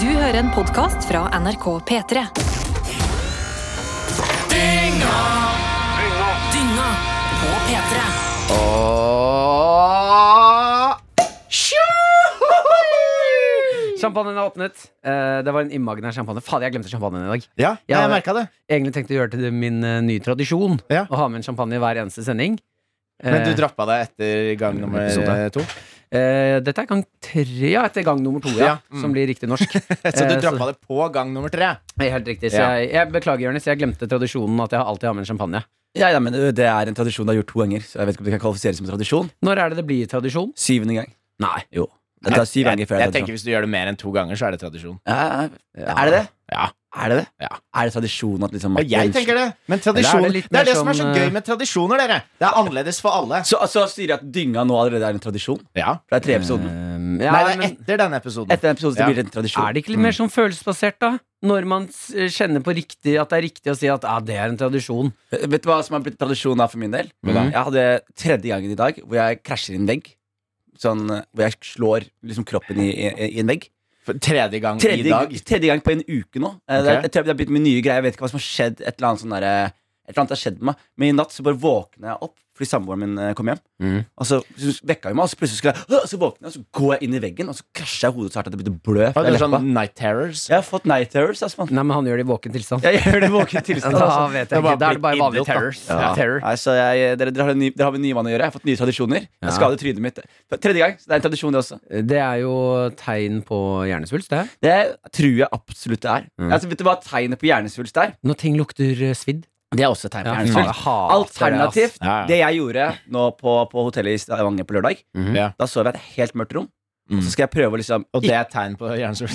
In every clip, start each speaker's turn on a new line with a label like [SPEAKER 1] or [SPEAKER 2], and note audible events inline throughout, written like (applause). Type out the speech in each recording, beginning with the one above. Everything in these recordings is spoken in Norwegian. [SPEAKER 1] Du hører en podkast fra NRK P3. Dynga på P3.
[SPEAKER 2] Champagnen er åpnet. Eh, Det var en imaginær champagne. Fader, jeg glemte champagnen i dag.
[SPEAKER 3] Ja,
[SPEAKER 2] Ja,
[SPEAKER 3] jeg
[SPEAKER 2] det-
[SPEAKER 3] merka det.
[SPEAKER 2] Egentlig tenkte jeg å gjøre det til min eh, nye tradisjon
[SPEAKER 3] Ja.
[SPEAKER 2] å ha med en champagne i hver eneste sending.
[SPEAKER 3] Men du
[SPEAKER 2] Eh,
[SPEAKER 3] droppa det etter gang nummer eh,
[SPEAKER 2] Episode.
[SPEAKER 3] to?
[SPEAKER 2] eh, dette er gang tre, ja, etter gang nummer to, ja,
[SPEAKER 3] Ja, mm.
[SPEAKER 2] som blir riktig norsk.
[SPEAKER 3] (laughs) Så du
[SPEAKER 2] Eh,
[SPEAKER 3] droppa det på gang nummer tre?
[SPEAKER 2] Eh, Helt riktig. Så
[SPEAKER 3] Ja.
[SPEAKER 2] jeg, jeg beklager, Jonis, jeg glemte tradisjonen at jeg alltid har med en champagne.
[SPEAKER 4] Ja, ja, men Det er en tradisjon du har gjort to ganger. Så jeg vet ikke om det kan kvalifiseres som en tradisjon
[SPEAKER 2] Når er det det blir tradisjon?
[SPEAKER 4] Syvende gang.
[SPEAKER 2] Nei.
[SPEAKER 4] Jo. Det tar syv
[SPEAKER 3] Jeg,
[SPEAKER 4] ganger før det
[SPEAKER 3] jeg
[SPEAKER 4] er
[SPEAKER 3] tenker
[SPEAKER 4] tradisjon.
[SPEAKER 3] Hvis du gjør det mer enn to ganger, så er det tradisjon.
[SPEAKER 4] Ja, ja, ja. Er det det?
[SPEAKER 3] Ja.
[SPEAKER 4] Er det det?
[SPEAKER 3] Ja.
[SPEAKER 4] Er det tradisjon at liksom
[SPEAKER 3] Og jeg tenker det. Men
[SPEAKER 2] Eller
[SPEAKER 3] tradisjon
[SPEAKER 2] er
[SPEAKER 3] Det
[SPEAKER 2] det litt
[SPEAKER 3] er det,
[SPEAKER 2] mer
[SPEAKER 3] som er så
[SPEAKER 2] sånn,
[SPEAKER 3] gøy
[SPEAKER 2] eh,
[SPEAKER 3] med tradisjoner, dere. Det er annerledes for alle.
[SPEAKER 4] Så altså, sier jeg at dynga nå allerede er en tradisjon?
[SPEAKER 3] Ja.
[SPEAKER 4] For det er tre episoder.
[SPEAKER 2] Um,
[SPEAKER 3] Nei,
[SPEAKER 2] ja,
[SPEAKER 3] det er Mm.
[SPEAKER 2] men,
[SPEAKER 3] etter denne episoden.
[SPEAKER 4] Etter en episode så
[SPEAKER 3] Eh. Ja.
[SPEAKER 4] blir det en tradisjon.
[SPEAKER 2] er det ikke litt mer sånn følelsesbasert, da? Når man s- kjenner på riktig at det er riktig å si at ja, det er en tradisjon.
[SPEAKER 4] Vet vet du hva som har blitt tradisjon da for min del?
[SPEAKER 2] Hva da?
[SPEAKER 4] Jeg hadde tredje gangen i dag hvor jeg krasjer i en vegg. Sånn, eh, hvor jeg slår liksom kroppen i, i, i en vegg.
[SPEAKER 3] For tredje gang
[SPEAKER 4] Tredje,
[SPEAKER 3] Mm, i dag.
[SPEAKER 4] tredje gang på en uke nå. Eh,
[SPEAKER 3] Ok.
[SPEAKER 4] det er- Jeg tror jeg har begynt med nye greier. Jeg vet ikke hva som har skjedd. Et eller annet sånn derre- et eller annet har skjedd med meg. Men i natt så bare våkner jeg opp fordi samboeren min eh, kom hjem.
[SPEAKER 2] Mhm.
[SPEAKER 4] Og så så vekka hun meg, og så plutselig skulle jeg «Åh!» Så våkner jeg, og så går jeg inn i veggen, og så krasjer jeg hodet så hardt at det begynte å blø.
[SPEAKER 3] Og
[SPEAKER 4] fra
[SPEAKER 3] det er
[SPEAKER 4] leppa.
[SPEAKER 3] sånn Night Terrors.
[SPEAKER 4] Jeg har fått night terrors, ass, mann.
[SPEAKER 2] Nei, men han gjør det i våken tilstand.
[SPEAKER 4] Jeg gjør det i våken tilstand.
[SPEAKER 2] Da
[SPEAKER 4] Altså.
[SPEAKER 2] vet
[SPEAKER 3] Det er bare
[SPEAKER 2] jeg ikke. Da er det bare
[SPEAKER 3] blitt
[SPEAKER 2] vanlig
[SPEAKER 3] idiot, da.
[SPEAKER 2] terrors.
[SPEAKER 4] Ja.
[SPEAKER 2] Ja. Terror.
[SPEAKER 4] Nei, så jeg, dere, dere, har en ny, dere har med nye vaner å gjøre. Jeg har fått nye tradisjoner.
[SPEAKER 2] Ja.
[SPEAKER 4] Jeg skader trynet mitt. Tredje gang. Så det er en tradisjon, det også.
[SPEAKER 2] Det er jo tegn på hjernesvulst, det.
[SPEAKER 4] Det tror jeg absolutt det er.
[SPEAKER 2] Mm.
[SPEAKER 4] Altså, vet du hva tegnet på hjernesvulst er?
[SPEAKER 2] Når ting lukter eh, svidd.
[SPEAKER 4] Det er også tegn på
[SPEAKER 2] Ja,
[SPEAKER 4] hjernesvulst.
[SPEAKER 2] jeg hater det, altså. ass.
[SPEAKER 4] Alternativt,
[SPEAKER 3] Ja, ja.
[SPEAKER 4] det jeg gjorde nå på, på hotellet i Stavanger på lørdag
[SPEAKER 2] Mhm.
[SPEAKER 3] Ja.
[SPEAKER 4] Da sov jeg i et helt mørkt rom.
[SPEAKER 3] Mm.
[SPEAKER 4] Så skal jeg prøve å liksom
[SPEAKER 3] Og det er tegn på hjernesvulst.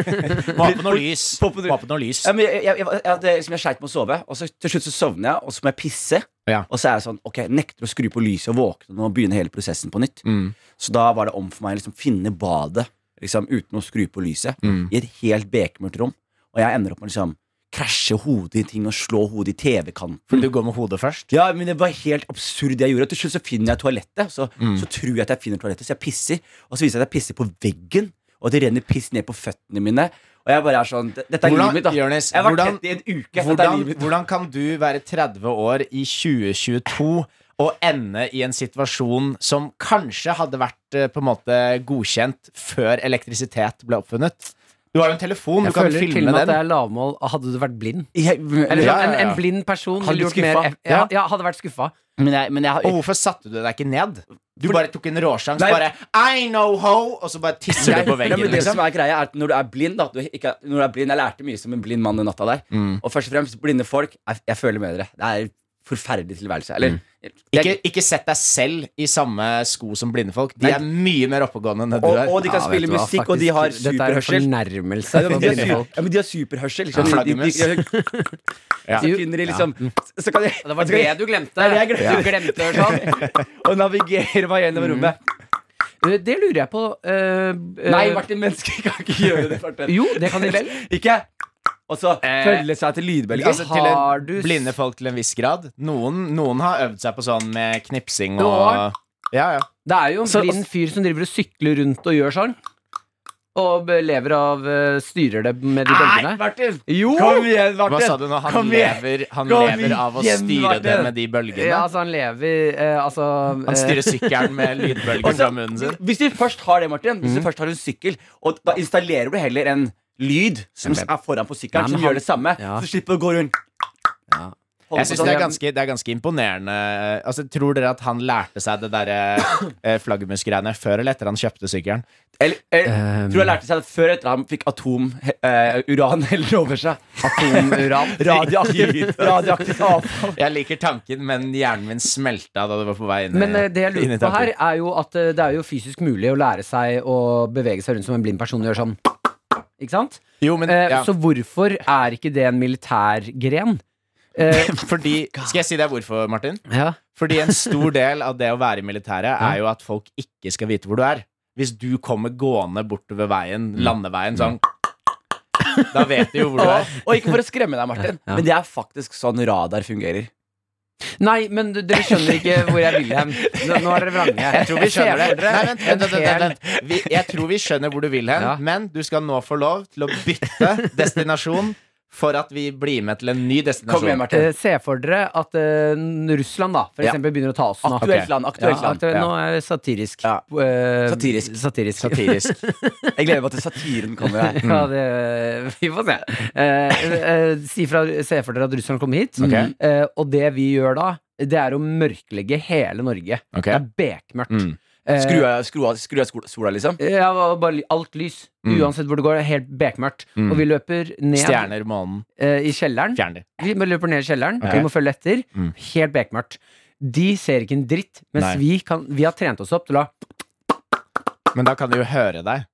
[SPEAKER 3] (laughs) Må ha på noe lys.
[SPEAKER 4] Få på noe-
[SPEAKER 3] Må ha på noe lys.
[SPEAKER 4] ja, men jeg, jeg, jeg, jeg, hadde liksom, jeg sleit med å sove, og så til slutt så sovner jeg, og så må jeg pisse.
[SPEAKER 3] Ja.
[SPEAKER 4] Og så er jeg sånn Ok, jeg nekter å skru på lyset og våkne nå og begynne hele prosessen på nytt.
[SPEAKER 3] Mm.
[SPEAKER 4] Så da var det om for meg å liksom, finne badet liksom, uten å skru på lyset,
[SPEAKER 3] Mm.
[SPEAKER 4] i et helt bekmørkt rom. Og jeg ender opp med å liksom, krasje hodet i ting og slå hodet i TV-kanten.
[SPEAKER 3] For du går med hodet først.
[SPEAKER 4] Ja, men det var helt absurd det jeg gjorde. Til slutt så finner jeg toalettet. Så,
[SPEAKER 3] Mm.
[SPEAKER 4] så tror jeg at jeg finner toalettet, så jeg pisser. Og så viser det seg at jeg pisser på veggen, og det renner piss ned på føttene mine. Og jeg bare er sånn det- Dette er
[SPEAKER 3] Hvordan,
[SPEAKER 4] livet mitt, da.
[SPEAKER 3] Jonis,
[SPEAKER 4] jeg har vært
[SPEAKER 3] hvordan-
[SPEAKER 4] tett i en uke. dette er
[SPEAKER 3] Hvordan,
[SPEAKER 4] livet mitt.
[SPEAKER 3] hvordan kan du være 30 år i 2022 og ende i en situasjon som kanskje hadde vært eh, på en måte godkjent før elektrisitet ble oppfunnet? Du har jo en telefon, du
[SPEAKER 2] Jeg
[SPEAKER 3] kan
[SPEAKER 2] føler til og
[SPEAKER 3] filme
[SPEAKER 2] med at det
[SPEAKER 3] den.
[SPEAKER 2] er lavmål. Hadde du vært blind?
[SPEAKER 4] Jeg-
[SPEAKER 2] Eller
[SPEAKER 3] Ja,
[SPEAKER 2] sånn,
[SPEAKER 3] ja, ja.
[SPEAKER 2] En, en blind person
[SPEAKER 4] Hadde
[SPEAKER 2] ville gjort
[SPEAKER 4] skuffa.
[SPEAKER 2] mer eff- ja,
[SPEAKER 3] Ja.
[SPEAKER 2] ja, hadde vært skuffa.
[SPEAKER 4] Men jeg, men jeg har
[SPEAKER 3] Og hvorfor satte du deg ikke ned? Du
[SPEAKER 4] For-
[SPEAKER 3] bare tok en råsjans.
[SPEAKER 4] Nei.
[SPEAKER 3] Bare I know ho! Og så bare tisser
[SPEAKER 4] jeg,
[SPEAKER 3] du på
[SPEAKER 4] ja,
[SPEAKER 3] veggen.
[SPEAKER 4] men det som
[SPEAKER 3] Liksom.
[SPEAKER 4] er greia er at Når du er blind da, at du ikke, er- Når du er blind, Jeg lærte mye som en blind mann den natta der. Og først og fremst, blinde folk Jeg, jeg føler med dere. Det er en forferdelig tilværelse. Eller jeg-
[SPEAKER 3] Ikke, ikke sett deg selv i samme sko som blinde folk. De
[SPEAKER 4] Nei.
[SPEAKER 3] er mye mer oppegående enn det
[SPEAKER 4] og,
[SPEAKER 3] du er.
[SPEAKER 4] og de kan
[SPEAKER 2] Ja, vet
[SPEAKER 4] spille
[SPEAKER 2] du hva,
[SPEAKER 4] musikk, og de har
[SPEAKER 2] faktisk, Dette er en
[SPEAKER 4] superhørsel.
[SPEAKER 3] sånn
[SPEAKER 2] fornærmelse.
[SPEAKER 4] Ja,
[SPEAKER 2] for
[SPEAKER 4] men de,
[SPEAKER 2] blinde
[SPEAKER 4] har
[SPEAKER 2] folk.
[SPEAKER 4] su- ja, men de har superhørsel. Liksom.
[SPEAKER 3] Ja,
[SPEAKER 4] de, de,
[SPEAKER 3] flaggermus.
[SPEAKER 4] de,
[SPEAKER 3] (laughs) Ja.
[SPEAKER 4] så finner de liksom så- Så kan de,
[SPEAKER 2] Det var
[SPEAKER 4] så kan
[SPEAKER 2] det du
[SPEAKER 4] de
[SPEAKER 2] glemte.
[SPEAKER 4] Det er det jeg glemte.
[SPEAKER 2] Du glemte det (laughs) sånn.
[SPEAKER 4] og navigere meg gjennom
[SPEAKER 3] Mm.
[SPEAKER 4] rommet.
[SPEAKER 2] Eh, Det lurer jeg på. eh, eh,
[SPEAKER 4] Nei, Martin, mennesker kan ikke gjøre det. Martin.
[SPEAKER 2] Jo, det kan de vel.
[SPEAKER 4] Ikke? Og så
[SPEAKER 3] Eh,
[SPEAKER 4] følge seg til lydbølger.
[SPEAKER 3] Altså, til
[SPEAKER 2] Har
[SPEAKER 3] en,
[SPEAKER 2] du s-
[SPEAKER 3] blinde folk til en viss grad. Noen, noen har øvd seg på sånn med knipsing
[SPEAKER 2] Du har.
[SPEAKER 3] og Ja, ja.
[SPEAKER 2] Det er jo en
[SPEAKER 4] Så-
[SPEAKER 2] blind fyr som driver og sykler rundt og gjør sånn. Og be- lever av eh, Styrer det med de
[SPEAKER 4] Nei,
[SPEAKER 2] bølgene.
[SPEAKER 4] Martin!
[SPEAKER 2] Jo!
[SPEAKER 4] Kom igjen,
[SPEAKER 3] Hva
[SPEAKER 4] Martin!
[SPEAKER 3] sa du nå? Han
[SPEAKER 4] Kom igjen!
[SPEAKER 3] lever, han
[SPEAKER 4] Kom
[SPEAKER 3] lever av å
[SPEAKER 4] igjen,
[SPEAKER 3] styre
[SPEAKER 4] Martin.
[SPEAKER 3] det med de bølgene.
[SPEAKER 2] Ja, altså, han lever eh, Altså
[SPEAKER 3] Han
[SPEAKER 2] eh,
[SPEAKER 3] styrer sykkelen med lydbølger
[SPEAKER 4] Altså,
[SPEAKER 3] fra munnen sin. Mm.
[SPEAKER 4] Hvis du først har det, Martin, hvis du først har en sykkel, og da installerer du heller en lyd som
[SPEAKER 2] Ja, men-
[SPEAKER 4] er foran på
[SPEAKER 2] Nei, men
[SPEAKER 4] sykkelen, som
[SPEAKER 2] han-
[SPEAKER 4] gjør det samme,
[SPEAKER 2] Ja.
[SPEAKER 4] så du slipper å gå rundt.
[SPEAKER 2] Ja.
[SPEAKER 3] Jeg
[SPEAKER 4] Holde på
[SPEAKER 3] synes
[SPEAKER 4] sånn.
[SPEAKER 3] det, er ganske- det er ganske imponerende. Altså, Tror dere at han lærte seg det derre flaggermusgreiene før eller etter han kjøpte sykkelen?
[SPEAKER 4] Eller, eller,
[SPEAKER 2] Eh,
[SPEAKER 3] Ehm.
[SPEAKER 4] tror jeg lærte seg det før eller etter han fikk atomuran (laughs) heller over seg.
[SPEAKER 2] Atomuran.
[SPEAKER 4] (laughs)
[SPEAKER 3] (laughs)
[SPEAKER 4] Radioaktivt radioaktivt avfall.
[SPEAKER 3] Jeg liker tanken, men hjernen min smelta da det var på vei inn. i-
[SPEAKER 2] Men eh, det jeg
[SPEAKER 3] inn i
[SPEAKER 2] lurer på
[SPEAKER 3] tanken.
[SPEAKER 2] her, er jo at eh, det er jo fysisk mulig å lære seg å bevege seg rundt som en blind person gjør sånn. Ikke sant?
[SPEAKER 3] Jo, men
[SPEAKER 2] Eh,
[SPEAKER 3] ja.
[SPEAKER 2] Så hvorfor er ikke det en militærgren? Eh,
[SPEAKER 3] (laughs) Fordi, Skal jeg si deg hvorfor, Martin?
[SPEAKER 2] ja.
[SPEAKER 3] Fordi en stor del av det å være i militæret er jo at folk ikke skal vite hvor du er. Hvis du kommer gående bortover veien, landeveien, sånn Da vet de jo hvor du
[SPEAKER 4] Og,
[SPEAKER 3] er.
[SPEAKER 4] og ikke for å skremme deg, Martin,
[SPEAKER 2] Ja.
[SPEAKER 4] men det er faktisk sånn radar fungerer.
[SPEAKER 2] Nei, men d- dere skjønner ikke hvor jeg vil hen. Nå, nå er dere vrange.
[SPEAKER 3] Jeg tror vi skjønner det. Nei, vent, vent, vent, vent,
[SPEAKER 2] En hel-
[SPEAKER 3] vent. Vi, jeg tror vi skjønner hvor du vil hen,
[SPEAKER 2] Ja.
[SPEAKER 3] men du skal nå få lov til å bytte destinasjon for at vi blir med til en ny
[SPEAKER 4] Kom igjen,
[SPEAKER 3] destinasjon.
[SPEAKER 4] Martin.
[SPEAKER 2] Eh, Se for dere at eh, Russland da For
[SPEAKER 4] Ja.
[SPEAKER 2] eksempel begynner å ta
[SPEAKER 3] Ah,
[SPEAKER 2] oss nå.
[SPEAKER 4] Aktuelt land. aktuelt
[SPEAKER 2] Ja,
[SPEAKER 4] land
[SPEAKER 2] aktuelt- Nå er det satirisk.
[SPEAKER 4] Ja.
[SPEAKER 2] Eh,
[SPEAKER 4] Satirisk.
[SPEAKER 2] satirisk.
[SPEAKER 3] Satirisk.
[SPEAKER 4] Jeg gleder meg til satiren kommer.
[SPEAKER 3] (laughs)
[SPEAKER 4] her.
[SPEAKER 2] (laughs) Ja, det, vi får se. Eh, eh, si fra, se for dere at Russland kommer hit.
[SPEAKER 3] Ok.
[SPEAKER 2] Eh, og det vi gjør da, det er å mørklegge hele Norge.
[SPEAKER 3] Ok.
[SPEAKER 2] Det er bekmørkt.
[SPEAKER 3] Mm.
[SPEAKER 2] Eh,
[SPEAKER 4] Skru av- Skru av skru av skol- sola, liksom.
[SPEAKER 2] ja, og bare ly- alt lys.
[SPEAKER 3] Mm.
[SPEAKER 2] Uansett hvor det går, det er helt bekmørkt.
[SPEAKER 3] Mm.
[SPEAKER 2] Og vi løper ned
[SPEAKER 3] Stjerner, månen,
[SPEAKER 2] eh, i kjelleren.
[SPEAKER 3] fjern de.
[SPEAKER 2] Vi må løper ned i kjelleren,
[SPEAKER 3] Ok.
[SPEAKER 2] vi må følge etter.
[SPEAKER 3] Mm.
[SPEAKER 2] Helt bekmørkt. De ser ikke en dritt, mens
[SPEAKER 3] Nei.
[SPEAKER 2] vi, kan, vi har trent oss opp til å
[SPEAKER 3] Men da kan de jo høre deg.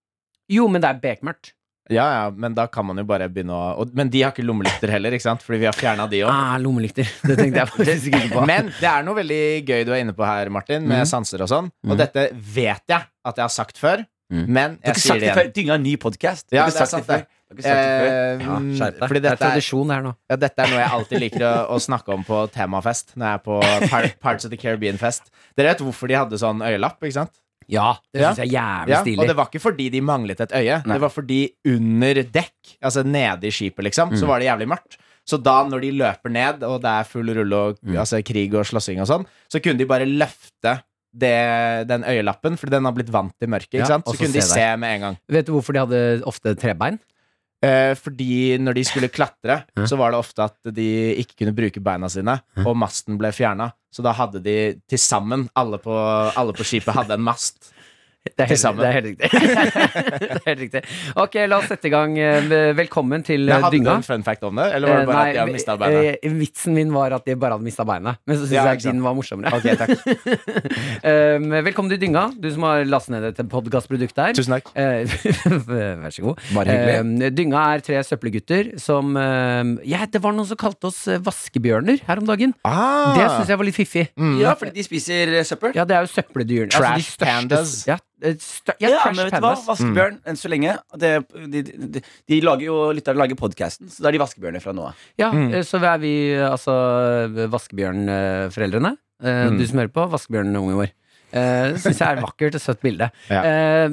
[SPEAKER 2] Jo, men det er bekmørkt.
[SPEAKER 3] Ja, ja, men da kan man jo bare begynne å og, Men de har ikke lommelykter heller, ikke sant? Fordi vi har fjerna de òg.
[SPEAKER 2] Ah, lommelykter. Det tenkte jeg faktisk ikke på.
[SPEAKER 3] (laughs) Men det er noe veldig gøy du er inne på her, Martin, med
[SPEAKER 4] Mhm.
[SPEAKER 3] sanser og sånn. Og
[SPEAKER 4] Mhm.
[SPEAKER 3] dette vet jeg at jeg har sagt før,
[SPEAKER 4] Mhm.
[SPEAKER 3] men
[SPEAKER 4] Du har
[SPEAKER 3] jeg
[SPEAKER 4] ikke
[SPEAKER 3] sier det
[SPEAKER 4] sagt det
[SPEAKER 3] igjen.
[SPEAKER 4] før. Dynga en ny podkast.
[SPEAKER 3] Ja, det er sant, det. Eh,
[SPEAKER 4] Ja, skjerp deg.
[SPEAKER 3] fordi
[SPEAKER 2] Det er
[SPEAKER 3] dette er,
[SPEAKER 2] tradisjon her nå.
[SPEAKER 3] ja, dette er noe jeg alltid liker å, å snakke om på temafest, når jeg er på
[SPEAKER 4] (laughs)
[SPEAKER 3] Par Parts of the Caribbean-fest. Dere vet hvorfor de hadde sånn øyelapp, ikke sant?
[SPEAKER 2] Ja, det
[SPEAKER 3] Ja.
[SPEAKER 2] syns jeg er jævlig
[SPEAKER 3] Ja, og
[SPEAKER 2] stilig.
[SPEAKER 3] det var ikke fordi de manglet et øye.
[SPEAKER 4] Nei.
[SPEAKER 3] Det var fordi under dekk, altså nede i skipet, liksom,
[SPEAKER 2] Mm.
[SPEAKER 3] så var det jævlig mørkt. Så da, når de løper ned, og det er full rulle og
[SPEAKER 2] Mm.
[SPEAKER 3] altså, krig og slåssing og sånn, så kunne de bare løfte det, den øyelappen, for den har blitt vant til mørket,
[SPEAKER 2] Ja,
[SPEAKER 3] ikke sant?
[SPEAKER 2] og
[SPEAKER 3] Så
[SPEAKER 2] så
[SPEAKER 3] kunne de
[SPEAKER 2] se deg.
[SPEAKER 3] se med en gang.
[SPEAKER 2] Vet du hvorfor de hadde ofte trebein?
[SPEAKER 3] Eh, fordi når de skulle klatre,
[SPEAKER 2] Ja.
[SPEAKER 3] så var det ofte at de ikke kunne bruke beina sine, og masten ble fjerna. Så da hadde de til sammen, alle på, alle på skipet hadde en mast.
[SPEAKER 2] Det er
[SPEAKER 3] Til
[SPEAKER 2] helt,
[SPEAKER 3] sammen.
[SPEAKER 2] det er helt riktig. (laughs) det er helt riktig. Ok, la oss sette i gang. Eh, Velkommen til
[SPEAKER 3] Men
[SPEAKER 2] eh,
[SPEAKER 3] hadde du
[SPEAKER 2] dynga.
[SPEAKER 3] en fun fact om det, eller var det bare
[SPEAKER 2] Eh,
[SPEAKER 3] at de har
[SPEAKER 2] nei,
[SPEAKER 3] mista beina?
[SPEAKER 2] eh, Vitsen min var at de bare hadde mista beinet. Men så syns
[SPEAKER 3] Ja,
[SPEAKER 2] jeg
[SPEAKER 3] ikke sant.
[SPEAKER 2] din var morsommere.
[SPEAKER 3] Ok, takk.
[SPEAKER 2] Um, velkommen til Dynga, du som har lastet ned dette podcastproduktet
[SPEAKER 3] (laughs)
[SPEAKER 2] her.
[SPEAKER 3] Tusen takk.
[SPEAKER 2] Eh, (laughs) Vær så god.
[SPEAKER 4] Bare hyggelig.
[SPEAKER 2] Um, Dynga er tre søppelgutter som um, ja, Det var noen som kalte oss eh, vaskebjørner her om dagen.
[SPEAKER 3] Ah,
[SPEAKER 2] Det syns jeg var litt fiffig.
[SPEAKER 4] Ja, fordi de spiser eh, søppel.
[SPEAKER 2] Ja, det er jo søppeldyrene. Altså, de
[SPEAKER 3] Trash
[SPEAKER 2] største-
[SPEAKER 3] pandas.
[SPEAKER 2] Ja, eh, stør, ja,
[SPEAKER 4] Ja, men
[SPEAKER 2] trash
[SPEAKER 4] vet du hva?
[SPEAKER 2] pandas.
[SPEAKER 4] Vaskebjørn, enn så lenge det, de, de, de, de lager jo lytterne lager podkasten, så da er de vaskebjørner fra nå av.
[SPEAKER 2] Ja,
[SPEAKER 3] Mm.
[SPEAKER 2] eh, så er vi eh, altså vaskebjørnforeldrene. Eh,
[SPEAKER 3] Mm.
[SPEAKER 2] Du som hører på, vaskebjørnungen vår. Uh, Syns jeg er et vakkert og søtt bilde.
[SPEAKER 3] (laughs) Ja.
[SPEAKER 2] Eh,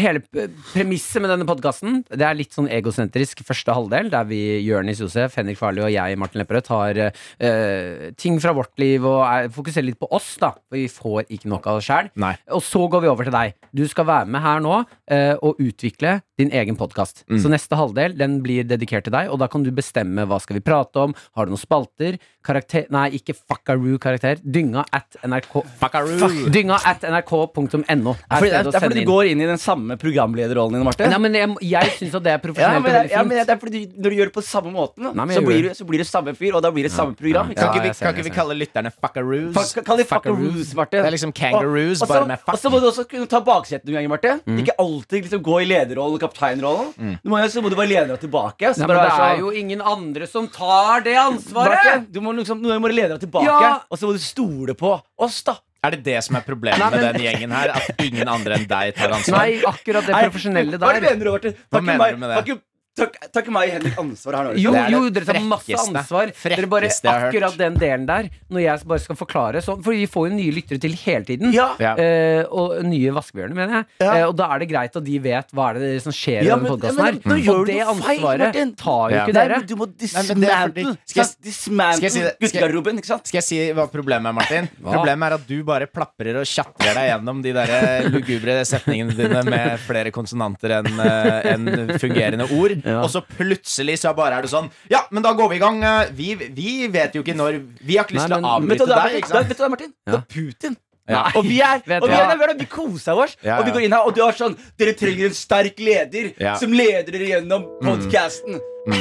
[SPEAKER 2] hele p- premisset med denne podkasten Det er litt sånn egosentrisk første halvdel, der vi, Jørnis Josef, Henrik Farley og jeg, Martin Lepperød, tar eh, ting fra vårt liv og er, fokuserer litt på oss, da. For vi får ikke nok av oss sjæl.
[SPEAKER 3] Nei.
[SPEAKER 2] Og så går vi over til deg. Du skal være med her nå eh, og utvikle din egen podkast.
[SPEAKER 4] Mm.
[SPEAKER 2] Så neste halvdel den blir dedikert til deg, og da kan du bestemme hva skal vi prate om. Har du noen spalter? Karakter Nei, ikke fuckaroo-karakter. Dynga at nrk...
[SPEAKER 3] Fuckaroo.
[SPEAKER 2] Dynga at nrk.no.
[SPEAKER 4] Det er, fordi- det er fordi du
[SPEAKER 2] inn.
[SPEAKER 4] går inn i den samme programlederrollen din, Martin.
[SPEAKER 2] Nei, men jeg, jeg syns at det er
[SPEAKER 4] Ja,
[SPEAKER 2] profesjonelt
[SPEAKER 4] men,
[SPEAKER 2] og veldig
[SPEAKER 4] ja, men
[SPEAKER 2] fint.
[SPEAKER 4] det er fordi Når du gjør det på samme måten, da,
[SPEAKER 2] Nei, men jeg
[SPEAKER 4] så,
[SPEAKER 2] gjør
[SPEAKER 4] blir du,
[SPEAKER 2] det.
[SPEAKER 4] så blir det samme fyr, og da blir det samme program. Ikke
[SPEAKER 3] Kan
[SPEAKER 4] sant?
[SPEAKER 3] ikke vi,
[SPEAKER 2] jeg ser
[SPEAKER 3] kan
[SPEAKER 2] det,
[SPEAKER 3] ikke vi
[SPEAKER 2] jeg ser
[SPEAKER 3] kalle lytterne fuckaroos?
[SPEAKER 4] Fuck- Kall de fuckaroos, Martin.
[SPEAKER 3] Det er liksom kangaroos,
[SPEAKER 4] og, og så-
[SPEAKER 3] bare med fuck.
[SPEAKER 4] Og så må du også kunne ta baksetet noen ganger, Martin.
[SPEAKER 2] Mm.
[SPEAKER 4] Ikke alltid liksom gå i lederrollen og kapteinrollen. Du må, jo- så må du bare lene deg tilbake. og Så
[SPEAKER 2] Nei, men
[SPEAKER 4] bare
[SPEAKER 2] det
[SPEAKER 4] være sånn-
[SPEAKER 2] er jo ingen andre som tar det ansvaret!
[SPEAKER 4] Martin, du må liksom Noen ganger må du lene deg tilbake,
[SPEAKER 2] Ja.
[SPEAKER 4] og så må du stole på oss, da.
[SPEAKER 3] Er det det som er problemet
[SPEAKER 2] Nei, men-
[SPEAKER 3] med den gjengen her? At ingen andre enn deg tar ansvar?
[SPEAKER 2] Nei, akkurat det
[SPEAKER 4] Nei,
[SPEAKER 2] profesjonelle
[SPEAKER 4] Hva er det
[SPEAKER 2] der.
[SPEAKER 4] mener du, Martin?
[SPEAKER 3] Hva
[SPEAKER 4] Takk
[SPEAKER 3] mener
[SPEAKER 4] meg-
[SPEAKER 3] du med det?
[SPEAKER 4] takk- Takk takk meg og Henrik ansvar her nå.
[SPEAKER 2] Jo,
[SPEAKER 3] Det er
[SPEAKER 2] jo,
[SPEAKER 3] det
[SPEAKER 2] dere tar masse
[SPEAKER 3] frekkeste-
[SPEAKER 2] ansvar. Dere bare
[SPEAKER 3] frekkeste jeg har hørt.
[SPEAKER 2] Akkurat den delen der, når jeg bare skal forklare sånn, for vi får jo nye lyttere til hele tiden.
[SPEAKER 4] Ja.
[SPEAKER 3] Ja.
[SPEAKER 2] Eh, og nye vaskebjørner, mener jeg.
[SPEAKER 4] Ja.
[SPEAKER 2] Eh, og da er det greit at de vet hva er det som skjer i
[SPEAKER 4] Ja,
[SPEAKER 2] denne
[SPEAKER 4] men-
[SPEAKER 2] podkasten
[SPEAKER 4] men
[SPEAKER 2] her.
[SPEAKER 4] nå- nå gjør
[SPEAKER 2] og
[SPEAKER 4] du
[SPEAKER 2] det
[SPEAKER 4] noe feil,
[SPEAKER 2] ansvaret
[SPEAKER 4] Martin.
[SPEAKER 2] tar jo
[SPEAKER 3] Ja.
[SPEAKER 2] ikke
[SPEAKER 4] Nei,
[SPEAKER 2] dere.
[SPEAKER 4] men du må
[SPEAKER 3] men det er fordi-
[SPEAKER 4] dismantle
[SPEAKER 3] Skal jeg-
[SPEAKER 4] Dismantle
[SPEAKER 3] skal jeg si det? Skal jeg-
[SPEAKER 4] guttegarderoben, ikke sant?
[SPEAKER 3] Skal jeg si hva problemet er,
[SPEAKER 4] (laughs)
[SPEAKER 3] Martin?
[SPEAKER 2] Hva?
[SPEAKER 3] Problemet er at du bare plaprer og tjatrer deg gjennom de der eh, lugubre setningene dine med flere konsonanter enn eh, enn fungerende ord,
[SPEAKER 2] Ja.
[SPEAKER 3] og så plutselig så bare er du sånn Ja, men da går vi i gang. eh, Vi, vi vet jo ikke når Vi har ikke lyst
[SPEAKER 2] Nei,
[SPEAKER 3] til å
[SPEAKER 2] men-
[SPEAKER 4] Vet du
[SPEAKER 3] avbryte
[SPEAKER 4] hva det er,
[SPEAKER 3] deg,
[SPEAKER 4] Martin?
[SPEAKER 3] ikke sant?
[SPEAKER 4] Vet du hva det er, Martin? Det
[SPEAKER 2] Ja.
[SPEAKER 4] er Putin.
[SPEAKER 3] Ja.
[SPEAKER 4] Og vi er,
[SPEAKER 2] Vet
[SPEAKER 4] og vi,
[SPEAKER 2] du
[SPEAKER 4] er
[SPEAKER 2] hva?
[SPEAKER 4] der, vi koser oss,
[SPEAKER 3] Ja,
[SPEAKER 4] og vi
[SPEAKER 3] ja.
[SPEAKER 4] går inn her, og du har sånn Dere trenger en sterk leder
[SPEAKER 3] Ja. Mm.
[SPEAKER 4] som leder dere gjennom podkasten.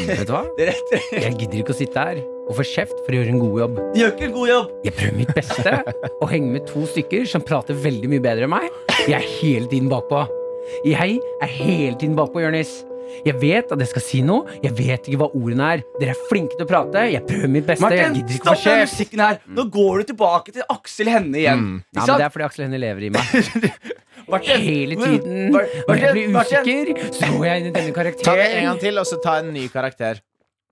[SPEAKER 2] Vet du hva?
[SPEAKER 4] Dere, dere
[SPEAKER 2] Jeg gidder ikke å sitte her og få kjeft for å gjøre en god jobb.
[SPEAKER 4] gjør ikke en god jobb.
[SPEAKER 2] Jeg prøver mitt beste å henge med to stykker som prater veldig mye bedre enn meg. Jeg er hele tiden bakpå. Jeg er hele tiden bakpå, Jonis. Jeg vet at jeg skal si noe. Jeg vet ikke hva ordene er. Dere er flinke til å prate. Jeg prøver mitt beste. jeg
[SPEAKER 4] Martin,
[SPEAKER 2] gidder ikke å
[SPEAKER 4] stopp
[SPEAKER 2] få
[SPEAKER 4] den
[SPEAKER 2] kjeft.
[SPEAKER 4] musikken her. Nå går du tilbake til Aksel Hennie igjen.
[SPEAKER 3] Mm.
[SPEAKER 2] Nei,
[SPEAKER 4] Ikke
[SPEAKER 2] men det
[SPEAKER 4] sant?
[SPEAKER 2] er fordi Aksel Hennie lever i
[SPEAKER 4] (laughs)
[SPEAKER 2] meg.
[SPEAKER 4] Martin,
[SPEAKER 2] Hele tiden.
[SPEAKER 4] Mar-
[SPEAKER 2] Når jeg
[SPEAKER 4] Martin,
[SPEAKER 2] blir
[SPEAKER 4] Martin,
[SPEAKER 2] usikker, så går jeg inn i denne
[SPEAKER 3] Ta det en
[SPEAKER 2] karakteren.
[SPEAKER 3] gang til, og så ta en ny karakter.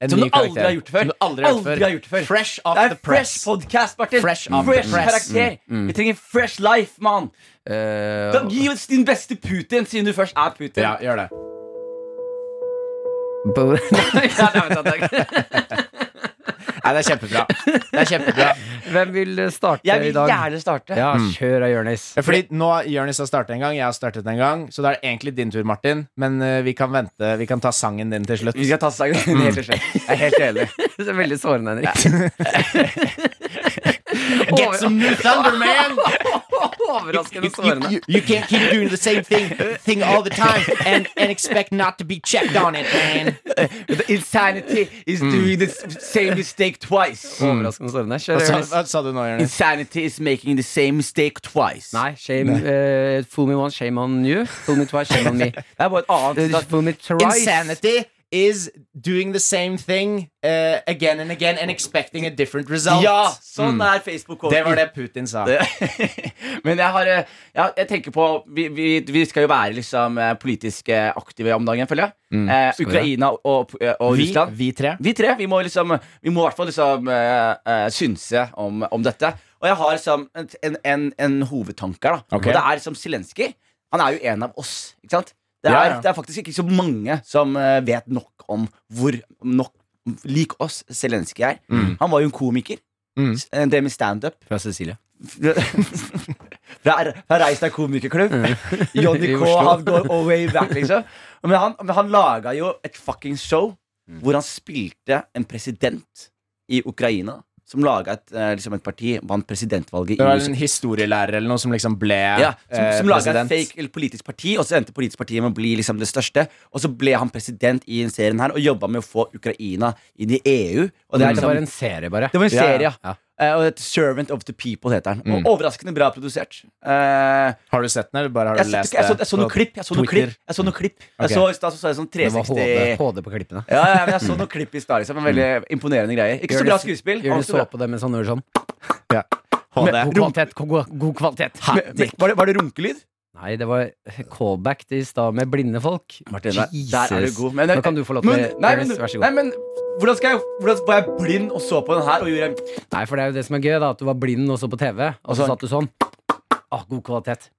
[SPEAKER 3] En
[SPEAKER 4] Som
[SPEAKER 3] ny
[SPEAKER 4] du aldri
[SPEAKER 3] karakter.
[SPEAKER 4] har gjort før.
[SPEAKER 3] Som du aldri har gjort
[SPEAKER 4] Aldri
[SPEAKER 3] før.
[SPEAKER 4] har gjort før.
[SPEAKER 3] Fresh off
[SPEAKER 4] Det er
[SPEAKER 3] the press.
[SPEAKER 4] fresh podcast, Martin.
[SPEAKER 3] Fresh off the press. Mm,
[SPEAKER 4] karakter. Vi trenger fresh life, mann.
[SPEAKER 2] Eh, (laughs)
[SPEAKER 4] Da- Gi oss din beste Putin, siden du først er Putin.
[SPEAKER 3] Ja, gjør det.
[SPEAKER 2] bo- Nei, ja, nei, vent, vent, vent.
[SPEAKER 3] Nei, det er kjempebra. Det er kjempebra.
[SPEAKER 4] (laughs)
[SPEAKER 2] Hvem vil starte i
[SPEAKER 4] Jeg vil
[SPEAKER 2] dag?
[SPEAKER 4] gjerne starte. Mm.
[SPEAKER 2] Ja, kjør da, Jonis.
[SPEAKER 3] Ja, Fordi nå Jonis har startet en gang, jeg har startet en gang, så da er det egentlig din tur, Martin. Men eh, vi kan vente. Vi kan ta sangen din til slutt.
[SPEAKER 4] Vi skal ta (laughs) sangen din helt til slutt. Jeg er helt enig.
[SPEAKER 2] Mm. (laughs) Det er veldig sårende, Henrik.
[SPEAKER 3] Get some new thunder,
[SPEAKER 4] (laughs)
[SPEAKER 3] man!
[SPEAKER 2] (laughs) Overraskende
[SPEAKER 3] You,
[SPEAKER 2] sårende.
[SPEAKER 3] you, you can't keep doing the same thing, thing all the time and, and expect not to be checked on it, man.
[SPEAKER 4] The insanity is
[SPEAKER 3] Mm.
[SPEAKER 4] doing the same mistake twice.
[SPEAKER 2] Overraskende sårende.
[SPEAKER 3] Hva
[SPEAKER 4] Altså,
[SPEAKER 2] Kjør,
[SPEAKER 3] sa,
[SPEAKER 2] Jonis.
[SPEAKER 3] hva sa du nå, Jonis?
[SPEAKER 4] Insanity is making the same mistake twice.
[SPEAKER 2] Nei, shame, eh, fool me once, shame on you. Fool me twice, shame on me.
[SPEAKER 4] Det er bare et (laughs) annet
[SPEAKER 2] Eh,
[SPEAKER 4] sitat.
[SPEAKER 2] Fool me twice.
[SPEAKER 3] Insanity is doing the same thing eh, again and again and expecting a different result.
[SPEAKER 4] Ja, sånn er Facebook.
[SPEAKER 3] Mm. Det var det Putin sa.
[SPEAKER 4] (laughs) Men jeg har eh, ja, Jeg tenker på Vi, vi, vi skal jo være liksom eh, politisk eh, aktive om dagen, føler jeg.
[SPEAKER 3] Mm,
[SPEAKER 4] Eh,
[SPEAKER 2] vi
[SPEAKER 4] Ukraina og, og, og
[SPEAKER 3] Vi,
[SPEAKER 4] Russland.
[SPEAKER 3] vi tre.
[SPEAKER 4] Vi tre vi må liksom Vi må i hvert fall liksom eh, eh, synse om, om dette. Og jeg har liksom en, en, en, en hovedtanke her. da
[SPEAKER 3] Ok.
[SPEAKER 4] Og det er liksom Zelenskyj. Han er jo en av oss. Ikke sant? Det er,
[SPEAKER 3] Ja, ja.
[SPEAKER 4] det er faktisk ikke så mange som eh, vet nok om hvor nok lik oss Zelenskyj er. Han var jo en komiker.
[SPEAKER 3] Mm.
[SPEAKER 4] s- En del med standup.
[SPEAKER 2] Fra Cecilie.
[SPEAKER 4] Fra fra Reist deg komikerklubb.
[SPEAKER 2] (laughs)
[SPEAKER 4] Johnny
[SPEAKER 2] I
[SPEAKER 4] K.
[SPEAKER 2] Oslo.
[SPEAKER 4] Han går all way back, liksom. Men han, men han laga jo et fucking show
[SPEAKER 2] Mm.
[SPEAKER 4] hvor han spilte en president i Ukraina. Som laga et, eh, liksom et parti, vant presidentvalget
[SPEAKER 3] Det
[SPEAKER 4] i
[SPEAKER 3] var
[SPEAKER 4] USA.
[SPEAKER 3] en historielærer eller noe som liksom ble
[SPEAKER 4] Ja, som
[SPEAKER 3] eh,
[SPEAKER 4] som laga et
[SPEAKER 3] president.
[SPEAKER 4] fake eller politisk parti, og så endte politisk partiet med å bli liksom det største. Og så ble han president i den serien her og jobba med å få Ukraina inn i EU. Og
[SPEAKER 3] Mm.
[SPEAKER 4] det, er
[SPEAKER 2] Det var
[SPEAKER 4] liksom,
[SPEAKER 2] en serie, bare.
[SPEAKER 4] det var en
[SPEAKER 3] Ja, ja.
[SPEAKER 4] serie, ja. Eh, og et 'Servant of the People' heter den.
[SPEAKER 3] Mm.
[SPEAKER 4] Og overraskende bra produsert. Eh,
[SPEAKER 3] Har du sett den, eller bare har du
[SPEAKER 4] jeg, så,
[SPEAKER 3] lest
[SPEAKER 4] jeg, så,
[SPEAKER 3] det
[SPEAKER 4] jeg så noen
[SPEAKER 3] på
[SPEAKER 4] klipp. Jeg så noen
[SPEAKER 3] Twitter?
[SPEAKER 4] klipp. Jeg så noen klipp
[SPEAKER 3] Ok.
[SPEAKER 4] Jeg så i stad så så jeg sånn
[SPEAKER 2] Det var
[SPEAKER 4] 360
[SPEAKER 2] HD, HD på klippene.
[SPEAKER 4] ja, ja, men jeg så noen klipp i stad. Liksom. Veldig imponerende greier. Ikke så bra skuespill.
[SPEAKER 2] Jonis
[SPEAKER 4] alt så bra.
[SPEAKER 2] Mm. så på det med sånn ord sånn.
[SPEAKER 3] Ja.
[SPEAKER 2] God
[SPEAKER 3] HD.
[SPEAKER 2] kvalitet, god, god kvalitet.
[SPEAKER 4] Men- men Var det, var det runkelyd?
[SPEAKER 2] Nei, det var callback til i stad med blinde folk.
[SPEAKER 4] Martin, der, der er du god. Men-
[SPEAKER 2] Nå kan du få lov til
[SPEAKER 4] men- nei, men-
[SPEAKER 2] Jonis, Vær så
[SPEAKER 4] Nei,
[SPEAKER 2] god.
[SPEAKER 4] men hvordan skal jeg Hvordan var jeg blind og så på den her og gjorde en
[SPEAKER 2] Nei, for det er jo det som er gøy, da. At du var blind og så på TV, og så
[SPEAKER 4] så-
[SPEAKER 2] satt du sånn. Ah, god kvalitet.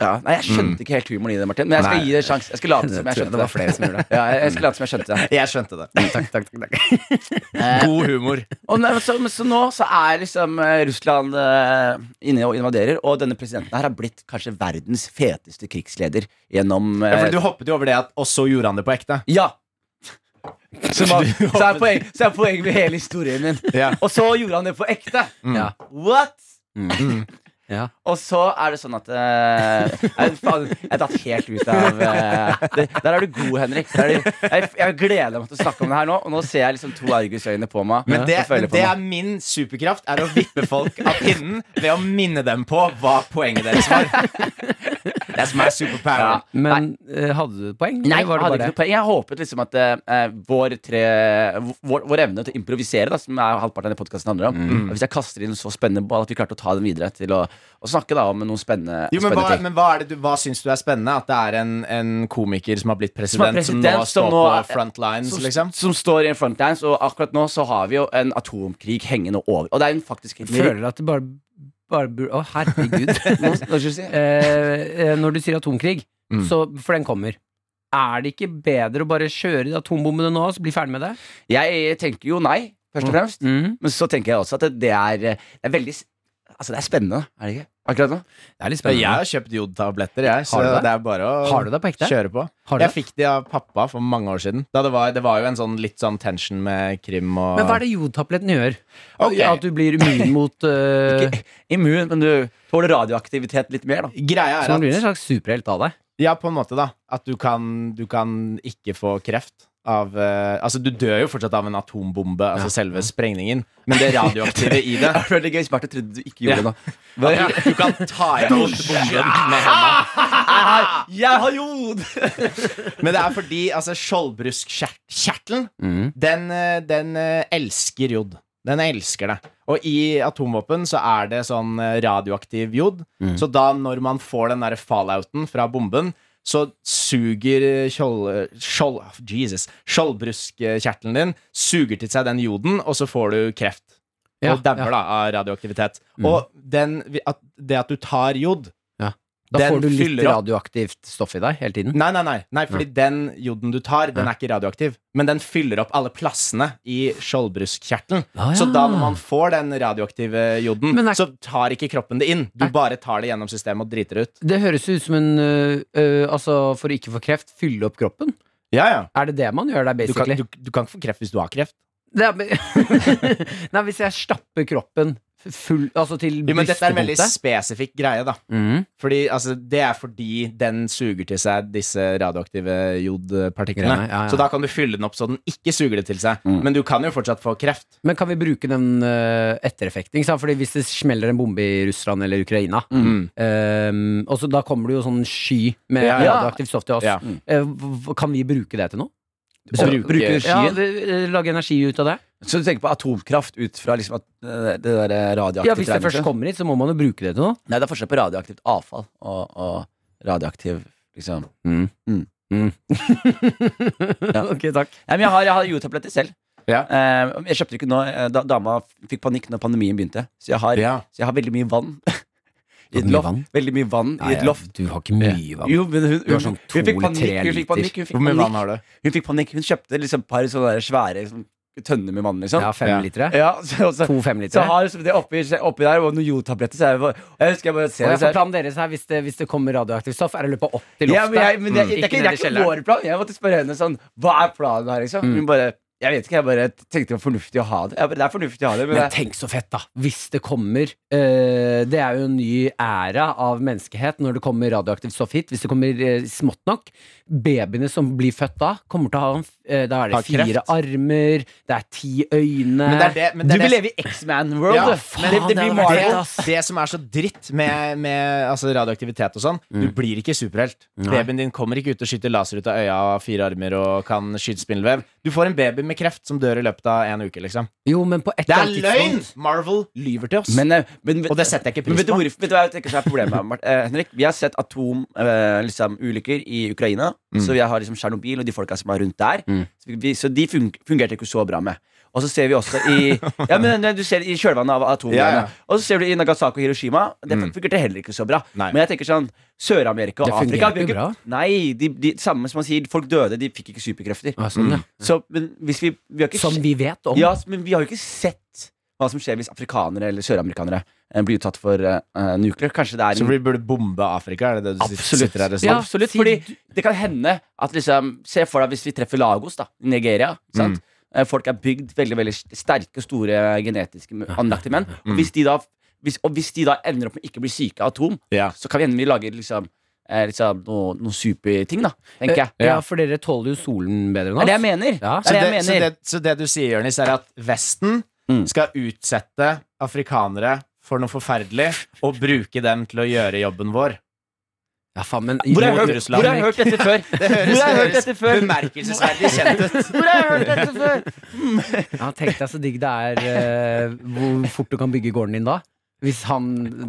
[SPEAKER 4] ja, Nei, jeg skjønte ikke helt humoren i det, Martin. Men jeg skal
[SPEAKER 3] Nei.
[SPEAKER 4] gi det en sjanse. Jeg skal late
[SPEAKER 2] Det tror
[SPEAKER 4] som jeg
[SPEAKER 2] Mm. jeg
[SPEAKER 4] skjønte
[SPEAKER 2] det var flere som gjorde det.
[SPEAKER 4] Ja, jeg, jeg skal late som jeg skjønte det.
[SPEAKER 3] Jeg skjønte det. Eh,
[SPEAKER 2] Takk, takk, takk,
[SPEAKER 3] (laughs)
[SPEAKER 2] takk.
[SPEAKER 3] God humor.
[SPEAKER 4] Og nei, men så, men så nå så er liksom eh, Russland eh, inne og invaderer, og denne presidenten her har blitt kanskje verdens feteste krigsleder gjennom
[SPEAKER 3] Ja,
[SPEAKER 4] eh,
[SPEAKER 3] for du hoppet jo over det at Og så gjorde han det på ekte. (laughs)
[SPEAKER 4] Ja! Så, man, så, er poeng, så er poenget med hele historien min.
[SPEAKER 3] (laughs) Ja.
[SPEAKER 4] Og så gjorde han det på ekte.
[SPEAKER 3] Mm.
[SPEAKER 2] Ja.
[SPEAKER 4] What? (laughs)
[SPEAKER 2] Ja.
[SPEAKER 4] Og så er det sånn at eh, jeg, faen, jeg er tatt helt ut av eh, det, Der er du god, Henrik. Der er du, jeg, jeg gleder meg til å snakke om det her nå, og nå ser jeg liksom to argusøyne på meg.
[SPEAKER 3] Men det,
[SPEAKER 4] og føler
[SPEAKER 3] men
[SPEAKER 4] på
[SPEAKER 3] det
[SPEAKER 4] meg.
[SPEAKER 3] er min superkraft, er å vippe folk av pinnen ved å minne dem på hva poenget deres var. That's my superpower.
[SPEAKER 2] Men eh, hadde du et poeng?
[SPEAKER 4] Nei,
[SPEAKER 2] eller var
[SPEAKER 4] jeg hadde
[SPEAKER 2] det bare
[SPEAKER 4] ikke noe poeng. Jeg håpet liksom at eh, vår, tre, vår, vår evne til å improvisere, da, som er halvparten av det podkasten handler om at Hvis jeg kaster inn en så spennende ball, at vi klarte å ta den videre til å, å snakke da om noen spennende,
[SPEAKER 3] Jo, men hva,
[SPEAKER 4] spennende ting.
[SPEAKER 3] men hva, er det du, hva syns du er spennende? At det er en, en komiker som har blitt president, som,
[SPEAKER 4] president,
[SPEAKER 3] nå står
[SPEAKER 4] som nå er-
[SPEAKER 3] på front lines,
[SPEAKER 4] som,
[SPEAKER 3] liksom?
[SPEAKER 4] som står i en frontlines, og akkurat nå så har vi jo en atomkrig hengende over. Og det er en faktisk helt
[SPEAKER 2] Føler du at det bare bare bur- Å,
[SPEAKER 4] (laughs)
[SPEAKER 2] herregud.
[SPEAKER 4] Hva skal jeg si?
[SPEAKER 2] Eh, eh, når du sier atomkrig,
[SPEAKER 3] Mm.
[SPEAKER 2] så, for den kommer. Er det ikke bedre å bare kjøre de atombommene nå og så bli ferdig med det?
[SPEAKER 4] Jeg tenker jo nei, først og fremst.
[SPEAKER 2] Mm.
[SPEAKER 4] Men så tenker jeg også at det er, eh, det er veldig s- Altså, det er spennende, er det ikke? Akkurat nå.
[SPEAKER 2] Det er litt
[SPEAKER 3] Jeg
[SPEAKER 2] spennende.
[SPEAKER 3] har kjøpt jodtabletter, jeg, så
[SPEAKER 2] Har du
[SPEAKER 3] det?
[SPEAKER 2] det?
[SPEAKER 3] er bare å
[SPEAKER 2] Har du det på ekte?
[SPEAKER 3] kjøre på.
[SPEAKER 2] Har du
[SPEAKER 3] Jeg
[SPEAKER 2] det?
[SPEAKER 3] fikk de av pappa for mange år siden. Da det, var, det var jo en sånn litt sånn tension med krim og
[SPEAKER 2] Men hva er det jodtabletten gjør?
[SPEAKER 3] Ok.
[SPEAKER 2] At du blir immun mot eh,
[SPEAKER 4] (laughs) Ikke immun, men du tåler radioaktivitet litt mer, da.
[SPEAKER 3] Greia er
[SPEAKER 2] Så man Sånn blir
[SPEAKER 3] at
[SPEAKER 2] en slags superhelt av deg.
[SPEAKER 3] Ja, på en måte, da. At du kan, du kan ikke få kreft av eh, Altså, du dør jo fortsatt av en atombombe, altså selve sprengningen, men det
[SPEAKER 2] (laughs)
[SPEAKER 3] radioaktive
[SPEAKER 4] (laughs)
[SPEAKER 3] i det
[SPEAKER 4] Det er veldig gøy. Smerte trodde du ikke
[SPEAKER 3] gjorde
[SPEAKER 4] gjorde
[SPEAKER 3] det
[SPEAKER 4] det nå.
[SPEAKER 3] at du, du kan ta imot bomben med hendene.
[SPEAKER 4] Jeg har jod!
[SPEAKER 3] (laughs) Men det er fordi altså, skjoldbruskkjertelen,
[SPEAKER 2] Mm.
[SPEAKER 3] den, eh, den eh, elsker jod. Den elsker det. Og i atomvåpen så er
[SPEAKER 2] Mm.
[SPEAKER 3] det sånn eh, radioaktiv jod. Så da når man får den der fallouten fra bomben, så suger skjold- skjold- ah, Jesus, skjoldbruskkjertelen din Suger til seg den joden, og så får du kreft.
[SPEAKER 2] Ja,
[SPEAKER 3] og demmer
[SPEAKER 2] ja.
[SPEAKER 3] da av radioaktivitet.
[SPEAKER 2] Mm.
[SPEAKER 3] Og den, at, det at du tar jod
[SPEAKER 2] Da
[SPEAKER 3] den
[SPEAKER 2] får du litt
[SPEAKER 3] fyller opp. Mm.
[SPEAKER 2] radioaktivt stoff i deg hele tiden.
[SPEAKER 3] Nei, nei, nei, nei fordi den joden du tar, den
[SPEAKER 2] Ja.
[SPEAKER 3] er ikke radioaktiv. Men den fyller opp alle plassene i skjoldbruskkjertelen.
[SPEAKER 2] Ah,
[SPEAKER 3] Så
[SPEAKER 2] ja.
[SPEAKER 3] da når man får den radioaktive joden,
[SPEAKER 2] Men er-
[SPEAKER 3] så tar ikke kroppen det inn. Du
[SPEAKER 2] Er-
[SPEAKER 3] bare tar det gjennom systemet og driter ut.
[SPEAKER 2] Det høres ut som en øh, øh, Altså, for å ikke få kreft, fylle opp kroppen.
[SPEAKER 3] Ja, ja.
[SPEAKER 2] Er det det man gjør der,
[SPEAKER 3] Du kan,
[SPEAKER 2] basically?
[SPEAKER 3] du, du kan ikke få kreft hvis du har kreft.
[SPEAKER 2] Det er, (laughs) nei, hvis jeg stapper kroppen full Altså til
[SPEAKER 3] Jo, men dette er en veldig
[SPEAKER 2] brystbeholdte.
[SPEAKER 3] spesifikk greie, da.
[SPEAKER 2] Mhm.
[SPEAKER 3] Fordi, altså, det er fordi den suger til seg disse radioaktive jodpartiklene.
[SPEAKER 2] Greiene, ja, ja.
[SPEAKER 3] Så da kan du fylle den opp så den ikke suger det til seg.
[SPEAKER 4] Mm.
[SPEAKER 3] Men du kan jo fortsatt få kreft.
[SPEAKER 2] Men kan vi bruke den øh, ettereffekten? ikke sant? Fordi hvis det smeller en bombe i Russland eller Ukraina øhm, Og så da kommer det jo sånn sky med
[SPEAKER 3] Mm. Ja, ja.
[SPEAKER 2] radioaktivt stoff til oss.
[SPEAKER 3] Ja.
[SPEAKER 2] Eh, hv- kan vi bruke det til noe?
[SPEAKER 4] Så bruker-
[SPEAKER 2] Ja, vi- eh, Lage energi ut av det?
[SPEAKER 4] Så du tenker på atomkraft ut fra liksom at eh, det der radioaktivt
[SPEAKER 2] Ja, Hvis det først
[SPEAKER 4] regnet?
[SPEAKER 2] kommer hit, så må man jo bruke det til noe.
[SPEAKER 4] Nei, det er forskjell på radioaktivt avfall og, og radioaktiv liksom
[SPEAKER 2] Mm.
[SPEAKER 4] (laughs)
[SPEAKER 2] ok, takk.
[SPEAKER 4] Nei, men jeg har, jeg har jodtabletter selv.
[SPEAKER 3] Ja.
[SPEAKER 4] Eh, men jeg kjøpte ikke nå. eh, Da, dama fikk panikk når pandemien begynte. Så jeg har,
[SPEAKER 3] Ja.
[SPEAKER 4] så jeg har veldig mye vann. (laughs) I
[SPEAKER 2] Har du
[SPEAKER 4] et
[SPEAKER 2] mye
[SPEAKER 4] loft.
[SPEAKER 2] vann?
[SPEAKER 4] Veldig mye vann i et loft.
[SPEAKER 2] Du har ikke mye vann.
[SPEAKER 4] Jo, men hun,
[SPEAKER 2] Du har sånn
[SPEAKER 4] hun- hun fikk
[SPEAKER 2] to eller
[SPEAKER 4] panikk,
[SPEAKER 2] tre
[SPEAKER 4] hun fikk
[SPEAKER 2] liter.
[SPEAKER 4] panikk, hun fikk
[SPEAKER 3] Hvor mye
[SPEAKER 4] panikk.
[SPEAKER 3] vann Sånn har du?
[SPEAKER 4] Hun fikk panikk. Hun kjøpte liksom et par sånne der svære liksom, tønner med vann, liksom.
[SPEAKER 2] Ja,
[SPEAKER 3] Ja.
[SPEAKER 2] femlitere.
[SPEAKER 4] Ja, så, så,
[SPEAKER 2] To
[SPEAKER 4] så
[SPEAKER 2] femlitere.
[SPEAKER 4] har liksom det oppi, oppi der var noen jodtabletter, så jeg, var- jeg husker jeg bare ser
[SPEAKER 2] Og jeg får
[SPEAKER 4] det så jeg-
[SPEAKER 2] planen deres her hvis det, hvis det kommer radioaktivt stoff, er det å løpe opp til loftet. Mm.
[SPEAKER 4] Ja, men jeg, men
[SPEAKER 2] ned
[SPEAKER 4] jeg, det er ikke, det
[SPEAKER 2] i Mm.
[SPEAKER 4] er ikke
[SPEAKER 2] kjelleren.
[SPEAKER 4] vår plan. Jeg måtte spørre henne sånn Hva er planen her, liksom? Hun bare Jeg vet ikke, jeg bare tenkte det var fornuftig å ha det. Jeg bare, det er fornuftig å ha det, men,
[SPEAKER 2] Men
[SPEAKER 4] det-
[SPEAKER 2] tenk så fett, da! Hvis det kommer eh, Det er jo en ny æra av menneskehet når det kommer radioaktivt stoff hit. Hvis det kommer eh, smått nok, babyene som blir født da, kommer til å ha en f- eh, Da er det
[SPEAKER 3] Ha kreft.
[SPEAKER 2] fire armer, det er ti øyne
[SPEAKER 3] Men det er det, men
[SPEAKER 4] Du
[SPEAKER 3] det er
[SPEAKER 4] vil
[SPEAKER 3] det
[SPEAKER 4] leve i X-Man World,
[SPEAKER 3] Ja,
[SPEAKER 4] du.
[SPEAKER 2] faen,
[SPEAKER 4] Men det, det
[SPEAKER 2] det
[SPEAKER 4] blir
[SPEAKER 2] hadde vært
[SPEAKER 4] Marvel.
[SPEAKER 2] helt-
[SPEAKER 3] det, det som er så dritt med, med altså radioaktivitet og sånn,
[SPEAKER 4] Mm.
[SPEAKER 3] du blir ikke superhelt.
[SPEAKER 2] Nei.
[SPEAKER 3] Babyen din kommer ikke ut og skyter laser ut av øya og har fire armer og kan skyte spindelvev. Du får en baby med kreft som dør i løpet av en uke, liksom.
[SPEAKER 2] Jo, men på et
[SPEAKER 3] Det
[SPEAKER 2] eller
[SPEAKER 3] er
[SPEAKER 2] annet
[SPEAKER 3] løgn!
[SPEAKER 2] tidspunkt-
[SPEAKER 3] Marvel lyver til oss.
[SPEAKER 4] Men, eh, men,
[SPEAKER 3] og det setter jeg ikke
[SPEAKER 4] men
[SPEAKER 3] pris
[SPEAKER 4] vet du,
[SPEAKER 3] på.
[SPEAKER 4] hvorfor, vet du hva jeg tenker som er problemet her, Mart- eh, Henrik? Vi har sett atomulykker liksom, ulykker i Ukraina.
[SPEAKER 3] Mm.
[SPEAKER 4] Så jeg har liksom Tsjernobyl og de folka som er rundt der. Så, vi, så de fung fungerte ikke så bra med. Og så ser vi også
[SPEAKER 3] (laughs)
[SPEAKER 4] i Ja, men eh, du ser i kjølvannet av atomgreiene.
[SPEAKER 3] Ja, ja.
[SPEAKER 4] Og så ser du i Nagasaki og Hiroshima. Det fungerte heller ikke så bra.
[SPEAKER 3] Nei.
[SPEAKER 4] Men jeg tenker sånn Sør-Amerika og
[SPEAKER 2] Det
[SPEAKER 4] Afrika
[SPEAKER 2] fungerte
[SPEAKER 4] vi har ikke-
[SPEAKER 2] bra.
[SPEAKER 4] Nei, de, de, samme som man sier, folk døde, de fikk ikke superkrefter.
[SPEAKER 2] Ja, sånn, ja.
[SPEAKER 4] Så, men hvis vi, vi har ikke
[SPEAKER 2] Som vi vet om.
[SPEAKER 4] ja, s- men vi har jo ikke sett hva som skjer hvis afrikanere eller søramerikanere eh, blir utsatt for uh, nuclear. Kanskje det er
[SPEAKER 3] Så
[SPEAKER 4] en
[SPEAKER 3] vi burde bombe Afrika, er det det du sit-
[SPEAKER 4] Absolutt.
[SPEAKER 3] sitter her og sier?
[SPEAKER 2] Ja,
[SPEAKER 4] Absolutt,
[SPEAKER 2] si-
[SPEAKER 4] fordi det kan hende at liksom Se for deg hvis vi treffer Lagos, da, i Nigeria. ikke Sant? Eh, Folk er bygd veldig veldig sterke, store genetiske anlagte menn. Og hvis de da hvis, og hvis de da ender opp med ikke å bli syke av atom,
[SPEAKER 3] Ja.
[SPEAKER 4] så kan vi hende vi lager liksom, eh, liksom noen noe superting, da, tenker jeg.
[SPEAKER 2] Eh, ja, for dere tåler jo solen bedre enn
[SPEAKER 4] Det
[SPEAKER 2] oss.
[SPEAKER 4] er det jeg mener.
[SPEAKER 2] Ja.
[SPEAKER 4] Det
[SPEAKER 3] Så
[SPEAKER 4] er det
[SPEAKER 3] det,
[SPEAKER 4] jeg
[SPEAKER 3] så,
[SPEAKER 4] mener.
[SPEAKER 3] det, så det du sier, Jonis, er at Vesten
[SPEAKER 4] Mm.
[SPEAKER 3] skal utsette afrikanere for noe forferdelig og bruke dem til å gjøre jobben vår.
[SPEAKER 2] Ja, faen, men
[SPEAKER 4] Hvor har jeg
[SPEAKER 2] Mot
[SPEAKER 4] hørt,
[SPEAKER 2] Russland.
[SPEAKER 4] hvor har jeg hørt dette før? Hvor har jeg hørt dette før?
[SPEAKER 3] bemerkelsesverdig kjent ut.
[SPEAKER 4] (laughs) Hvor har jeg hørt dette før?
[SPEAKER 2] Ja, Tenk deg så digg det er eh, hvor fort du kan bygge gården din da. Hvis han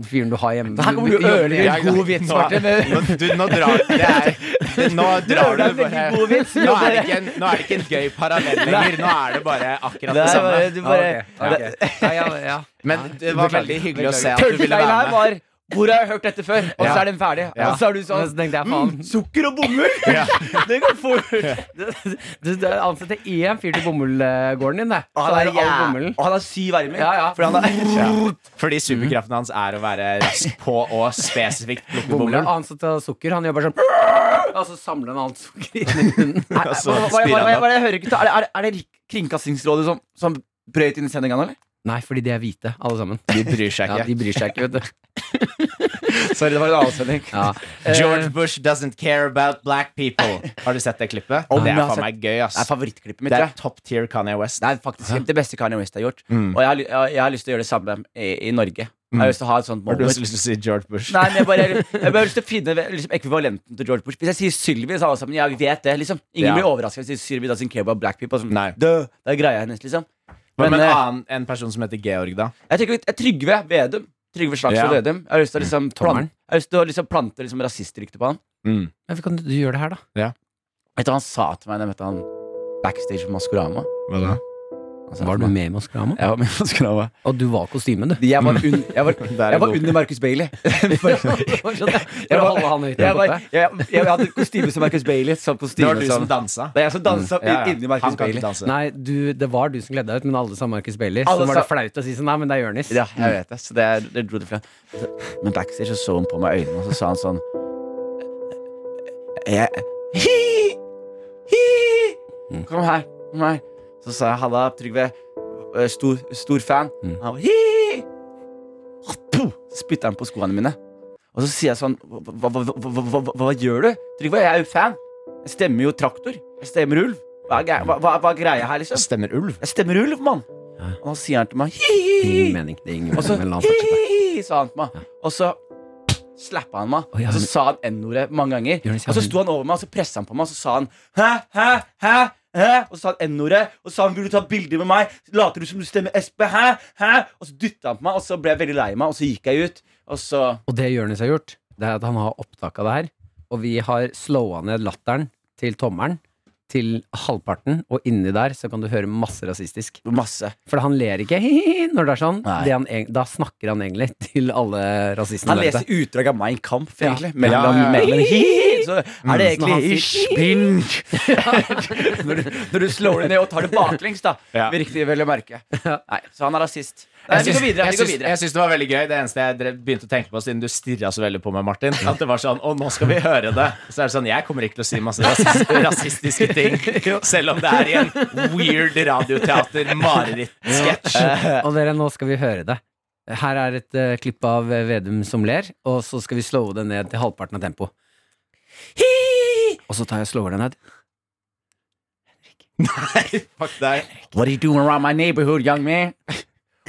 [SPEAKER 2] fyren du har hjemme
[SPEAKER 4] Her kommer du og ødelegger en god vits, Martin.
[SPEAKER 3] Nå, du, nå drar det er, det, Nå drar
[SPEAKER 4] ødelegger
[SPEAKER 3] du bare
[SPEAKER 4] en god vits.
[SPEAKER 3] Nå er det ikke en, nå er det ikke en gøy parallell lenger. Nå er det bare akkurat
[SPEAKER 4] Det
[SPEAKER 3] det
[SPEAKER 4] er
[SPEAKER 3] samme.
[SPEAKER 4] bare- du bare-
[SPEAKER 2] Ja, ja, ja.
[SPEAKER 4] (laughs)
[SPEAKER 3] Men det var
[SPEAKER 2] Beklager.
[SPEAKER 3] veldig hyggelig å se at du ville
[SPEAKER 4] Punchline her
[SPEAKER 3] være med.
[SPEAKER 4] var Hvor har jeg hørt dette før? Og så
[SPEAKER 3] Ja.
[SPEAKER 4] er den ferdig.
[SPEAKER 3] Ja.
[SPEAKER 4] Og så er du
[SPEAKER 2] Men så
[SPEAKER 4] sånn
[SPEAKER 2] tenkte jeg, faen
[SPEAKER 4] Sukker og bomull!
[SPEAKER 3] Ja.
[SPEAKER 4] (laughs) Det kan få
[SPEAKER 2] (laughs) Du du ansetter én fyr til bomullgården din, det.
[SPEAKER 4] Og
[SPEAKER 2] Så er
[SPEAKER 4] han Ah, er
[SPEAKER 2] det all
[SPEAKER 4] jæ-
[SPEAKER 2] bomullen.
[SPEAKER 4] Og han har syv armer.
[SPEAKER 2] Ja, ja.
[SPEAKER 4] Fordi han (laughs) er
[SPEAKER 3] Ja. Fordi superkraften hans er å være rask på og spesifikt plukke
[SPEAKER 2] Bomull
[SPEAKER 3] bomullen.
[SPEAKER 2] er ansatt av sukker. Han gjør bare sånn Og så samler han annet sukker inn i munnen.
[SPEAKER 4] (laughs)
[SPEAKER 3] Og
[SPEAKER 4] Hva
[SPEAKER 3] så
[SPEAKER 4] hva- hva-
[SPEAKER 3] spyr
[SPEAKER 4] hva- hva-
[SPEAKER 3] han opp.
[SPEAKER 4] hva- jeg hører ikke til? Er det- er det- Er det Rik- Kringkastingsrådet som, som brøyt inn i sendinga nå, eller?
[SPEAKER 2] Nei, fordi de er hvite, alle sammen.
[SPEAKER 3] De bryr seg
[SPEAKER 2] Ja,
[SPEAKER 3] ikke.
[SPEAKER 2] De bryr seg ikke, vet du.
[SPEAKER 4] Sorry, det var en annen sending. Eh.
[SPEAKER 2] Ja.
[SPEAKER 3] (laughs) George Bush doesn't care about black people. Har du sett det klippet?
[SPEAKER 4] Om
[SPEAKER 3] det
[SPEAKER 4] jeg
[SPEAKER 3] er
[SPEAKER 4] har
[SPEAKER 3] faen
[SPEAKER 4] sett-
[SPEAKER 3] meg gøy, ass.
[SPEAKER 4] Det er favorittklippet mitt.
[SPEAKER 3] Det
[SPEAKER 4] tror
[SPEAKER 3] er
[SPEAKER 4] jeg.
[SPEAKER 3] top tier Kanye West.
[SPEAKER 4] Det er faktisk det beste Kanye West har gjort.
[SPEAKER 3] Mm.
[SPEAKER 4] Og jeg har, ly- jeg, jeg har lyst til å gjøre det samme i, i Norge. Jeg Mm. har lyst til å ha et sånt
[SPEAKER 3] Har du
[SPEAKER 4] moment.
[SPEAKER 3] også lyst til å si George Bush?
[SPEAKER 4] Nei, men jeg bare, jeg bare har lyst til å finne liksom, ekvivalenten til George Bush. Hvis jeg sier Sylvi, så er alle sammen Ja, vi vet det, liksom. Ingen
[SPEAKER 3] Ja.
[SPEAKER 4] blir overraska hvis jeg sier Sylvi doesn't care about black people. Sånn,
[SPEAKER 3] Nei.
[SPEAKER 4] Dø, det er greia hennes, liksom.
[SPEAKER 3] Men,
[SPEAKER 4] Men,
[SPEAKER 3] en
[SPEAKER 4] eh,
[SPEAKER 3] annen, en person som heter Georg, da?
[SPEAKER 4] jeg tenker litt jeg- Trygve Vedum. Trygve Slagsvold
[SPEAKER 3] Ja.
[SPEAKER 4] Vedum. Jeg har lyst til å liksom,
[SPEAKER 2] Tommeren.
[SPEAKER 4] plante, jeg har lyst til å, liksom, plante liksom, rasistrykte på han.
[SPEAKER 3] Mm.
[SPEAKER 2] Hvorfor kan du du gjøre det her, da?
[SPEAKER 4] Vet du hva han sa til meg da jeg møtte han backstage på Maskorama?
[SPEAKER 3] Hva da?
[SPEAKER 4] Han sa
[SPEAKER 2] Var du
[SPEAKER 4] til meg-
[SPEAKER 2] med i Maskorama?
[SPEAKER 4] Jeg var med på Maskorama.
[SPEAKER 2] Og du var (laughs) kostymen, du.
[SPEAKER 4] Jeg var, un jeg
[SPEAKER 3] (laughs)
[SPEAKER 4] var,
[SPEAKER 3] Der er
[SPEAKER 4] jeg var
[SPEAKER 3] god.
[SPEAKER 4] under Marcus Bailey.
[SPEAKER 3] (laughs)
[SPEAKER 2] (laughs) For å holde han høyt der
[SPEAKER 4] Jeg, var,
[SPEAKER 2] oppe.
[SPEAKER 4] jeg, jeg, hadde kostyme som Marcus Bailey. sånn Som
[SPEAKER 3] Det
[SPEAKER 4] kostyme,
[SPEAKER 3] var du som dansa.
[SPEAKER 4] Det er jeg som dansa
[SPEAKER 3] Mm. Ja, ja.
[SPEAKER 4] inni Marcus
[SPEAKER 3] Han kan ikke
[SPEAKER 4] Bailey.
[SPEAKER 3] danse.
[SPEAKER 2] Nei, du, det var du som kledde deg ut, men alle sa Marcus Bailey.
[SPEAKER 4] Alle
[SPEAKER 2] Så var det
[SPEAKER 4] sa-
[SPEAKER 2] flaut å si sånn, nei, men det er Jonis.
[SPEAKER 4] Ja, jeg vet det. Så det, er- det dro det fra. Men backstage så, så hun på meg i øynene, og så sa han sånn jeg, Hi! Hi!
[SPEAKER 2] Mm.
[SPEAKER 4] Kom her. Kom her. Så sa jeg halla, Trygve. Eh, Stor, stor fan.
[SPEAKER 2] Mm.
[SPEAKER 4] Han var hi! Puh! Så spytta han på skoene mine. Og så sier jeg sånn Hva, hva, hva, hva, hva, hva, hva gjør du? Trygve, jeg er jo fan. Jeg stemmer jo traktor. Jeg stemmer ulv. Hva er, gre- hva, hva, hva er greia her, liksom?
[SPEAKER 3] Stemmer ulv.
[SPEAKER 4] Jeg stemmer ulv, mann.
[SPEAKER 2] Ja. Mm.
[SPEAKER 4] Og så sier han til meg hi,
[SPEAKER 2] Det
[SPEAKER 4] hi,
[SPEAKER 2] gir
[SPEAKER 4] hi.
[SPEAKER 2] ingen mening. Det gir ingen
[SPEAKER 4] Og så
[SPEAKER 2] mening, men la oss fortsette.
[SPEAKER 4] «Hi!» sa han til meg. Og så slappa han meg.
[SPEAKER 2] Å, ja,
[SPEAKER 4] og så
[SPEAKER 2] men-
[SPEAKER 4] sa han N-ordet mange ganger.
[SPEAKER 2] Jonis, ja,
[SPEAKER 4] Og så
[SPEAKER 2] men-
[SPEAKER 4] sto han over meg, og så pressa han på meg, og så sa han hæ, hæ, hæ, hæ? Og så sa han N-ordet, og så sa han vil du ta bilder med meg? Later du som du stemmer SP? Hæ, hæ? Og så dytta han på meg, og så ble jeg veldig lei meg, og så gikk jeg ut. Og så
[SPEAKER 2] Og det Jonis har gjort, det er at han har opptak av det her, og vi har slåa ned latteren til tommelen til halvparten, og inni der så kan du høre masse rasistisk.
[SPEAKER 4] masse.
[SPEAKER 2] For han ler ikke (laughs) «Hihihi» når det er sånn.
[SPEAKER 4] Nei.
[SPEAKER 2] Det han, eg- da snakker han egentlig til alle rasistene.
[SPEAKER 4] Han
[SPEAKER 2] der ute.
[SPEAKER 4] leser utdrag av Mein Kampf,
[SPEAKER 2] Ja.
[SPEAKER 4] egentlig.
[SPEAKER 3] Ja, ja, ja. Sånn
[SPEAKER 4] Men, men, hi, så er det
[SPEAKER 2] Mm. Når han
[SPEAKER 4] egentlig
[SPEAKER 2] sier-
[SPEAKER 4] spink. (laughs) når, du, når du slår det ned og tar det baklengs, da.
[SPEAKER 3] Ja.
[SPEAKER 4] Med riktig vel å
[SPEAKER 2] (laughs)
[SPEAKER 4] merke. Nei, så han er rasist. Nei,
[SPEAKER 3] Jeg
[SPEAKER 4] vi
[SPEAKER 3] syns-
[SPEAKER 4] går videre.
[SPEAKER 3] jeg
[SPEAKER 4] Vi går
[SPEAKER 3] syns-
[SPEAKER 4] videre.
[SPEAKER 3] Jeg syns det var veldig gøy. Det eneste jeg drev- begynte å tenke på siden du stirra så veldig på meg, Martin, at det var sånn Å, nå skal vi høre det. Så er det sånn Jeg kommer ikke til å si masse
[SPEAKER 4] (laughs)
[SPEAKER 3] rasist, rasistiske ting, selv om det er i en weird radioteater-marerittsketsj.
[SPEAKER 4] Eh.
[SPEAKER 2] Og dere, nå skal vi høre det. Her er et eh, klipp av eh, Vedum som ler, og så skal vi slowe det ned til halvparten av tempo. Og så tar jeg og slår det ned.
[SPEAKER 3] Fuck
[SPEAKER 4] (laughs)
[SPEAKER 3] deg.
[SPEAKER 4] What are you doing around my neighborhood, young man?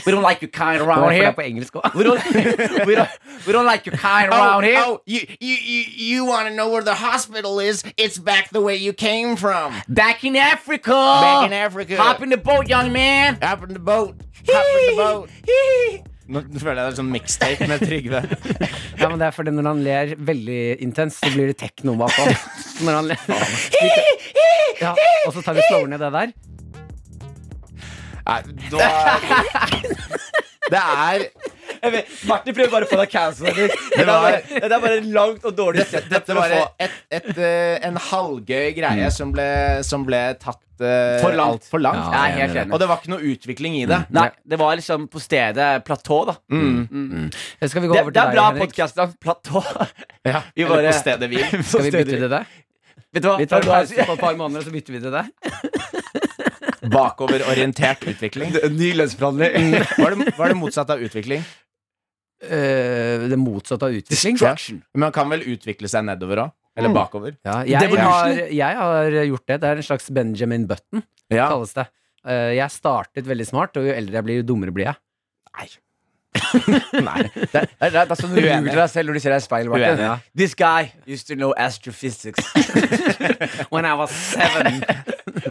[SPEAKER 4] We don't like your kind
[SPEAKER 2] Det
[SPEAKER 4] around
[SPEAKER 2] var
[SPEAKER 4] here.
[SPEAKER 2] på engelsk også.
[SPEAKER 4] We don't, we don't, we don't like your kind
[SPEAKER 3] Oh,
[SPEAKER 4] around here.
[SPEAKER 3] oh, you you, you, you want to know where the hospital is? It's back the way you came from.
[SPEAKER 4] Back in Africa.
[SPEAKER 3] Back in Africa.
[SPEAKER 4] Oh. Hop in the boat, young man.
[SPEAKER 3] Hop in the boat. Hop in the boat.
[SPEAKER 4] Hee.
[SPEAKER 3] Nå føler jeg det er sånn mixtape med
[SPEAKER 4] (laughs)
[SPEAKER 3] Trygve.
[SPEAKER 2] Ja, men det er fordi når han ler veldig intens, så blir det tekno
[SPEAKER 4] (laughs)
[SPEAKER 2] bak ham. Så Når han ler. Ja, og så tar vi og slår ned det der.
[SPEAKER 3] Nei, da Det er
[SPEAKER 4] Jeg vet, Martin prøver bare å få deg cancelled. (laughs) Det, er bare- det er bare langt og dårlig sett.
[SPEAKER 3] Dette var et, et, eh, en halvgøy greie som, ble, som ble tatt eh,
[SPEAKER 4] For langt.
[SPEAKER 3] alt for langt.
[SPEAKER 2] Ja,
[SPEAKER 4] Jeg er helt
[SPEAKER 2] jeg
[SPEAKER 4] enig.
[SPEAKER 3] Og det var ikke noe utvikling i det.
[SPEAKER 4] Nei, det var liksom på stedet platå, da.
[SPEAKER 2] Eh, Skal vi gå
[SPEAKER 4] Det,
[SPEAKER 2] over til
[SPEAKER 4] det er
[SPEAKER 2] deg,
[SPEAKER 4] bra
[SPEAKER 2] Henrik?
[SPEAKER 4] podkast, da. Platå.
[SPEAKER 3] Ja,
[SPEAKER 4] Vi
[SPEAKER 3] eller
[SPEAKER 4] bare-
[SPEAKER 3] på stedet hvil.
[SPEAKER 4] (laughs)
[SPEAKER 2] Skal vi bytte til det?
[SPEAKER 4] Vet du hva?
[SPEAKER 2] Vi tar pause på et par måneder, og så bytter vi til det.
[SPEAKER 3] Bakoverorientert utvikling.
[SPEAKER 4] (laughs)
[SPEAKER 3] Mm.
[SPEAKER 4] Ny lønnsforhandling.
[SPEAKER 3] Var det, var det motsatt av utvikling?
[SPEAKER 2] Eh, det motsatte av utvikling.
[SPEAKER 4] Destruction.
[SPEAKER 3] Men man kan vel utvikle seg nedover òg?
[SPEAKER 4] Mm.
[SPEAKER 3] Eller bakover?
[SPEAKER 2] Ja, jeg, har,
[SPEAKER 4] Devolution.
[SPEAKER 2] jeg har gjort det. Det er en slags Benjamin Button,
[SPEAKER 3] Ja.
[SPEAKER 2] kalles det. Eh, jeg startet veldig smart, og jo eldre jeg blir, jo dummere blir jeg.
[SPEAKER 3] Nei. Det,
[SPEAKER 4] (laughs) Det er, det er sånn du
[SPEAKER 3] Uenig.
[SPEAKER 4] ljuger til deg selv når du ser deg i speilet. Martin.
[SPEAKER 3] Uenig, ja.
[SPEAKER 4] This guy used to know astrophysics.
[SPEAKER 2] (laughs) When I was seven.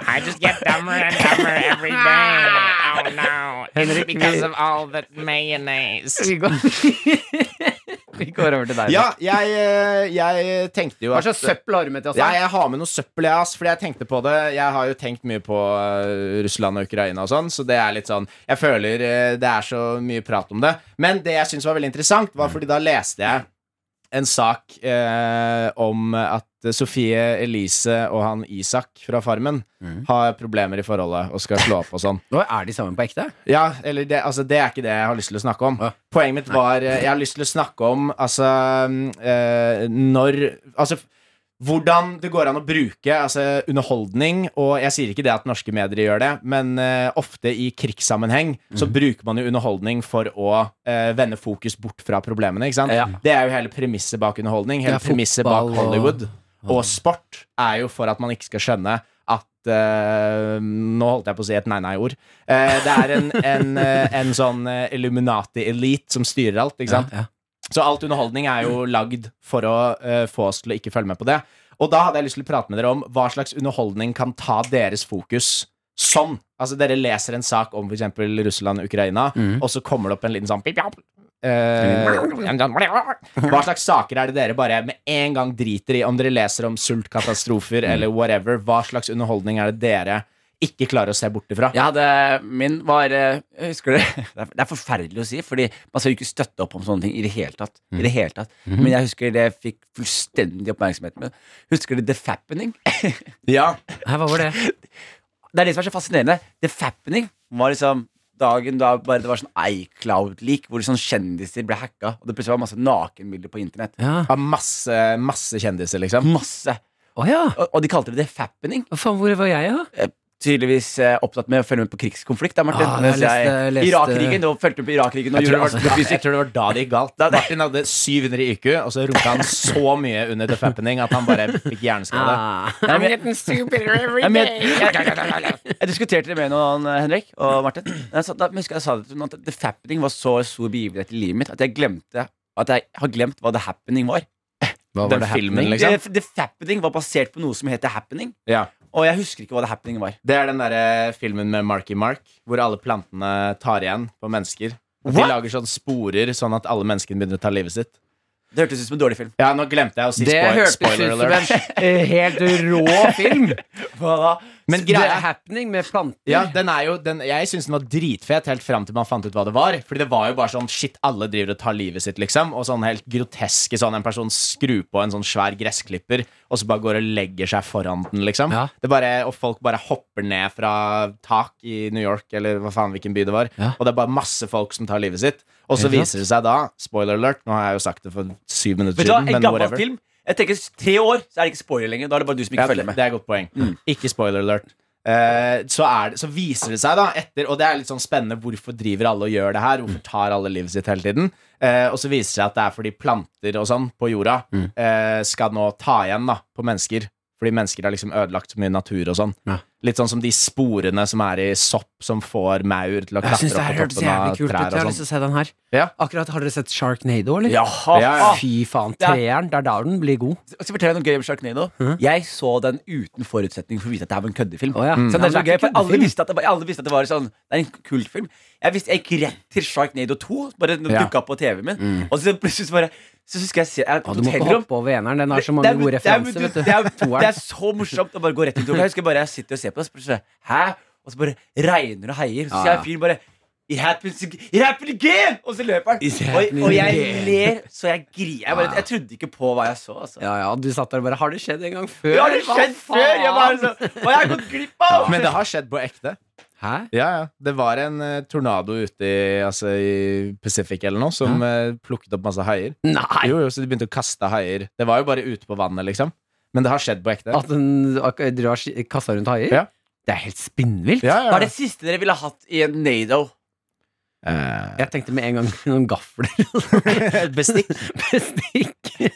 [SPEAKER 5] I just get dumber and dumber every day.
[SPEAKER 6] (laughs)
[SPEAKER 5] Oh no. It's
[SPEAKER 2] Henrik,
[SPEAKER 5] because
[SPEAKER 2] we-
[SPEAKER 5] of all that mayonnaise.
[SPEAKER 2] (laughs) (laughs) Vi går, vi går over til deg.
[SPEAKER 3] ja, jeg, eh, jeg tenkte jo
[SPEAKER 2] Hva
[SPEAKER 3] at
[SPEAKER 2] slags søppel har du med til oss?
[SPEAKER 3] Ja,
[SPEAKER 2] her?
[SPEAKER 3] jeg har med noe søppel, jeg, ass. Fordi jeg tenkte på det. Jeg har jo tenkt mye på eh, Russland og Ukraina og sånn, så det er litt sånn Jeg føler eh, det er så mye prat om det. Men det jeg syns var veldig interessant, var fordi da leste jeg en sak eh, om at Sofie Elise og han Isak fra Farmen har problemer i forholdet og skal slå opp og sånn.
[SPEAKER 2] Nå er de sammen på ekte?
[SPEAKER 3] Ja, eller det, altså, det er ikke det jeg har lyst til å snakke om. Poenget mitt var eh, Jeg har lyst til å snakke om altså mm, eh, når Altså f- hvordan det går an å bruke altså, underholdning, og jeg sier ikke det at norske medier gjør det, men eh, ofte i krigssammenheng så
[SPEAKER 2] Mhm.
[SPEAKER 3] bruker man jo underholdning for å eh, vende fokus bort fra problemene, ikke sant?
[SPEAKER 2] Ja.
[SPEAKER 3] Det er jo hele premisset bak underholdning, hele
[SPEAKER 2] Ja,
[SPEAKER 3] premisset
[SPEAKER 2] fotball
[SPEAKER 3] bak
[SPEAKER 2] og-
[SPEAKER 3] Hollywood. Og sport er jo for at man ikke skal skjønne at eh, Nå holdt jeg på å si et nei-nei-ord. Eh, det er en, en, eh, en sånn eh, Illuminati-elite som styrer alt, ikke sant?
[SPEAKER 2] Ja, ja.
[SPEAKER 3] Så alt underholdning er jo lagd for å eh, få oss til å ikke følge med på det. Og da hadde jeg lyst til å prate med dere om hva slags underholdning kan ta deres fokus sånn. Altså Dere leser en sak om f.eks. Russland og Ukraina, og så kommer det opp en liten sånn eh, Hva slags saker er det dere bare med en gang driter i om dere leser om sultkatastrofer eller whatever? Hva slags underholdning er det dere ikke klarer å se bort ifra?
[SPEAKER 4] Jeg hadde, min var eh, jeg Husker det (laughs) det er- Det er forferdelig å si, Fordi man skal jo ikke støtte opp om sånne ting i det hele tatt.
[SPEAKER 3] Mm.
[SPEAKER 4] I det hele tatt
[SPEAKER 3] Mm-hmm.
[SPEAKER 4] Men jeg husker det jeg fikk fullstendig oppmerksomhet med. Husker du The Fappening?
[SPEAKER 3] Ja.
[SPEAKER 2] Hæ, hva var det?
[SPEAKER 4] Det er det som er så fascinerende. The Fappening var liksom dagen da bare det var sånn iCloud-leak, hvor sånn kjendiser ble hacka, og det plutselig var masse nakenbilder på internett.
[SPEAKER 2] Ja.
[SPEAKER 3] Av masse, masse kjendiser, (laughs) liksom.
[SPEAKER 4] Masse.
[SPEAKER 2] Å ja!
[SPEAKER 4] Og, og de kalte det The Fappening.
[SPEAKER 2] Hva faen, hvor var jeg, da?
[SPEAKER 4] Tydeligvis eh, opptatt med å følge med på krigskonflikt. Da, Martin.
[SPEAKER 2] Ah, jeg
[SPEAKER 4] Mens
[SPEAKER 2] leste- jeg leste-
[SPEAKER 4] Irak-krigen, og fulgte med på Irak-krigen. og
[SPEAKER 3] Jeg tror, det
[SPEAKER 4] gjorde-
[SPEAKER 3] var, jeg tror det var da det gikk galt. Martin hadde 700 i IQ, og så runka han så mye under The Fappening at han bare fikk hjerneskade.
[SPEAKER 6] Ah.
[SPEAKER 2] Nei, men-
[SPEAKER 4] Ja, men jeg, jeg, jeg diskuterte det med noen, eh, Henrik og Martin. Jeg sa, da husker jeg sa det til noen at The Fappening var så stor begivenhet i livet mitt at jeg glemte At jeg har glemt hva The Happening var.
[SPEAKER 3] Hva var
[SPEAKER 4] Den
[SPEAKER 3] det filmen,
[SPEAKER 4] Happening- Eh,
[SPEAKER 3] liksom?
[SPEAKER 4] The, The Fappening var basert på noe som heter Happening,
[SPEAKER 3] Ja.
[SPEAKER 4] og jeg husker ikke hva The Happening var.
[SPEAKER 3] Det er den derre filmen med Marky Mark, hvor alle plantene tar igjen på mennesker. At de
[SPEAKER 4] What?
[SPEAKER 3] lager sånn sporer, sånn at alle menneskene begynner å ta livet sitt.
[SPEAKER 4] Det hørtes ut som en dårlig film.
[SPEAKER 3] Ja, nå glemte jeg å si
[SPEAKER 2] Det
[SPEAKER 3] spoil-
[SPEAKER 2] hørtes ut
[SPEAKER 3] spoiler
[SPEAKER 2] som
[SPEAKER 3] alert.
[SPEAKER 2] en (laughs) eh, helt rå (laughs) film.
[SPEAKER 4] Hva da?
[SPEAKER 3] Men
[SPEAKER 2] Det er
[SPEAKER 3] greia
[SPEAKER 2] happening med planter.
[SPEAKER 3] ja, den er jo, den, Jeg syns den var dritfet helt fram til man fant ut hva det var. Fordi det var jo bare sånn shit, alle driver og tar livet sitt, liksom. Og sånn helt groteske sånn en person skrur på en sånn svær gressklipper, og så bare går og legger seg foran den, liksom.
[SPEAKER 2] Ja.
[SPEAKER 3] Det bare, og folk bare hopper ned fra tak i New York, eller hva faen hvilken by det var.
[SPEAKER 2] Ja.
[SPEAKER 3] Og det er bare masse folk som tar livet sitt. Og så
[SPEAKER 2] Helt sant.
[SPEAKER 3] viser det seg da, spoiler alert, nå har jeg jo sagt det for syv minutter
[SPEAKER 4] Vet du hva,
[SPEAKER 3] siden,
[SPEAKER 4] En
[SPEAKER 3] men
[SPEAKER 4] gammel
[SPEAKER 3] whatever.
[SPEAKER 4] film. Jeg tenker Tre år, så er det ikke spoiler lenger. Da er det bare du som ikke
[SPEAKER 3] Ja,
[SPEAKER 4] følger
[SPEAKER 3] det-
[SPEAKER 4] med.
[SPEAKER 3] Det er et godt poeng.
[SPEAKER 2] Mm.
[SPEAKER 3] Ikke spoiler alert. Eh, så, er det, så viser det seg da etter, og det er litt sånn spennende hvorfor driver alle og gjør det her, hvorfor tar alle livet sitt hele tiden? Eh, og så viser det seg at det er fordi planter og sånn på jorda
[SPEAKER 2] Mm.
[SPEAKER 3] eh, skal nå ta igjen da, på mennesker. Fordi mennesker har liksom ødelagt så mye natur og sånn.
[SPEAKER 2] Ja.
[SPEAKER 3] Litt sånn som de sporene som er i sopp som får maur til å
[SPEAKER 2] Jeg
[SPEAKER 3] klatre
[SPEAKER 2] syns det her
[SPEAKER 3] opp på
[SPEAKER 2] hørtes
[SPEAKER 3] toppen av
[SPEAKER 2] jævlig kult ut.
[SPEAKER 3] trær
[SPEAKER 2] Jeg har
[SPEAKER 3] og
[SPEAKER 2] lyst
[SPEAKER 3] sånn.
[SPEAKER 2] til å se den her.
[SPEAKER 3] Ja.
[SPEAKER 2] Akkurat, Har dere sett Sharknado, eller?
[SPEAKER 4] Jaha.
[SPEAKER 3] Ja, ja.
[SPEAKER 2] Fy faen.
[SPEAKER 4] Ja.
[SPEAKER 2] Treeren. Det er der den blir god.
[SPEAKER 4] Jeg skal fortelle deg noe gøy om Sharknado. Jeg så den uten forutsetning for å vite at det her var en køddefilm.
[SPEAKER 2] Mhm. Å ja.
[SPEAKER 4] Så
[SPEAKER 2] Ja,
[SPEAKER 4] det er så
[SPEAKER 2] det er
[SPEAKER 4] gøy,
[SPEAKER 2] ikke
[SPEAKER 4] for alle
[SPEAKER 2] køddefilm.
[SPEAKER 4] visste, at det var, alle visste at det var sånn Det er en kultfilm. Jeg visste jeg gikk rett til Sharknado 2. Bare den
[SPEAKER 3] Ja.
[SPEAKER 4] dukka opp på TV-en min. Og så plutselig så bare Så husker jeg se jeg,
[SPEAKER 2] Å, Mm. du må ikke
[SPEAKER 4] hotellrom.
[SPEAKER 2] hoppe over eneren. Den har så
[SPEAKER 4] Det
[SPEAKER 2] mange
[SPEAKER 4] er-
[SPEAKER 2] gode
[SPEAKER 4] det er-
[SPEAKER 2] referanser,
[SPEAKER 4] det
[SPEAKER 2] vet
[SPEAKER 4] er-
[SPEAKER 2] du.
[SPEAKER 4] Det er,
[SPEAKER 2] (laughs)
[SPEAKER 4] det
[SPEAKER 2] Toeren.
[SPEAKER 4] er så morsomt å bare gå rett inn i toeren. Jeg husker bare jeg sitter og ser på det, og så plutselig Hæ? Og så bare regner og heier. Så
[SPEAKER 2] Ja,
[SPEAKER 4] ser jeg
[SPEAKER 2] ja.
[SPEAKER 4] fyren bare It happens, ag- it happens again! Og så løper han. Og, og jeg ler så jeg griner. Jeg, bare, jeg trodde ikke på hva jeg så. Altså.
[SPEAKER 2] Ja, ja, du satt der og bare Har det skjedd en gang før?
[SPEAKER 4] Ja, det
[SPEAKER 2] Hva
[SPEAKER 4] skjedde før! Jeg bare
[SPEAKER 2] faen?
[SPEAKER 4] så, og jeg har gått glipp av!
[SPEAKER 3] Men det har skjedd på ekte.
[SPEAKER 2] Hæ?
[SPEAKER 3] Ja, ja. Det var en eh, tornado ute i, altså, i Pacific eller noe som eh, plukket opp masse haier.
[SPEAKER 2] Nei!
[SPEAKER 3] Jo, jo, så de begynte å kaste haier. Det var jo bare ute på vannet, liksom. Men det har skjedd på ekte.
[SPEAKER 2] At den ak- drar sk- kassa rundt haier?
[SPEAKER 3] Ja.
[SPEAKER 2] Det er helt spinnvilt.
[SPEAKER 3] Ja,
[SPEAKER 4] Hva
[SPEAKER 3] ja.
[SPEAKER 4] er det siste dere ville hatt i en Nado?
[SPEAKER 3] Eh,
[SPEAKER 2] Jeg tenkte med en gang (laughs) noen
[SPEAKER 4] (laughs)
[SPEAKER 2] gafler.
[SPEAKER 3] Bestikk.
[SPEAKER 2] Bestikk.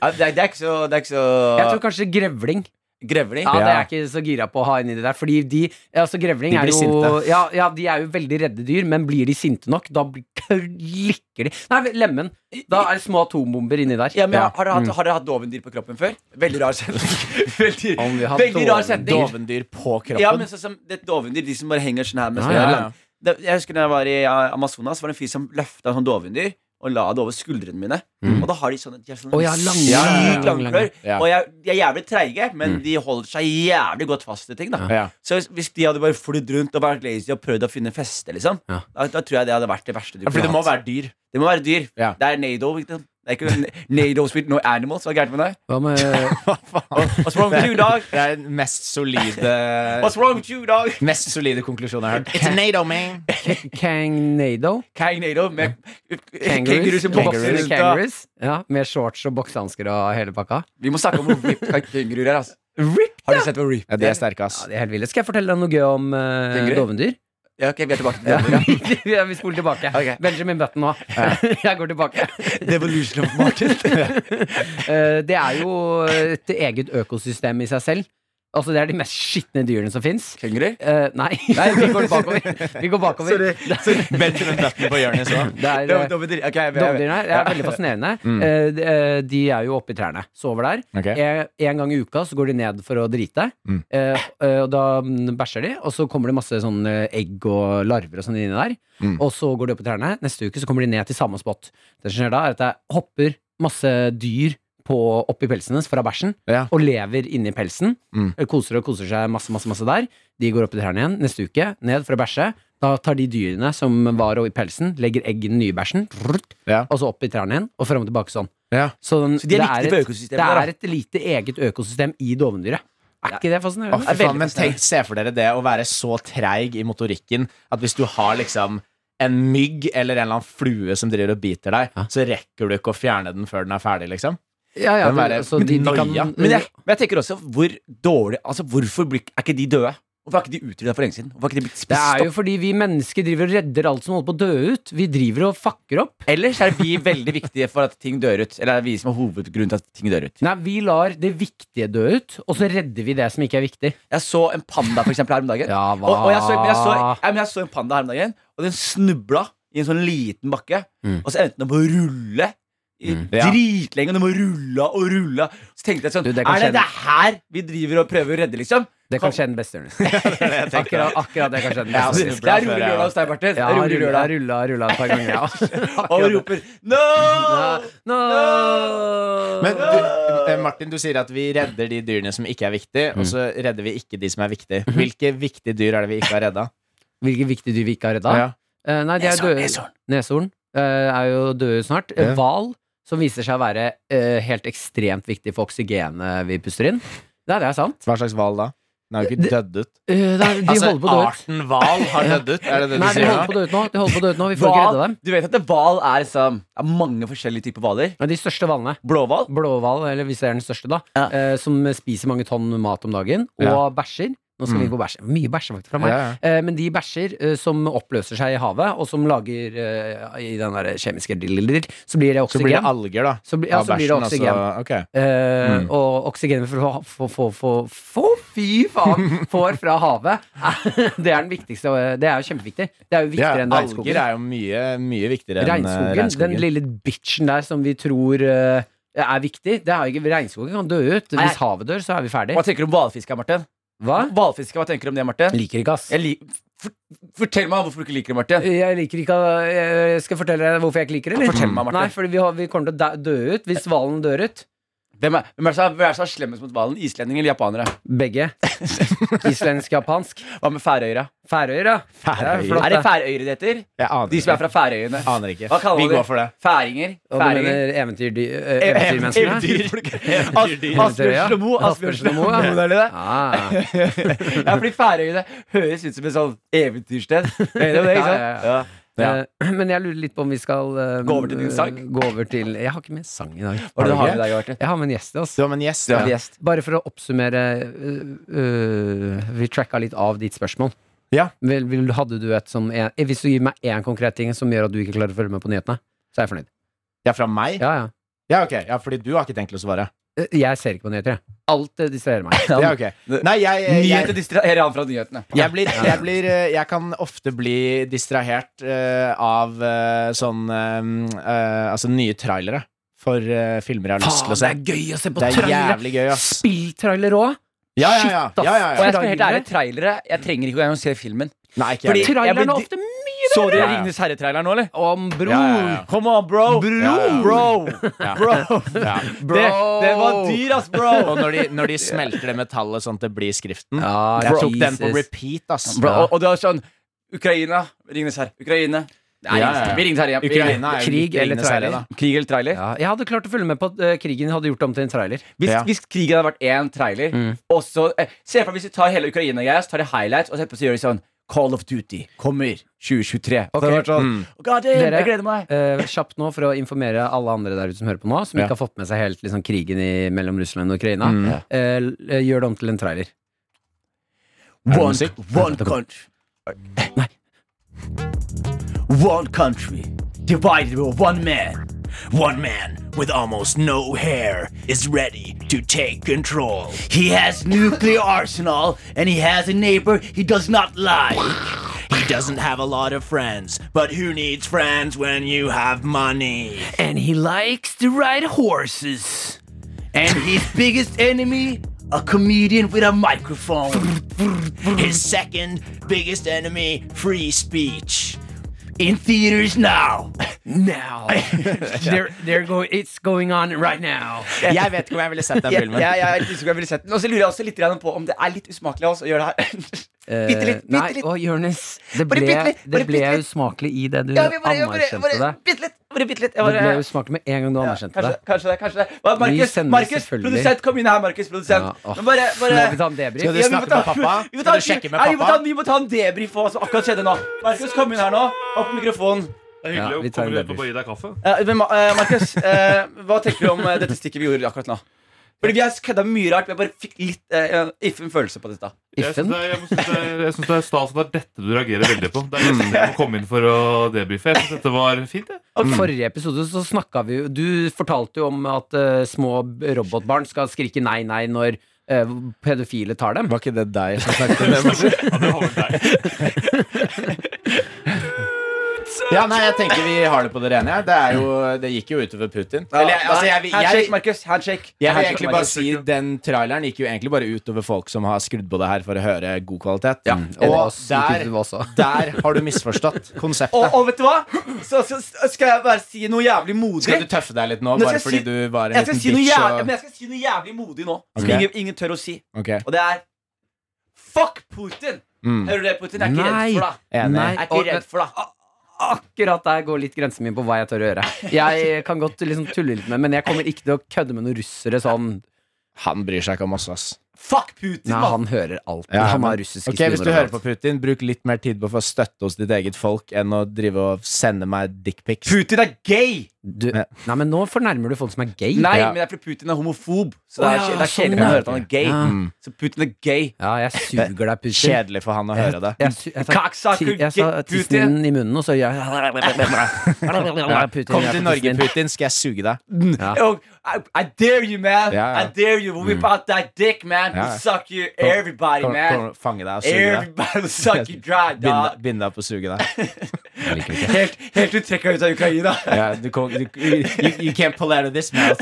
[SPEAKER 4] Ja, det, er, det er ikke så, det er ikke så
[SPEAKER 2] Jeg tror kanskje grevling.
[SPEAKER 4] Grevling?
[SPEAKER 2] Ja,
[SPEAKER 4] Ja.
[SPEAKER 2] Det er jeg ikke så gira på å ha inni det der. Fordi de altså grevling
[SPEAKER 3] De blir
[SPEAKER 2] er jo
[SPEAKER 3] sinte.
[SPEAKER 2] ja, ja, de er jo veldig redde dyr, men blir de sinte nok, da blir- (laughs) klikker de Nei, lemen. Da er det små atombomber inni der.
[SPEAKER 4] men har- Har dere hatt, har dere hatt dovendyr på kroppen før? Veldig rar setning. (laughs) Veldig,
[SPEAKER 2] Om vi har
[SPEAKER 4] veldig rar setning.
[SPEAKER 3] Dovendyr på kroppen.
[SPEAKER 4] Ja, men sånn som det er dovendyr, de som bare henger sånn her med
[SPEAKER 2] Ja,
[SPEAKER 4] sånn
[SPEAKER 2] ja,
[SPEAKER 3] ja.
[SPEAKER 4] Det, Jeg husker da jeg var i ja, Amazonas, var det en fyr som løfta sånn dovendyr og la det over skuldrene mine. Og da har de sånne, de har sånne
[SPEAKER 2] Mm. Å, ja, lange,
[SPEAKER 4] sykt
[SPEAKER 2] lange, Mm.
[SPEAKER 4] lange
[SPEAKER 2] lange.
[SPEAKER 4] klør.
[SPEAKER 3] Ja.
[SPEAKER 4] Og jeg, de er jævlig treige, men de holder seg jævlig godt fast i ting. da
[SPEAKER 3] Ja.
[SPEAKER 4] Så hvis- hvis de hadde bare flydd rundt og vært lazy og prøvd å finne feste, liksom,
[SPEAKER 2] Ja.
[SPEAKER 4] da, da tror jeg det hadde vært det verste du
[SPEAKER 3] Ja, fordi det må være
[SPEAKER 4] hatt.
[SPEAKER 3] dyr.
[SPEAKER 4] Det må være dyr.
[SPEAKER 3] Ja.
[SPEAKER 4] Det er Nado. ikke sant? Det er ikke (laughs) Nado with no animals. Hva er gærent med deg?
[SPEAKER 2] Hva med
[SPEAKER 3] Hva faen?
[SPEAKER 4] What's wrong with you, dog?
[SPEAKER 3] Det er den mest solide
[SPEAKER 4] What's wrong with you, dog?
[SPEAKER 3] Mest solide konklusjonen jeg har hørt. It's a NATO, man!
[SPEAKER 2] Kangnado?
[SPEAKER 4] Kang Nado med
[SPEAKER 2] Kangaroos.
[SPEAKER 4] som bokser
[SPEAKER 2] Boksende
[SPEAKER 4] rundt, da.
[SPEAKER 2] kangaroos. Ja, med shorts og boksehansker og hele pakka.
[SPEAKER 4] Vi må snakke om hvor ripped kenguruer er. Altså. Har du sett hvor ripped
[SPEAKER 3] Ja, de er sterke, ass.
[SPEAKER 2] Ja, det er helt ville. Skal jeg fortelle deg noe gøy om eh,
[SPEAKER 4] Tenker du?
[SPEAKER 2] dovendyr? (laughs)
[SPEAKER 4] Ja, ok, vi er tilbake til det.
[SPEAKER 2] Ja, Vi spoler tilbake.
[SPEAKER 4] Ok.
[SPEAKER 2] Benjamin Button nå. (laughs) Jeg går tilbake.
[SPEAKER 4] Devolution (laughs) of Martin.
[SPEAKER 2] Eh, Det er jo et eget økosystem i seg selv. Altså, det er de mest skitne dyrene som fins.
[SPEAKER 4] Kenguruer?
[SPEAKER 2] nei. (laughs) vi går bakover. Vi går bakover.
[SPEAKER 3] Benjamin Button på hjørnet så.
[SPEAKER 2] Det er, eh, Dovedyrene her er veldig fascinerende.
[SPEAKER 3] (laughs)
[SPEAKER 2] Eh, de- eh, De er jo oppe i trærne. Sover der.
[SPEAKER 3] Mm. Ok.
[SPEAKER 2] En, en gang i uka så går de ned for å drite.
[SPEAKER 3] Mm.
[SPEAKER 2] Eh, eh, og da mm, bæsjer de, og så kommer det masse sånn eh, egg og larver og sånn inni der.
[SPEAKER 3] Mm.
[SPEAKER 2] Og så går de opp i trærne. Neste uke så kommer de ned til samme spot. Det som skjer da, er at det hopper masse dyr på, oppi pelsen hennes fra bæsjen
[SPEAKER 3] Ja.
[SPEAKER 2] og lever inni pelsen.
[SPEAKER 3] Mm.
[SPEAKER 2] Eh, Koser og koser seg masse, masse, masse der. De går opp i trærne igjen neste uke, ned for å bæsje. Da tar de dyrene som var i pelsen, legger egg i den nye bæsjen, vrrt,
[SPEAKER 3] Ja.
[SPEAKER 2] og så altså opp i trærne igjen, og fram og tilbake sånn.
[SPEAKER 3] Ja.
[SPEAKER 2] Så, den,
[SPEAKER 4] Så de er
[SPEAKER 2] det
[SPEAKER 4] viktige
[SPEAKER 2] et-
[SPEAKER 4] for økosystemet der, da.
[SPEAKER 2] Det er et lite eget økosystem i dovendyret. Er ikke det fascinerende?
[SPEAKER 3] Å, fy faen, men tenk, se for dere det å være så treig i motorikken at hvis du har liksom en mygg eller en eller annen flue som driver og biter deg, så rekker du ikke å fjerne den før den er ferdig,
[SPEAKER 2] (laughs)
[SPEAKER 3] liksom.
[SPEAKER 2] Ja, ja,
[SPEAKER 3] Den
[SPEAKER 2] men,
[SPEAKER 3] være-
[SPEAKER 2] altså, de, de kan,
[SPEAKER 3] Noia.
[SPEAKER 4] Men jeg, men jeg tenker også hvor dårlig Altså, hvorfor blir, er ikke de døde? Hvorfor er ikke de utrydda for lenge siden? Hvorfor er ikke de blitt
[SPEAKER 2] det
[SPEAKER 4] spist
[SPEAKER 2] er jo
[SPEAKER 4] opp?
[SPEAKER 2] fordi vi mennesker driver og redder alt som holder på å dø ut. Vi driver og fucker opp.
[SPEAKER 4] Ellers er vi veldig viktige for at ting dør ut. Eller er det vi som er hovedgrunnen til at ting dør ut.
[SPEAKER 2] Nei, vi lar det viktige dø ut, og så redder vi det som ikke er viktig.
[SPEAKER 4] Jeg så en panda for eksempel, her om dagen.
[SPEAKER 2] Ja, hva?
[SPEAKER 4] Og, og jeg, så, men jeg, så, ja, men jeg så en panda her om dagen, og den snubla i en sånn liten bakke.
[SPEAKER 2] Mm.
[SPEAKER 4] Og så endte den opp å rulle i
[SPEAKER 3] Ja.
[SPEAKER 4] dritlenge. Og den må rulla og rulla. Så tenkte jeg sånn
[SPEAKER 2] Du, det kan
[SPEAKER 4] Er det
[SPEAKER 2] skje-
[SPEAKER 4] det her vi driver og prøver å redde, liksom?
[SPEAKER 2] Det kan skje den beste, Jonis. akkurat, akkurat det kan skje den
[SPEAKER 3] Ja,
[SPEAKER 2] beste.
[SPEAKER 4] Det
[SPEAKER 3] snubla før
[SPEAKER 4] er
[SPEAKER 3] (laughs)
[SPEAKER 4] rulle
[SPEAKER 3] jeg-
[SPEAKER 4] lørdag hos deg, Martin.
[SPEAKER 2] Ja,
[SPEAKER 4] Det er
[SPEAKER 2] rulla,
[SPEAKER 4] rulle
[SPEAKER 2] rulla,
[SPEAKER 4] lørdag.
[SPEAKER 2] rulla, et par ganger. Ja.
[SPEAKER 4] Og roper No!
[SPEAKER 2] No!
[SPEAKER 3] (laughs) Men du, eh, Martin, du sier at vi redder de dyrene som ikke er viktige, og så
[SPEAKER 2] Mm.
[SPEAKER 3] redder vi ikke de som er
[SPEAKER 2] Mhm.
[SPEAKER 3] viktige. Hvilke viktige dyr er det vi ikke har redda?
[SPEAKER 2] Hvilke viktige dyr vi ikke har redda?
[SPEAKER 3] Ja.
[SPEAKER 2] Eh, nei, de er
[SPEAKER 4] Neshorn,
[SPEAKER 2] døde.
[SPEAKER 4] neshorn.
[SPEAKER 2] Neshorn eh, er jo døde snart. Eh,
[SPEAKER 3] Ja.
[SPEAKER 2] Hval, som viser seg å være eh, helt ekstremt viktig for oksygenet vi puster inn. Nei, det er sant.
[SPEAKER 3] Hva slags hval da? Den er jo ikke dødd
[SPEAKER 2] (laughs)
[SPEAKER 3] ut.
[SPEAKER 2] Eh, det er- de holder på å dø ut.
[SPEAKER 3] arten hval har dødd ut? Er det det du
[SPEAKER 2] Nei, de
[SPEAKER 3] sier?
[SPEAKER 2] holder
[SPEAKER 3] nå?
[SPEAKER 2] på å dø ut nå. De holder på å dø ut nå. Vi får ikke
[SPEAKER 4] Hval-
[SPEAKER 2] redde dem.
[SPEAKER 4] Du vet at det hval er liksom det er mange forskjellige typer hvaler.
[SPEAKER 2] Men de største hvalene.
[SPEAKER 4] Blåhval.
[SPEAKER 2] Blåhval, eller hvis det er den største, da.
[SPEAKER 4] Ja.
[SPEAKER 2] eh, som spiser mange tonn mat om dagen. Og
[SPEAKER 3] Ja.
[SPEAKER 2] bæsjer. Nå skal vi gå bæsje. Mye bæsje faktisk fra meg.
[SPEAKER 3] Ja, ja.
[SPEAKER 2] Eh, Men de bæsjer eh, som oppløser seg i havet, og som lager eh, i den der kjemiske diller, så blir det
[SPEAKER 3] Så blir det
[SPEAKER 2] oksygen.
[SPEAKER 3] alger, da.
[SPEAKER 2] Så blir- ja,
[SPEAKER 3] av
[SPEAKER 2] så blir det
[SPEAKER 3] bæsjen, og
[SPEAKER 2] oksygen.
[SPEAKER 3] så- ok.
[SPEAKER 2] Eh, Og oksygenet for å få, få, få, få Fy faen! Får fra havet. Det er den viktigste og Det er jo kjempeviktig. Det er jo
[SPEAKER 3] Ja,
[SPEAKER 2] viktigere enn
[SPEAKER 3] alger
[SPEAKER 2] regnskogen.
[SPEAKER 3] er jo mye, mye viktigere enn eh,
[SPEAKER 2] Regnskogen, den lille bitchen der som vi tror eh, er viktig, det er jo ikke Regnskogen kan dø ut.
[SPEAKER 4] Nei.
[SPEAKER 2] Hvis havet dør, så er vi ferdig.
[SPEAKER 4] Hva tenker du om hvalfiske, Martin?
[SPEAKER 2] Hva?
[SPEAKER 4] Hvalfiske, hva tenker du om det, Martin?
[SPEAKER 2] Liker ikke, ass.
[SPEAKER 4] Jeg lik- for, fortell meg hvorfor du ikke liker det, Martin.
[SPEAKER 2] Jeg liker ikke å- jeg Skal jeg fortelle deg hvorfor jeg ikke liker det? eller?
[SPEAKER 4] Fortell meg, Martin.
[SPEAKER 2] Nei, fordi vi, har, vi kommer til å dæ- dø ut hvis hvalen dør ut.
[SPEAKER 4] Hvem er, hvem er, så, hvem er så slemmest mot hvalen? Islendinger eller japanere?
[SPEAKER 2] Begge. (laughs) Islandsk-japansk.
[SPEAKER 4] Hva med færøyere?
[SPEAKER 2] Færøyer, da.
[SPEAKER 3] Færøyer.
[SPEAKER 2] flott,
[SPEAKER 4] Er det
[SPEAKER 2] da.
[SPEAKER 4] færøyere det heter?
[SPEAKER 3] Jeg aner
[SPEAKER 4] De som er
[SPEAKER 3] ikke.
[SPEAKER 4] fra Færøyene?
[SPEAKER 3] Aner ikke.
[SPEAKER 4] Hva kaller
[SPEAKER 3] Vi
[SPEAKER 4] de?
[SPEAKER 3] går for det.
[SPEAKER 4] Færinger?
[SPEAKER 2] Og du
[SPEAKER 4] Færinger?
[SPEAKER 2] mener eventyrdy- eh,
[SPEAKER 4] E-,
[SPEAKER 2] eventyrmenneskene?
[SPEAKER 4] As- Asbjørnsen og Moe. Asbjørnsen og Moe.
[SPEAKER 2] Asbjørnsen og Moe, ja.
[SPEAKER 4] Hvordan er det det?
[SPEAKER 2] Ah.
[SPEAKER 4] Ja, fordi Færøyene høres ut som et sånn eventyrsted. Mener du det, ikke sant?
[SPEAKER 2] Ja, ja,
[SPEAKER 4] Ja.
[SPEAKER 3] Ja.
[SPEAKER 2] Eh, Men jeg lurer litt på om vi skal eh,
[SPEAKER 4] Gå over til din sang?
[SPEAKER 2] gå over til Jeg har ikke med sang i dag.
[SPEAKER 4] Hva er det du har
[SPEAKER 3] ikke?
[SPEAKER 4] med deg, Martin?
[SPEAKER 2] Jeg har med en gjest. Altså.
[SPEAKER 3] Du har med en gjest.
[SPEAKER 4] Du er
[SPEAKER 3] Ja.
[SPEAKER 4] gjest.
[SPEAKER 2] Bare for å oppsummere eh, eh, Vi tracka litt av ditt spørsmål.
[SPEAKER 3] Ja.
[SPEAKER 2] Vel, vil, hadde du et som en, eh, Hvis du gir meg én konkret ting som gjør at du ikke klarer å følge med på nyhetene, så er jeg fornøyd.
[SPEAKER 3] ja, fra meg?
[SPEAKER 2] Ja, ja.
[SPEAKER 3] Ja, ok. Ja, fordi du har ikke tenkt til å svare.
[SPEAKER 2] Eh, Jeg ser ikke på nyheter, jeg. Alt eh,
[SPEAKER 4] (laughs)
[SPEAKER 2] distraherer meg.
[SPEAKER 3] Ja, ok. Nei, jeg, jeg,
[SPEAKER 4] Nyheter distraherer han fra nyhetene.
[SPEAKER 3] jeg, blir, jeg, blir, eh, jeg kan ofte bli distrahert eh, av eh, sånn eh, eh, Altså nye trailere for eh, filmer jeg har lyst til å se.
[SPEAKER 2] gøy å se
[SPEAKER 3] Det er jævlig gøy, ass.
[SPEAKER 2] Spilltrailer òg!
[SPEAKER 3] Ja, ja, ja.
[SPEAKER 2] Shit, ass.
[SPEAKER 3] ja, ja,
[SPEAKER 4] Og
[SPEAKER 3] ja.
[SPEAKER 4] jeg skal være helt ærlig, trailere Jeg trenger ikke engang å se filmen.
[SPEAKER 3] Nei, ikke jeg.
[SPEAKER 4] Fordi- Jeg
[SPEAKER 2] Traileren
[SPEAKER 4] blir
[SPEAKER 2] er
[SPEAKER 4] di-
[SPEAKER 2] ofte mye
[SPEAKER 4] Så dere
[SPEAKER 3] Ja, ja.
[SPEAKER 4] Ringenes herre-traileren nå, eller?
[SPEAKER 2] om bror!
[SPEAKER 3] Ja, ja, ja.
[SPEAKER 4] Come on, bro!
[SPEAKER 3] Ja, ja, ja.
[SPEAKER 4] Bro!
[SPEAKER 3] Ja.
[SPEAKER 4] Bro!
[SPEAKER 3] (laughs) Ja.
[SPEAKER 4] Det, det
[SPEAKER 3] Oh.
[SPEAKER 4] var dyr, ass, bro!
[SPEAKER 3] Og når de, når de smelter det metallet sånn at det blir skriften.
[SPEAKER 2] Ja,
[SPEAKER 3] jeg tok den
[SPEAKER 2] Jesus.
[SPEAKER 3] på repeat, ass.
[SPEAKER 4] bro og, og det var sånn Ukraina, Ringenes herre. Ukraina. Nei,
[SPEAKER 3] Ja, ja, ja.
[SPEAKER 4] Ringenes Herre. Vi Ringenes herre. igjen. Vi
[SPEAKER 3] Ukraina er jo
[SPEAKER 2] Krig
[SPEAKER 3] litt
[SPEAKER 2] eller
[SPEAKER 3] Ringenes herre,
[SPEAKER 2] trailer?
[SPEAKER 3] da.
[SPEAKER 4] Ringenes- Krig eller trailer?
[SPEAKER 2] Ja, jeg hadde klart å følge med på at eh, krigen hadde gjort det om til en trailer.
[SPEAKER 4] Hvis,
[SPEAKER 3] Ja.
[SPEAKER 4] hvis krigen hadde vært én trailer og så, eh, Se for deg hvis vi tar hele Ukraina-greia, så tar de highlights, og så etterpå så gjør de sånn Call of Duty kommer 2023. Og så hadde det vært sånn,
[SPEAKER 3] Mm.
[SPEAKER 4] God damn,
[SPEAKER 2] Dere-
[SPEAKER 4] jeg gleder meg.
[SPEAKER 2] Eh, kjapt nå for å informere alle andre der ute som hører på nå, som
[SPEAKER 3] Ja. Mm.
[SPEAKER 2] ikke har fått med seg helt liksom, krigen i, mellom Russland og Ukraina. Eh, l- eh, gjør det om til en trailer.
[SPEAKER 3] det
[SPEAKER 4] One,
[SPEAKER 3] musikk?
[SPEAKER 4] one country One country Divided by one man One man
[SPEAKER 5] with almost no hair is ready to take control.
[SPEAKER 4] He has nuclear arsenal, and he has a neighbor he does not like.
[SPEAKER 5] He doesn't have a lot of friends, but who needs friends when you have money?
[SPEAKER 4] And he likes to ride horses. And his biggest enemy, a comedian with a microphone.
[SPEAKER 5] His second biggest enemy, free speech.
[SPEAKER 4] In theaters now.
[SPEAKER 2] (laughs) Now! They're, they're go, it's going on right now.
[SPEAKER 3] Jeg vet ikke om jeg ville (laughs) sett den
[SPEAKER 4] Ja,
[SPEAKER 3] filmen.
[SPEAKER 4] ja, ja, jeg husker jeg ville sett den. Og så lurer jeg også litt grann på om det er litt usmakelig av oss å gjøre det her. (laughs)
[SPEAKER 2] Eh,
[SPEAKER 4] Bitte litt,
[SPEAKER 2] Nei,
[SPEAKER 4] bitte litt.
[SPEAKER 2] å, Jonis. Det
[SPEAKER 4] Bare
[SPEAKER 2] ble,
[SPEAKER 4] bitte litt, bare
[SPEAKER 2] det ble
[SPEAKER 4] bitte litt.
[SPEAKER 2] usmakelig i det du
[SPEAKER 4] Ja, vi bare, bare,
[SPEAKER 2] anerkjente
[SPEAKER 4] bare,
[SPEAKER 2] det.
[SPEAKER 4] bitte litt. Bare bitte litt. Jeg
[SPEAKER 2] Det
[SPEAKER 4] bare,
[SPEAKER 2] ble usmakelig med en gang du
[SPEAKER 4] ja,
[SPEAKER 2] anerkjente
[SPEAKER 4] kanskje,
[SPEAKER 2] det.
[SPEAKER 4] kanskje det. kanskje det Hva,
[SPEAKER 2] Vi
[SPEAKER 4] Markus,
[SPEAKER 2] sender
[SPEAKER 4] Markus
[SPEAKER 2] selvfølgelig-
[SPEAKER 4] produsent, kom inn her, Markus. Produsent.
[SPEAKER 2] Ja, åh.
[SPEAKER 4] Men bare, bare
[SPEAKER 2] Må vi ta en debrief?
[SPEAKER 3] Skal du
[SPEAKER 4] Ja, vi må
[SPEAKER 3] snakke
[SPEAKER 4] ta-
[SPEAKER 3] med pappa?
[SPEAKER 4] vi
[SPEAKER 3] Skal
[SPEAKER 4] må ta-
[SPEAKER 3] du sjekke med
[SPEAKER 4] Nei, vi må
[SPEAKER 3] pappa?
[SPEAKER 4] ta- Vi må ta en debrief på hva som akkurat skjedde nå. Markus, kom inn her nå. Opp med mikrofonen.
[SPEAKER 7] Det er
[SPEAKER 2] Ja,
[SPEAKER 7] hyggelig
[SPEAKER 2] vi
[SPEAKER 7] å
[SPEAKER 2] tar en
[SPEAKER 7] komme ut og
[SPEAKER 2] debrief.
[SPEAKER 7] bare gi deg kaffe.
[SPEAKER 4] Eh, men Ma- eh, Markus, eh, hva tenker du om eh, dette stikket vi gjorde akkurat nå? Fordi Vi har kødda mye rart, men jeg bare fikk litt eh, iffen følelse på dette.
[SPEAKER 7] Jeg syns
[SPEAKER 2] Iffen?
[SPEAKER 7] det, er- jeg synes det, er- jeg synes det er stas at det er dette du reagerer veldig på. Det er
[SPEAKER 2] Mm.
[SPEAKER 7] nesten jeg må komme inn for å debrife. Jeg syns dette var fint. Jeg.
[SPEAKER 2] I forrige episode så snakka vi jo Du fortalte jo om at eh, små b- robotbarn skal skrike nei, nei når eh, pedofile tar dem.
[SPEAKER 3] Var ikke det deg som snakket om det?
[SPEAKER 7] Ja, det var vel deg.
[SPEAKER 3] (laughs) Ja, nei, jeg tenker vi har det på det rene. her. Det, er jo, det gikk jo utover Putin. Eller, jeg- altså, jeg, jeg,
[SPEAKER 4] handshake,
[SPEAKER 3] jeg,
[SPEAKER 4] Markus. Handshake.
[SPEAKER 3] jeg vil
[SPEAKER 4] Handshake,
[SPEAKER 3] egentlig bare
[SPEAKER 4] Markus.
[SPEAKER 3] si Den traileren gikk jo egentlig bare utover folk som har skrudd på det her for å høre god kvalitet.
[SPEAKER 2] Og
[SPEAKER 3] Og
[SPEAKER 2] Mm. oss,
[SPEAKER 3] der,
[SPEAKER 2] ikke du også.
[SPEAKER 3] der har du misforstått konseptet.
[SPEAKER 4] Og, og vet du hva? Så, så så skal jeg bare si noe jævlig modig.
[SPEAKER 3] Skal du tøffe deg litt nå,
[SPEAKER 4] Nå
[SPEAKER 3] bare
[SPEAKER 4] skal jeg
[SPEAKER 3] fordi
[SPEAKER 4] si-
[SPEAKER 3] du var en
[SPEAKER 4] jeg skal
[SPEAKER 3] liten
[SPEAKER 4] si noe
[SPEAKER 3] bitch?
[SPEAKER 4] jævlig,
[SPEAKER 3] og-
[SPEAKER 4] men jeg skal si noe jævlig modig nå. Som
[SPEAKER 3] Ok.
[SPEAKER 4] ingen, ingen tør å si.
[SPEAKER 3] Ok,
[SPEAKER 4] Og det er Fuck Putin!
[SPEAKER 3] mm.
[SPEAKER 4] Hører du det, Putin? Jeg er ikke redd for deg.
[SPEAKER 3] Enig.
[SPEAKER 2] Nei,
[SPEAKER 4] Jeg er
[SPEAKER 2] og-
[SPEAKER 4] ikke redd for deg.
[SPEAKER 2] Akkurat der går litt grensen min på hva jeg tør å gjøre. Jeg kan godt liksom tulle litt med, men jeg kommer ikke til å kødde med noen russere sånn
[SPEAKER 3] Han bryr seg ikke om oss, ass.
[SPEAKER 4] Fuck Putin,
[SPEAKER 2] Nei, han
[SPEAKER 4] mann!
[SPEAKER 2] hører alt.
[SPEAKER 3] Ja,
[SPEAKER 2] han
[SPEAKER 3] men-
[SPEAKER 2] har russiske
[SPEAKER 3] Ok, Hvis du
[SPEAKER 2] snorer
[SPEAKER 3] hører på
[SPEAKER 2] og alt.
[SPEAKER 3] Putin, bruk litt mer tid på å få støtte hos ditt eget folk enn å drive og sende meg dickpics.
[SPEAKER 4] Putin er gay!
[SPEAKER 2] du, Nei, men nå fornærmer du folk som er gay.
[SPEAKER 4] Nei,
[SPEAKER 3] Ja.
[SPEAKER 4] men det er fordi Putin er homofob. Så det er,
[SPEAKER 2] Å ja,
[SPEAKER 4] det er kjedelig
[SPEAKER 2] sånn,
[SPEAKER 4] å
[SPEAKER 2] ja.
[SPEAKER 4] høre at han er gay.
[SPEAKER 2] Ja.
[SPEAKER 3] Mm.
[SPEAKER 4] Så Putin er gay.
[SPEAKER 2] Ja, jeg suger deg, Putin.
[SPEAKER 3] Kjedelig for han å høre det.
[SPEAKER 2] Jeg, su- jeg, sa-
[SPEAKER 4] Kaksaker,
[SPEAKER 2] ti- jeg sa
[SPEAKER 4] gutt,
[SPEAKER 2] tissen
[SPEAKER 4] Putin.
[SPEAKER 2] din i munnen, og så gjør jeg Putin,
[SPEAKER 3] Kom
[SPEAKER 2] jeg er
[SPEAKER 3] til
[SPEAKER 2] på
[SPEAKER 3] Norge,
[SPEAKER 2] tissen din.
[SPEAKER 3] Putin, skal jeg suge deg.
[SPEAKER 2] Ja.
[SPEAKER 4] Oh, I, I dare you, man!
[SPEAKER 3] Ja, ja. Mm.
[SPEAKER 4] I dare you! We'll whip out that dick, man!
[SPEAKER 3] Ja, ja.
[SPEAKER 4] We'll suck you, everybody,
[SPEAKER 3] Kom,
[SPEAKER 4] man!
[SPEAKER 3] kom, fange deg og suge deg.
[SPEAKER 4] (laughs) Everybody will suck
[SPEAKER 3] (laughs)
[SPEAKER 4] you dry,
[SPEAKER 3] Binde,
[SPEAKER 4] dog!
[SPEAKER 3] binde deg opp og suge deg.
[SPEAKER 4] Helt, helt til du trekker deg ut av Ukraina.
[SPEAKER 3] (laughs) Ja, du, kom- du, you, you can't pull out of this mouth.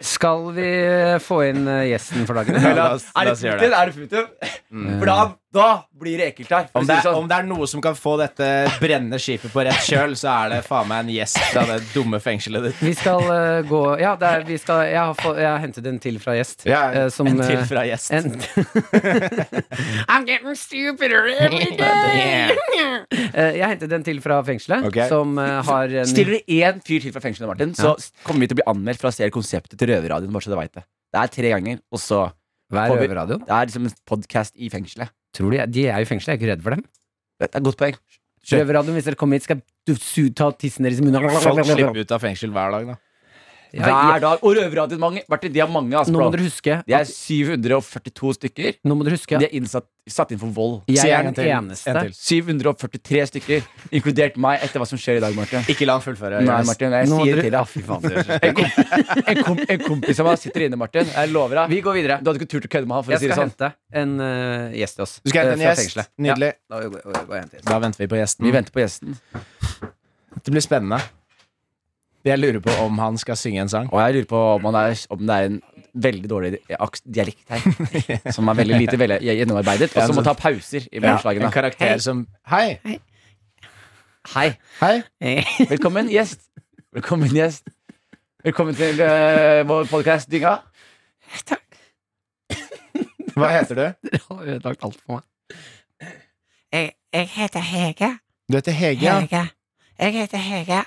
[SPEAKER 2] Skal vi få inn eh, gjesten for dagen?
[SPEAKER 3] Ja,
[SPEAKER 2] eller?
[SPEAKER 3] la oss- la
[SPEAKER 4] er det
[SPEAKER 3] oss gjøre Mm.
[SPEAKER 4] Putin? Er det Putin? For da, da blir det ekkelt her. for å
[SPEAKER 3] Om
[SPEAKER 4] si
[SPEAKER 3] det,
[SPEAKER 4] det
[SPEAKER 3] er,
[SPEAKER 4] sånn.
[SPEAKER 3] om det er noe som kan få dette brennende skipet på rett kjøl, så er det faen meg en gjest fra det dumme fengselet ditt.
[SPEAKER 2] Vi skal eh, gå Ja, det er, vi skal, jeg, har få, jeg har hentet en til fra gjest. eh, som,
[SPEAKER 3] en til
[SPEAKER 2] eh,
[SPEAKER 3] fra gjest.
[SPEAKER 2] en, (laughs)
[SPEAKER 5] I'm getting stupider every
[SPEAKER 3] Yeah.
[SPEAKER 2] eh, jeg hentet en til fra fengselet,
[SPEAKER 3] Ok.
[SPEAKER 2] som eh, har en
[SPEAKER 4] Stiller du én fyr til fra fengselet, Martin, så s- kommer vi til å bli anmeldt for å stjele konseptet til Røverradioen. Bare så du vet det. Det er tre ganger, og så
[SPEAKER 2] Hver
[SPEAKER 4] Får vi-
[SPEAKER 2] røverradioen.
[SPEAKER 4] Det er liksom en podkast i fengselet.
[SPEAKER 2] Tror de, de er jo i fengselet, jeg er ikke redd for dem.
[SPEAKER 4] Det er et godt poeng. Kjør.
[SPEAKER 2] Røverradioen, hvis dere kommer hit, skal du su, ta tissen deres i munnen.
[SPEAKER 3] Folk slipper ut av fengsel hver dag, da.
[SPEAKER 2] Ja,
[SPEAKER 4] Hver
[SPEAKER 2] jeg-
[SPEAKER 4] dag. Og Røverradioen mange. Martin, de har mange, altså.
[SPEAKER 2] nå må
[SPEAKER 4] bro.
[SPEAKER 2] dere huske
[SPEAKER 4] De er 742 stykker.
[SPEAKER 2] Nå må dere huske
[SPEAKER 4] De er innsatt, satt inn for vold.
[SPEAKER 2] jeg
[SPEAKER 3] Si
[SPEAKER 2] er
[SPEAKER 3] en
[SPEAKER 2] den
[SPEAKER 3] til.
[SPEAKER 2] eneste.
[SPEAKER 3] En til.
[SPEAKER 4] 743 stykker, inkludert meg, etter hva som skjer i dag, Martin.
[SPEAKER 3] Ikke la han fullføre.
[SPEAKER 4] Nei, Martin, jeg
[SPEAKER 2] Nå må
[SPEAKER 4] sier det
[SPEAKER 2] dere-
[SPEAKER 4] til deg. (laughs) En, kom, en, kom, en kompis av meg sitter inne, Martin. Jeg lover deg.
[SPEAKER 2] Vi går videre.
[SPEAKER 4] Du hadde ikke turt å kødde med han. for
[SPEAKER 2] Jeg
[SPEAKER 4] å si
[SPEAKER 2] skal
[SPEAKER 4] det sånn
[SPEAKER 2] hente en eh, gjest til oss.
[SPEAKER 3] Du skal
[SPEAKER 2] eh,
[SPEAKER 3] hente en
[SPEAKER 2] fra
[SPEAKER 3] gjest.
[SPEAKER 2] fengselet.
[SPEAKER 3] Nydelig.
[SPEAKER 2] Ja, da går, går jeg og henter.
[SPEAKER 3] Da venter vi på gjesten.
[SPEAKER 4] Vi venter på gjesten.
[SPEAKER 3] Det blir spennende. Jeg lurer på om han skal synge en sang.
[SPEAKER 4] Og jeg lurer på om, han er, om det er en veldig dårlig aks- dialekt her. (laughs) Som er veldig lite vel gjennomarbeidet. Og som må ta pauser i
[SPEAKER 3] En
[SPEAKER 4] mellomslagene.
[SPEAKER 3] karakter som Hei!
[SPEAKER 2] Hei.
[SPEAKER 3] Hei!
[SPEAKER 4] Velkommen, gjest. Velkommen, gjest. Velkommen til eh, vår podkast, Dynga.
[SPEAKER 3] Hva heter du?
[SPEAKER 2] Dere har ødelagt alt for meg.
[SPEAKER 6] Jeg, jeg heter Hege.
[SPEAKER 3] (laughs) Du heter Hege. ja.
[SPEAKER 6] Hege. Jeg heter Hege.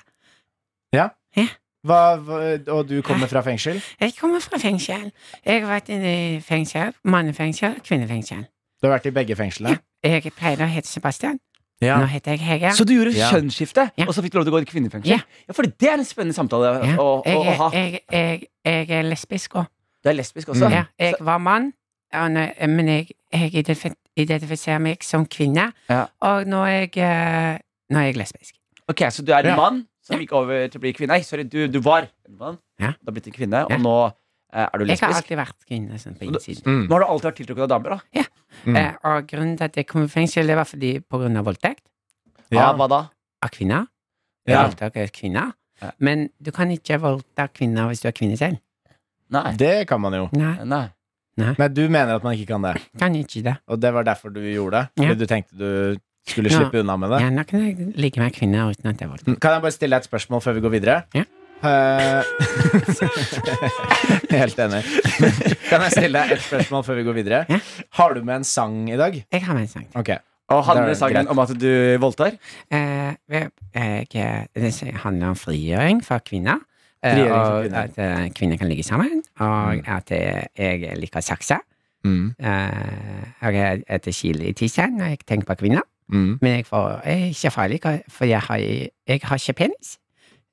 [SPEAKER 3] Hva, hva, og du kommer fra fengsel?
[SPEAKER 6] Jeg kommer fra fengsel. Jeg har vært inne i fengsel. Mannefengsel og kvinnefengsel.
[SPEAKER 3] Du har vært i begge fengslene?
[SPEAKER 6] Jeg pleide å hete Sebastian.
[SPEAKER 3] Ja.
[SPEAKER 6] Nå heter jeg Hege.
[SPEAKER 4] Så du gjorde
[SPEAKER 3] Ja.
[SPEAKER 4] kjønnsskifte,
[SPEAKER 6] Ja.
[SPEAKER 4] og så fikk du lov til å gå i kvinnefengsel?
[SPEAKER 6] Ja.
[SPEAKER 4] Ja, for det er en spennende samtale
[SPEAKER 6] Ja.
[SPEAKER 4] å, å,
[SPEAKER 6] jeg,
[SPEAKER 4] å ha.
[SPEAKER 6] er- jeg, jeg, jeg er lesbisk òg.
[SPEAKER 4] Du er lesbisk også.
[SPEAKER 6] Ja, jeg var mann, og nå- eh, men jeg, jeg identif- identifiserer meg som kvinne.
[SPEAKER 4] Ja.
[SPEAKER 6] Og nå er jeg, eh, nå er jeg lesbisk.
[SPEAKER 4] Ok, Så du er en
[SPEAKER 3] Ja.
[SPEAKER 4] mann som gikk over til å bli kvinne? Nei, sorry, du, du var en mann.
[SPEAKER 6] Ja.
[SPEAKER 4] Du har blitt en kvinne,
[SPEAKER 6] Ja.
[SPEAKER 4] og nå eh, er du
[SPEAKER 6] Jeg har
[SPEAKER 4] lesbisk.
[SPEAKER 6] alltid vært kvinne sånn, på innsiden.
[SPEAKER 3] Mm.
[SPEAKER 4] Nå har du alltid vært tiltrukket av damer, da.
[SPEAKER 3] Mm.
[SPEAKER 6] Eh, og grunnen til at jeg kom i fengsel, det var fordi på grunn av voldtekt
[SPEAKER 3] Ja.
[SPEAKER 4] Ah, hva da?
[SPEAKER 6] av kvinner.
[SPEAKER 3] Ja.
[SPEAKER 6] Voldtak av kvinner.
[SPEAKER 4] Ja.
[SPEAKER 6] Men du kan ikke voldta kvinner hvis du er kvinne selv.
[SPEAKER 4] Nei.
[SPEAKER 3] Det kan man jo.
[SPEAKER 6] Nei,
[SPEAKER 4] Nei.
[SPEAKER 3] Men du mener at man ikke kan det,
[SPEAKER 6] kan ikke det.
[SPEAKER 3] og det var derfor du gjorde det?
[SPEAKER 6] Ja.
[SPEAKER 3] Fordi du tenkte du skulle
[SPEAKER 6] Ja.
[SPEAKER 3] slippe unna med det?
[SPEAKER 6] Ja, nå kan jeg ligge med kvinner uten at det er voldtekt.
[SPEAKER 3] Kan jeg bare stille deg et spørsmål før vi går videre?
[SPEAKER 6] Ja.
[SPEAKER 3] Eh, (laughs) Helt enig. (laughs) Kan jeg stille deg et spørsmål før vi går videre?
[SPEAKER 6] Ja.
[SPEAKER 3] Har du med en sang i dag?
[SPEAKER 6] Jeg har med en sang.
[SPEAKER 3] Ok.
[SPEAKER 4] Og handler
[SPEAKER 3] Det er greit.
[SPEAKER 4] sangen om at du voldtar?
[SPEAKER 6] Eh, jeg, jeg, det s- handler om frigjøring for kvinner. eh,
[SPEAKER 3] Frigjøring for
[SPEAKER 6] og
[SPEAKER 3] kvinner. Mm.
[SPEAKER 6] at eh, kvinner kan ligge sammen. Og at jeg, jeg liker saksa. Eh, og jeg spiser chili i tissen når jeg tenker på kvinner.
[SPEAKER 3] mm,
[SPEAKER 6] Men jeg, får, jeg er ikke farlig, for jeg har, jeg har ikke penis.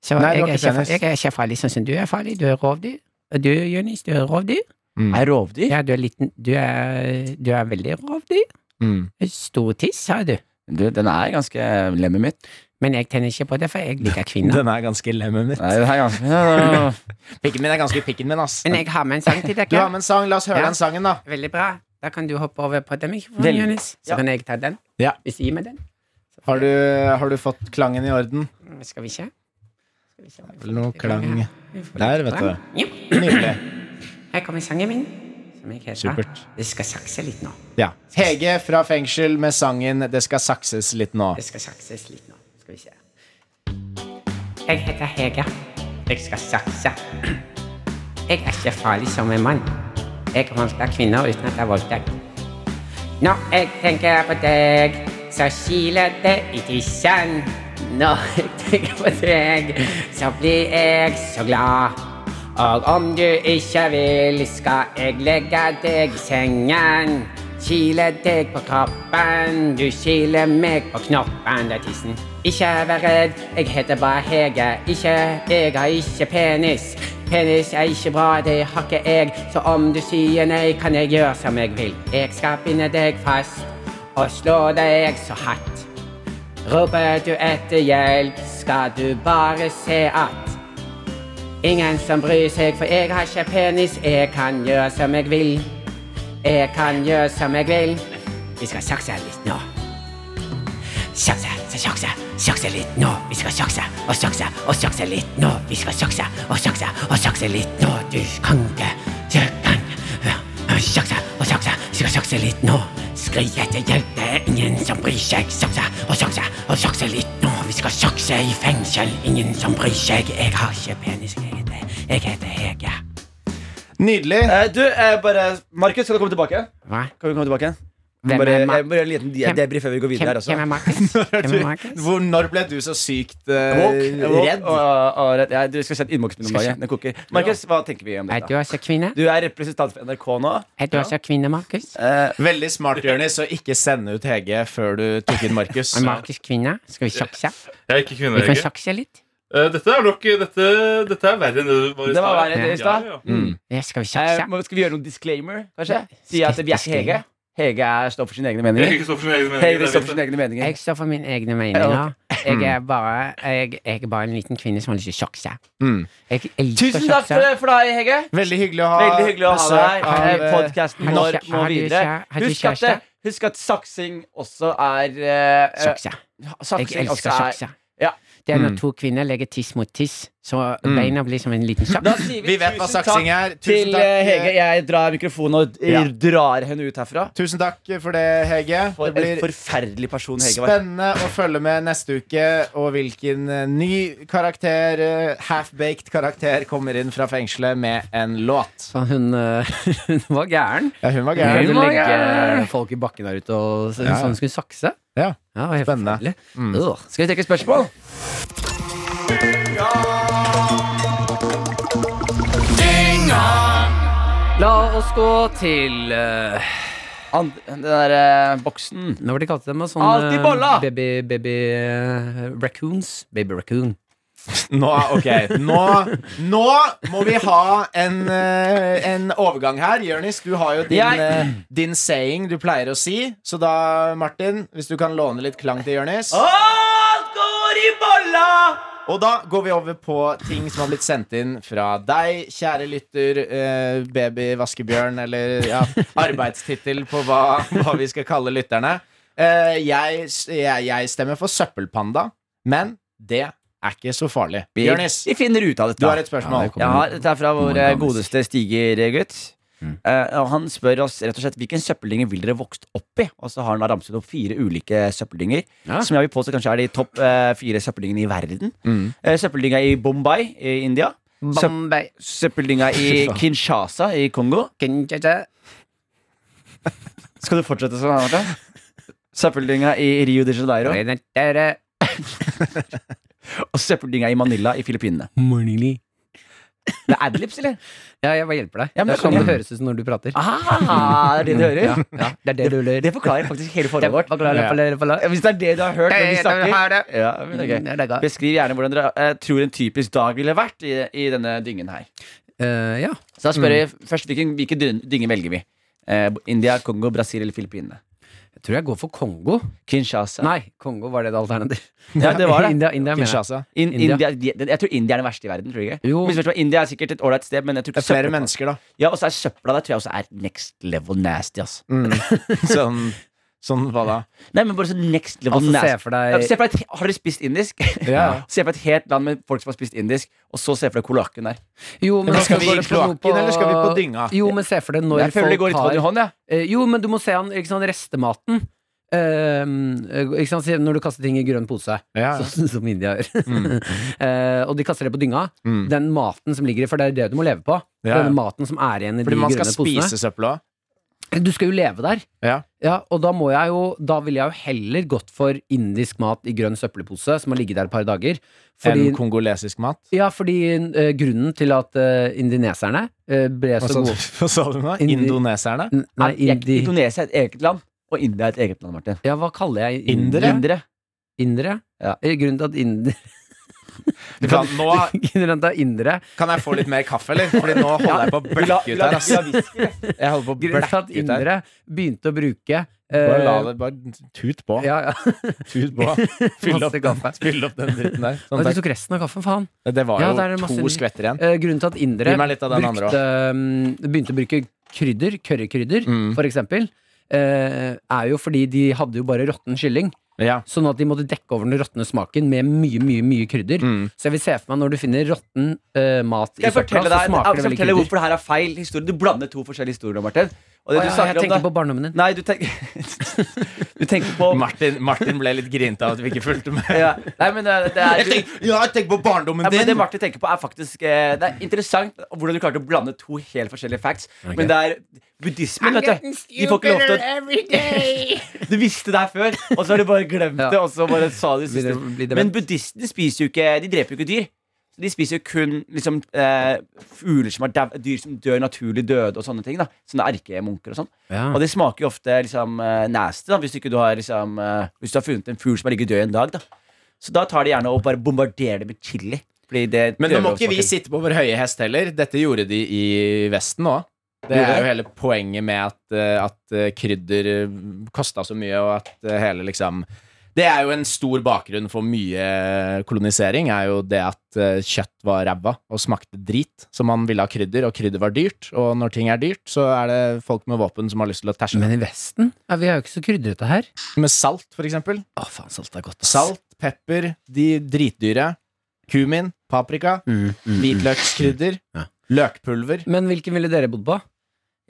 [SPEAKER 6] Så
[SPEAKER 3] Nei, du har
[SPEAKER 6] jeg,
[SPEAKER 3] ikke
[SPEAKER 6] er ikke, fa-
[SPEAKER 3] penis.
[SPEAKER 6] jeg er ikke farlig sånn som du er farlig. Du er rovdyr. Og du, Jonis, du er rovdyr.
[SPEAKER 4] Er jeg rovdyr?
[SPEAKER 6] Ja, du er liten. Du er, du er veldig rovdyr.
[SPEAKER 3] mm.
[SPEAKER 6] Stor tiss, sa du.
[SPEAKER 4] Du, den er ganske lemmet mitt.
[SPEAKER 6] Men jeg tenner ikke på det, for jeg liker
[SPEAKER 3] (laughs)
[SPEAKER 6] kvinner.
[SPEAKER 3] (laughs) Den er ganske lemmen mitt.
[SPEAKER 4] Nei, den er ganske ja,
[SPEAKER 3] Pikken min er ganske pikken min, ass.
[SPEAKER 6] Men jeg har med en sang til
[SPEAKER 3] Du har
[SPEAKER 6] dere.
[SPEAKER 3] med en sang, la oss høre
[SPEAKER 6] Ja.
[SPEAKER 3] den sangen, da.
[SPEAKER 6] Veldig bra. Da kan du hoppe over på den mikrofonen,
[SPEAKER 4] Veldig.
[SPEAKER 6] Jonis. Så
[SPEAKER 4] Ja.
[SPEAKER 6] kan jeg ta den.
[SPEAKER 3] Ja.
[SPEAKER 6] Hvis du gir meg den.
[SPEAKER 3] Har du, har du fått klangen i orden?
[SPEAKER 6] Mm, Skal vi se. Skal vi se om vi får
[SPEAKER 3] Nå
[SPEAKER 6] litt
[SPEAKER 3] klang.
[SPEAKER 6] klang her. Vi får
[SPEAKER 3] Der,
[SPEAKER 6] litt
[SPEAKER 3] vet
[SPEAKER 6] klang. Ja.
[SPEAKER 3] Nydelig.
[SPEAKER 6] Her kommer sangen min. Som jeg heter.
[SPEAKER 3] Supert.
[SPEAKER 6] Jeg skal sakse litt nå.
[SPEAKER 3] Ja. Hege fra fengsel med sangen 'Det skal sakses litt nå'.
[SPEAKER 6] Det skal sakses litt nå. Skal vi se. Jeg heter Hege. Jeg skal sakse. Jeg er ikke farlig som en mann. Jeg voldtar kvinner uten at det er voldtekt. Når jeg tenker på deg, så kiler det i tissen. Når jeg tenker på deg, så blir jeg så glad. Og om du ikke vil, skal jeg legge deg i sengen. Kile deg på kroppen, du kiler meg på knoppen. Det er tissen. Ikke vær redd, jeg heter bare Hege. Ikke, jeg har ikke penis. Penis er ikke bra, det har ikke jeg. Så om du sier nei, kan jeg gjøre som jeg vil. Jeg skal binde deg fast og slå deg så hardt. Roper du etter hjelp, skal du bare se at Ingen som bryr seg, for jeg har ikke penis. Jeg kan gjøre som jeg vil. Jeg kan gjøre som jeg vil. Vi skal sakse litt nå. Sakse, så sakse, sakse litt nå. Vi skal sakse og sakse og sakse litt nå. Vi skal sakse og sakse og sakse litt nå. Du kan det, du kan Ja, Sakse og sakse, vi skal sakse litt nå. Skrik etter hjelp, det er ingen som bryr seg. Sakse og sakse og sakse litt nå. Vi skal sakse i fengsel, ingen som bryr seg. Jeg har ikke penis, jeg heter, jeg heter Hege.
[SPEAKER 3] Nydelig.
[SPEAKER 4] (laughs) Eh, du, eh, bare Markus, skal du komme tilbake?
[SPEAKER 6] Hva?
[SPEAKER 4] Kan vi komme tilbake?
[SPEAKER 6] Hvem
[SPEAKER 4] Bare,
[SPEAKER 6] er Ma-
[SPEAKER 4] eh, bare en liten de-
[SPEAKER 6] Hvem-
[SPEAKER 4] debrief før vi går videre her også.
[SPEAKER 6] Hvem er Markus? Hvem er Markus?
[SPEAKER 3] Hvor, når ble du så sykt eh,
[SPEAKER 4] Walk, walk,
[SPEAKER 3] redd?
[SPEAKER 4] Og, og redd. Ja, du skal se innboksen min om
[SPEAKER 6] Skal
[SPEAKER 4] dagen. Den koker. Markus, hva tenker vi om
[SPEAKER 6] Er du
[SPEAKER 4] dette?
[SPEAKER 6] også kvinne?
[SPEAKER 4] Du er representant for NRK nå.
[SPEAKER 6] Er du også kvinne, Markus?
[SPEAKER 4] Eh,
[SPEAKER 3] Veldig smart, Jonis, å ikke sende ut Hege før du tok inn Markus.
[SPEAKER 6] Er Markus kvinne? Skal vi sakse?
[SPEAKER 7] Jeg er ikke kvinne,
[SPEAKER 6] Vi kan
[SPEAKER 7] Hege.
[SPEAKER 6] sakse litt.
[SPEAKER 7] Eh, Dette er nok dette, dette er verre enn det du var i
[SPEAKER 4] Det var
[SPEAKER 7] stad.
[SPEAKER 4] verre enn det i stad.
[SPEAKER 7] Ja, ja.
[SPEAKER 3] Mm.
[SPEAKER 6] Ja, skal vi
[SPEAKER 4] eh,
[SPEAKER 6] sakse?
[SPEAKER 4] må- skal vi gjøre noen disclaimer, kanskje?
[SPEAKER 6] Ja.
[SPEAKER 4] Si at vi er ikke Hege. Hege er, står for sine egne meninger.
[SPEAKER 7] Hege står for sin egen mening.
[SPEAKER 4] Hege
[SPEAKER 7] det
[SPEAKER 4] står for
[SPEAKER 7] vet jeg.
[SPEAKER 4] sine egne meninger.
[SPEAKER 6] Jeg står for mine egne
[SPEAKER 4] Ja,
[SPEAKER 6] meninger. Jeg
[SPEAKER 2] Mm.
[SPEAKER 6] er bare, jeg, jeg er bare en liten kvinne som har lyst til å sakse.
[SPEAKER 3] Mm.
[SPEAKER 6] Jeg elsker
[SPEAKER 4] Tusen takk
[SPEAKER 6] sakse.
[SPEAKER 4] for, for deg, Hege.
[SPEAKER 3] Veldig hyggelig å ha
[SPEAKER 4] Veldig hyggelig å ha deg
[SPEAKER 3] besøk av,
[SPEAKER 4] her.
[SPEAKER 3] eh,
[SPEAKER 4] Podkasten
[SPEAKER 6] har du
[SPEAKER 4] når
[SPEAKER 6] kjæ-
[SPEAKER 4] må
[SPEAKER 6] har du
[SPEAKER 4] videre.
[SPEAKER 6] kjæ- har du
[SPEAKER 4] Husk at,
[SPEAKER 6] kjæreste?
[SPEAKER 4] det- husk at saksing også er eh, eh,
[SPEAKER 6] Sakse. Jeg
[SPEAKER 4] Saksing
[SPEAKER 6] elsker
[SPEAKER 4] også er
[SPEAKER 6] sakse.
[SPEAKER 4] Ja.
[SPEAKER 6] Det
[SPEAKER 2] Mm.
[SPEAKER 6] er når to kvinner legger tiss mot tiss, så beina blir som en liten
[SPEAKER 4] Da
[SPEAKER 6] saks.
[SPEAKER 4] sier vi,
[SPEAKER 3] Vi vet hva
[SPEAKER 4] tusen
[SPEAKER 3] saksing
[SPEAKER 4] takk
[SPEAKER 3] er. Tusen
[SPEAKER 4] til
[SPEAKER 3] takk,
[SPEAKER 4] eh, Hege.
[SPEAKER 3] eh,
[SPEAKER 4] Jeg drar mikrofonen og eh,
[SPEAKER 3] Ja.
[SPEAKER 4] drar henne ut herfra.
[SPEAKER 3] tusen takk for det, Hege.
[SPEAKER 4] For
[SPEAKER 3] Det
[SPEAKER 4] en
[SPEAKER 3] blir
[SPEAKER 4] forferdelig person Hege var.
[SPEAKER 3] spennende å følge med neste uke, og hvilken eh, ny karakter, eh, half-baked karakter, kommer inn fra fengselet med en låt.
[SPEAKER 2] Så hun, eh, (laughs) hun var gæren.
[SPEAKER 3] Ja, hun var
[SPEAKER 2] Hun
[SPEAKER 3] gæren.
[SPEAKER 2] kunne
[SPEAKER 4] var
[SPEAKER 2] legge
[SPEAKER 4] gæren.
[SPEAKER 2] folk i bakken der ute og så,
[SPEAKER 3] Ja.
[SPEAKER 2] så hun skulle sakse.
[SPEAKER 3] Ja.
[SPEAKER 2] det var helt
[SPEAKER 3] Spennende.
[SPEAKER 2] forferdelig.
[SPEAKER 3] Mm.
[SPEAKER 2] Øh.
[SPEAKER 4] Skal vi trekke spørsmål?
[SPEAKER 2] La oss gå til eh,
[SPEAKER 4] And, den der eh, boksen.
[SPEAKER 2] Hva var det de kalte dem? da? Sånn,
[SPEAKER 4] Alt i
[SPEAKER 2] eh,
[SPEAKER 4] bolla!
[SPEAKER 2] Baby, baby eh, raccoons. Baby raccoon.
[SPEAKER 3] Nå, ok, nå, nå må vi ha en, eh, en overgang her. Jørnis, du har jo din,
[SPEAKER 4] Jeg-
[SPEAKER 3] eh, din saying du pleier å si. Så da, Martin, hvis du kan låne litt klang til Jørnis.
[SPEAKER 4] Alt går i bolla,
[SPEAKER 3] Og da går vi over på ting som har blitt sendt inn fra deg, kjære lytter, eh, baby vaskebjørn, eller ja, arbeidstittel på hva, hva vi skal kalle lytterne. Eh, jeg, s- jeg, jeg stemmer for søppelpanda, men det er ikke så farlig.
[SPEAKER 4] Vi,
[SPEAKER 3] Bjørnis,
[SPEAKER 4] vi finner ut av
[SPEAKER 3] du
[SPEAKER 4] dette.
[SPEAKER 3] har et spørsmål.
[SPEAKER 2] det kommer.
[SPEAKER 4] Jeg har, dette er fra vår eh,
[SPEAKER 2] Morgendagens.
[SPEAKER 4] godeste Stiger-gutt. Eh, og han spør oss rett og slett hvilken søppeldynger vil dere vokst opp i. Og så har han da ramset opp fire ulike søppeldynger.
[SPEAKER 2] Ja.
[SPEAKER 4] Som jeg vil påstå kanskje er de topp eh, fire søppeldyngene i verden.
[SPEAKER 3] Mm.
[SPEAKER 4] Eh, søppeldynga i Bombay i India. Søp- Søppeldynga i
[SPEAKER 3] Fy faen.
[SPEAKER 4] Kinshasa i Kongo. Skal du fortsette sånn? (laughs) Martha? Søppeldynga i Rio de Janeiro. Og søppeldynga i Manila i Filippinene. Det er adlibs, eller?
[SPEAKER 2] Ja, jeg bare hjelper deg.
[SPEAKER 4] Ja, men
[SPEAKER 2] det er sånn
[SPEAKER 4] skjønner.
[SPEAKER 2] det høres ut som når du prater.
[SPEAKER 4] Ah, det er det du hører?
[SPEAKER 2] Ja, ja, det er det du hører.
[SPEAKER 4] Det forklarer faktisk hele
[SPEAKER 2] Det
[SPEAKER 4] forholdet
[SPEAKER 2] var
[SPEAKER 4] vårt.
[SPEAKER 2] klar,
[SPEAKER 3] Ja.
[SPEAKER 2] klar, klar, klar.
[SPEAKER 4] Ja, Hvis det er det du har hørt når
[SPEAKER 2] Det
[SPEAKER 4] vi
[SPEAKER 2] er det vi har,
[SPEAKER 4] snakker
[SPEAKER 2] det.
[SPEAKER 4] ja, men det er gøy.
[SPEAKER 2] Mm, det er det.
[SPEAKER 4] Beskriv gjerne hvordan dere eh, tror en typisk dag ville vært i, i denne dyngen her.
[SPEAKER 2] Eh, ja.
[SPEAKER 4] Så da spør jeg først hvilken, hvilken dyn- dynge velger vi? Eh, India, Kongo, Brasil eller Filippinene?
[SPEAKER 2] Jeg tror jeg går for Kongo.
[SPEAKER 4] Kinshasa.
[SPEAKER 2] Nei, Kongo var det det alternativ.
[SPEAKER 4] Ja, det var det.
[SPEAKER 2] (laughs) India, India mener jeg.
[SPEAKER 3] Kinshasa.
[SPEAKER 4] In,
[SPEAKER 2] India.
[SPEAKER 4] India. de- den- jeg tror India er den verste i verden. tror du ikke?
[SPEAKER 2] Jo.
[SPEAKER 4] Misforstå, India er sikkert et ålreit sted, men jeg tror
[SPEAKER 3] Det
[SPEAKER 4] ikke
[SPEAKER 3] er flere
[SPEAKER 4] søppel-
[SPEAKER 3] mennesker, da.
[SPEAKER 4] Ja, Og så er søpla der tror jeg også er next level nasty. ass
[SPEAKER 3] Mm. (laughs) Sånn, sånn hva da?
[SPEAKER 4] Nei, men bare sånn next level
[SPEAKER 2] Altså, se
[SPEAKER 4] nasty
[SPEAKER 2] for
[SPEAKER 4] Ja, Se
[SPEAKER 2] deg
[SPEAKER 4] for deg, et- Har dere spist
[SPEAKER 2] (laughs)
[SPEAKER 4] indisk?
[SPEAKER 3] Ja.
[SPEAKER 4] (laughs) se for deg et helt land med folk som har spist indisk, og så se for deg kloakken der.
[SPEAKER 2] Jo, men
[SPEAKER 3] Men
[SPEAKER 2] også
[SPEAKER 3] skal vi
[SPEAKER 2] går
[SPEAKER 3] i
[SPEAKER 2] det på noe
[SPEAKER 3] kloakken, eller skal vi på dynga?
[SPEAKER 2] Jo, men se for deg når
[SPEAKER 4] Jeg føler det går
[SPEAKER 2] folk
[SPEAKER 4] litt hånd i
[SPEAKER 2] har
[SPEAKER 4] hånd, ja.
[SPEAKER 2] Eh, Jo, men du må se an ikke sant, restematen. Eh, ikke sant, se når du kaster ting i grønn pose,
[SPEAKER 3] Ja, ja.
[SPEAKER 2] sånn (laughs) som India gjør. Eh, og de kaster det på dynga.
[SPEAKER 3] Mm.
[SPEAKER 2] Den maten som ligger i, for det er det du må leve på.
[SPEAKER 3] Ja, ja.
[SPEAKER 2] Den maten som er igjen i
[SPEAKER 3] Fordi
[SPEAKER 2] de
[SPEAKER 3] man
[SPEAKER 2] grønne
[SPEAKER 3] skal
[SPEAKER 2] posene.
[SPEAKER 3] spise søppel òg.
[SPEAKER 2] Du skal jo leve der.
[SPEAKER 3] Ja.
[SPEAKER 2] Og da må jeg jo Da ville jeg jo heller gått for indisk mat i grønn søppelpose, som har ligget der et par dager.
[SPEAKER 3] Enn
[SPEAKER 2] Fordi,
[SPEAKER 3] kongolesisk mat.
[SPEAKER 2] ja, fordi eh, grunnen til at eh, indineserne eh, ble
[SPEAKER 3] Hva
[SPEAKER 2] så
[SPEAKER 3] sa,
[SPEAKER 2] gode
[SPEAKER 3] hva sa du nå?
[SPEAKER 2] Indi-
[SPEAKER 3] Indoneserne?
[SPEAKER 2] N- Nei,
[SPEAKER 4] Er-
[SPEAKER 2] indi...
[SPEAKER 4] Indonesia er et eget land, og India er et eget land, Martin.
[SPEAKER 2] Ja, hva kaller jeg
[SPEAKER 3] Indere?
[SPEAKER 4] Indere.
[SPEAKER 2] Indere?
[SPEAKER 4] Ja.
[SPEAKER 2] Eh, Grunnen til at indere
[SPEAKER 3] Kan, nå,
[SPEAKER 2] (laughs) Grunnen til at indere
[SPEAKER 3] kan jeg få litt mer kaffe, eller? Fordi nå holder jeg på å blekke ut her. ass. Jeg holder på å
[SPEAKER 2] Grunnen til
[SPEAKER 3] blekke
[SPEAKER 2] at
[SPEAKER 3] ut her.
[SPEAKER 2] indere begynte å bruke
[SPEAKER 3] Bare
[SPEAKER 2] eh,
[SPEAKER 3] la det bare tut på.
[SPEAKER 2] ja, ja.
[SPEAKER 3] Tut
[SPEAKER 2] (laughs)
[SPEAKER 3] på. Fyll opp,
[SPEAKER 2] Masse
[SPEAKER 3] den,
[SPEAKER 2] kaffe.
[SPEAKER 3] fyll opp den dritten der.
[SPEAKER 2] Oi,
[SPEAKER 3] Sånn,
[SPEAKER 2] Du
[SPEAKER 3] takk.
[SPEAKER 2] tok resten av kaffen, faen.
[SPEAKER 3] Det var
[SPEAKER 2] Ja,
[SPEAKER 3] jo
[SPEAKER 2] der er det masse-
[SPEAKER 3] to skvetter igjen.
[SPEAKER 2] Eh, grunnen til at indere
[SPEAKER 3] Gi meg litt av den andre
[SPEAKER 2] brukte, mm, begynte å bruke krydder, currykrydder,
[SPEAKER 3] Mm.
[SPEAKER 2] for eksempel, eh, er jo fordi de hadde jo bare råtten kylling.
[SPEAKER 3] Ja.
[SPEAKER 2] Sånn at de måtte dekke over den råtne smaken med mye, mye mye krydder.
[SPEAKER 3] Mm.
[SPEAKER 2] Så jeg vil se for meg når du finner råtten eh, mat i
[SPEAKER 4] Skal jeg
[SPEAKER 2] søpla, så
[SPEAKER 4] fortelle
[SPEAKER 2] smaker
[SPEAKER 4] deg jeg
[SPEAKER 2] det
[SPEAKER 4] skal
[SPEAKER 2] veldig
[SPEAKER 4] fortelle
[SPEAKER 2] krydder.
[SPEAKER 4] hvorfor det her er feil historie? Du blander to forskjellige historier nå, Martin. Og det
[SPEAKER 2] Å,
[SPEAKER 4] du
[SPEAKER 2] ja,
[SPEAKER 4] snakker
[SPEAKER 2] jeg
[SPEAKER 4] om da
[SPEAKER 2] tenker på barndommen din.
[SPEAKER 4] Nei, du tenker (laughs) Du tenker på
[SPEAKER 2] (laughs)
[SPEAKER 3] Martin, Martin ble litt grinte av at vi ikke fulgte med.
[SPEAKER 4] ja. Nei, men eh, det, det er
[SPEAKER 3] tenk, ja, tenk på barndommen
[SPEAKER 4] ja, men det Martin tenker på, er faktisk eh, Det er interessant hvordan du klarte å blande to helt forskjellige facts. Men det er buddhismen, vet du. De får ikke lov til å (laughs) Du visste det her før, og så har du bare glemt
[SPEAKER 2] Ja.
[SPEAKER 4] det. Og så bare sa
[SPEAKER 2] Blir
[SPEAKER 4] du siste.
[SPEAKER 2] det- blir det
[SPEAKER 4] Men buddhistene spiser jo ikke De dreper jo ikke dyr. Så De spiser jo kun liksom, eh, fugler som er dau- dyr som dør naturlig døde, og sånne ting. da Sånne erkemunker og sånn.
[SPEAKER 2] Ja.
[SPEAKER 4] Og det smaker jo ofte liksom, eh, nasty da, hvis, ikke du har, liksom, eh, hvis du har funnet en fugl som har ligget død i en dag. da Så da tar de gjerne og bare bombarderer det med chili. Fordi det
[SPEAKER 3] Men nå må ikke vi
[SPEAKER 4] smaker-
[SPEAKER 3] sitte på vår høye hest heller. Dette gjorde de i Vesten òg. Det
[SPEAKER 4] Gjorde
[SPEAKER 3] er
[SPEAKER 4] de?
[SPEAKER 3] jo hele poenget med at, eh, at eh, krydder kosta så mye, og at eh, hele liksom Det er jo en stor bakgrunn for mye eh, kolonisering, er jo det at eh, kjøtt var ræva og smakte drit, så man ville ha krydder, og krydder var dyrt. Og når ting er dyrt, så er det folk med våpen som har lyst til å tæsje
[SPEAKER 2] Men
[SPEAKER 3] med,
[SPEAKER 2] i Vesten ja, Vi er jo ikke så krydrete her.
[SPEAKER 3] med salt, for eksempel.
[SPEAKER 2] Å, faen, salt er godt. ass.
[SPEAKER 3] Salt, pepper, de dritdyre. Kumin, paprika,
[SPEAKER 2] Mm,
[SPEAKER 3] hvitløkskrydder, løkpulver.
[SPEAKER 2] Men hvilken ville dere bodd på?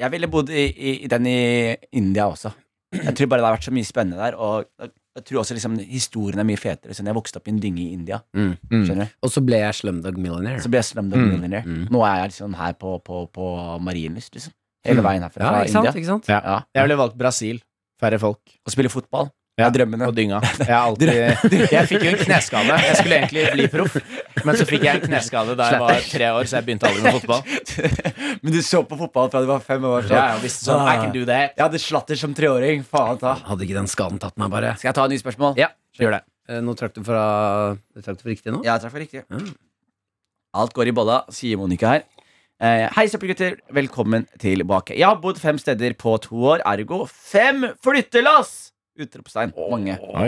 [SPEAKER 4] Jeg ville bodd i, i, i den i India også. Jeg tror bare det har vært så mye spennende der. Og jeg- jeg tror også liksom, historien er mye fetere. Sånn, jeg vokste opp i en dynge i India.
[SPEAKER 2] Mm,
[SPEAKER 4] Skjønner du?
[SPEAKER 2] Og så ble jeg Slumdog Millionaire.
[SPEAKER 4] Så ble jeg slumdog
[SPEAKER 3] Mm,
[SPEAKER 4] millionaire.
[SPEAKER 2] mm.
[SPEAKER 4] Nå er jeg liksom her på, på, på Marienlyst, liksom. Hele veien herfra.
[SPEAKER 2] Ja,
[SPEAKER 4] fra
[SPEAKER 2] ikke sant?
[SPEAKER 4] India.
[SPEAKER 2] Ikke sant?
[SPEAKER 3] Ja.
[SPEAKER 4] Ja.
[SPEAKER 3] Jeg ville valgt Brasil. Færre folk.
[SPEAKER 4] Og spille fotball.
[SPEAKER 3] Ja,
[SPEAKER 4] Det er drømmene.
[SPEAKER 3] Og (laughs) dynga. Jeg, har alltid, jeg fikk jo en kneskade. Jeg skulle egentlig bli proff, men så fikk jeg en kneskade da jeg var tre år, så jeg begynte aldri med fotball.
[SPEAKER 4] (laughs) Men du så på fotball fra du var fem år. Så.
[SPEAKER 3] Ja, jeg visste sånn, I can do that.
[SPEAKER 4] Jeg hadde slatter som treåring. Faen ta.
[SPEAKER 2] Hadde ikke den skaden tatt meg, bare.
[SPEAKER 4] Skal jeg ta et nytt spørsmål?
[SPEAKER 2] Ja.
[SPEAKER 3] Gjør det.
[SPEAKER 2] Eh, Nå trakk du fra Du trakk du for riktig nå?
[SPEAKER 4] Ja, jeg traff riktig.
[SPEAKER 2] Mm.
[SPEAKER 4] Alt går i bolla, sier Monica her. Eh, hei, søppelgutter. Velkommen tilbake. Jeg har bodd fem steder på to år, ergo fem flyttelass! Utropstegn. Mange.
[SPEAKER 3] Oi.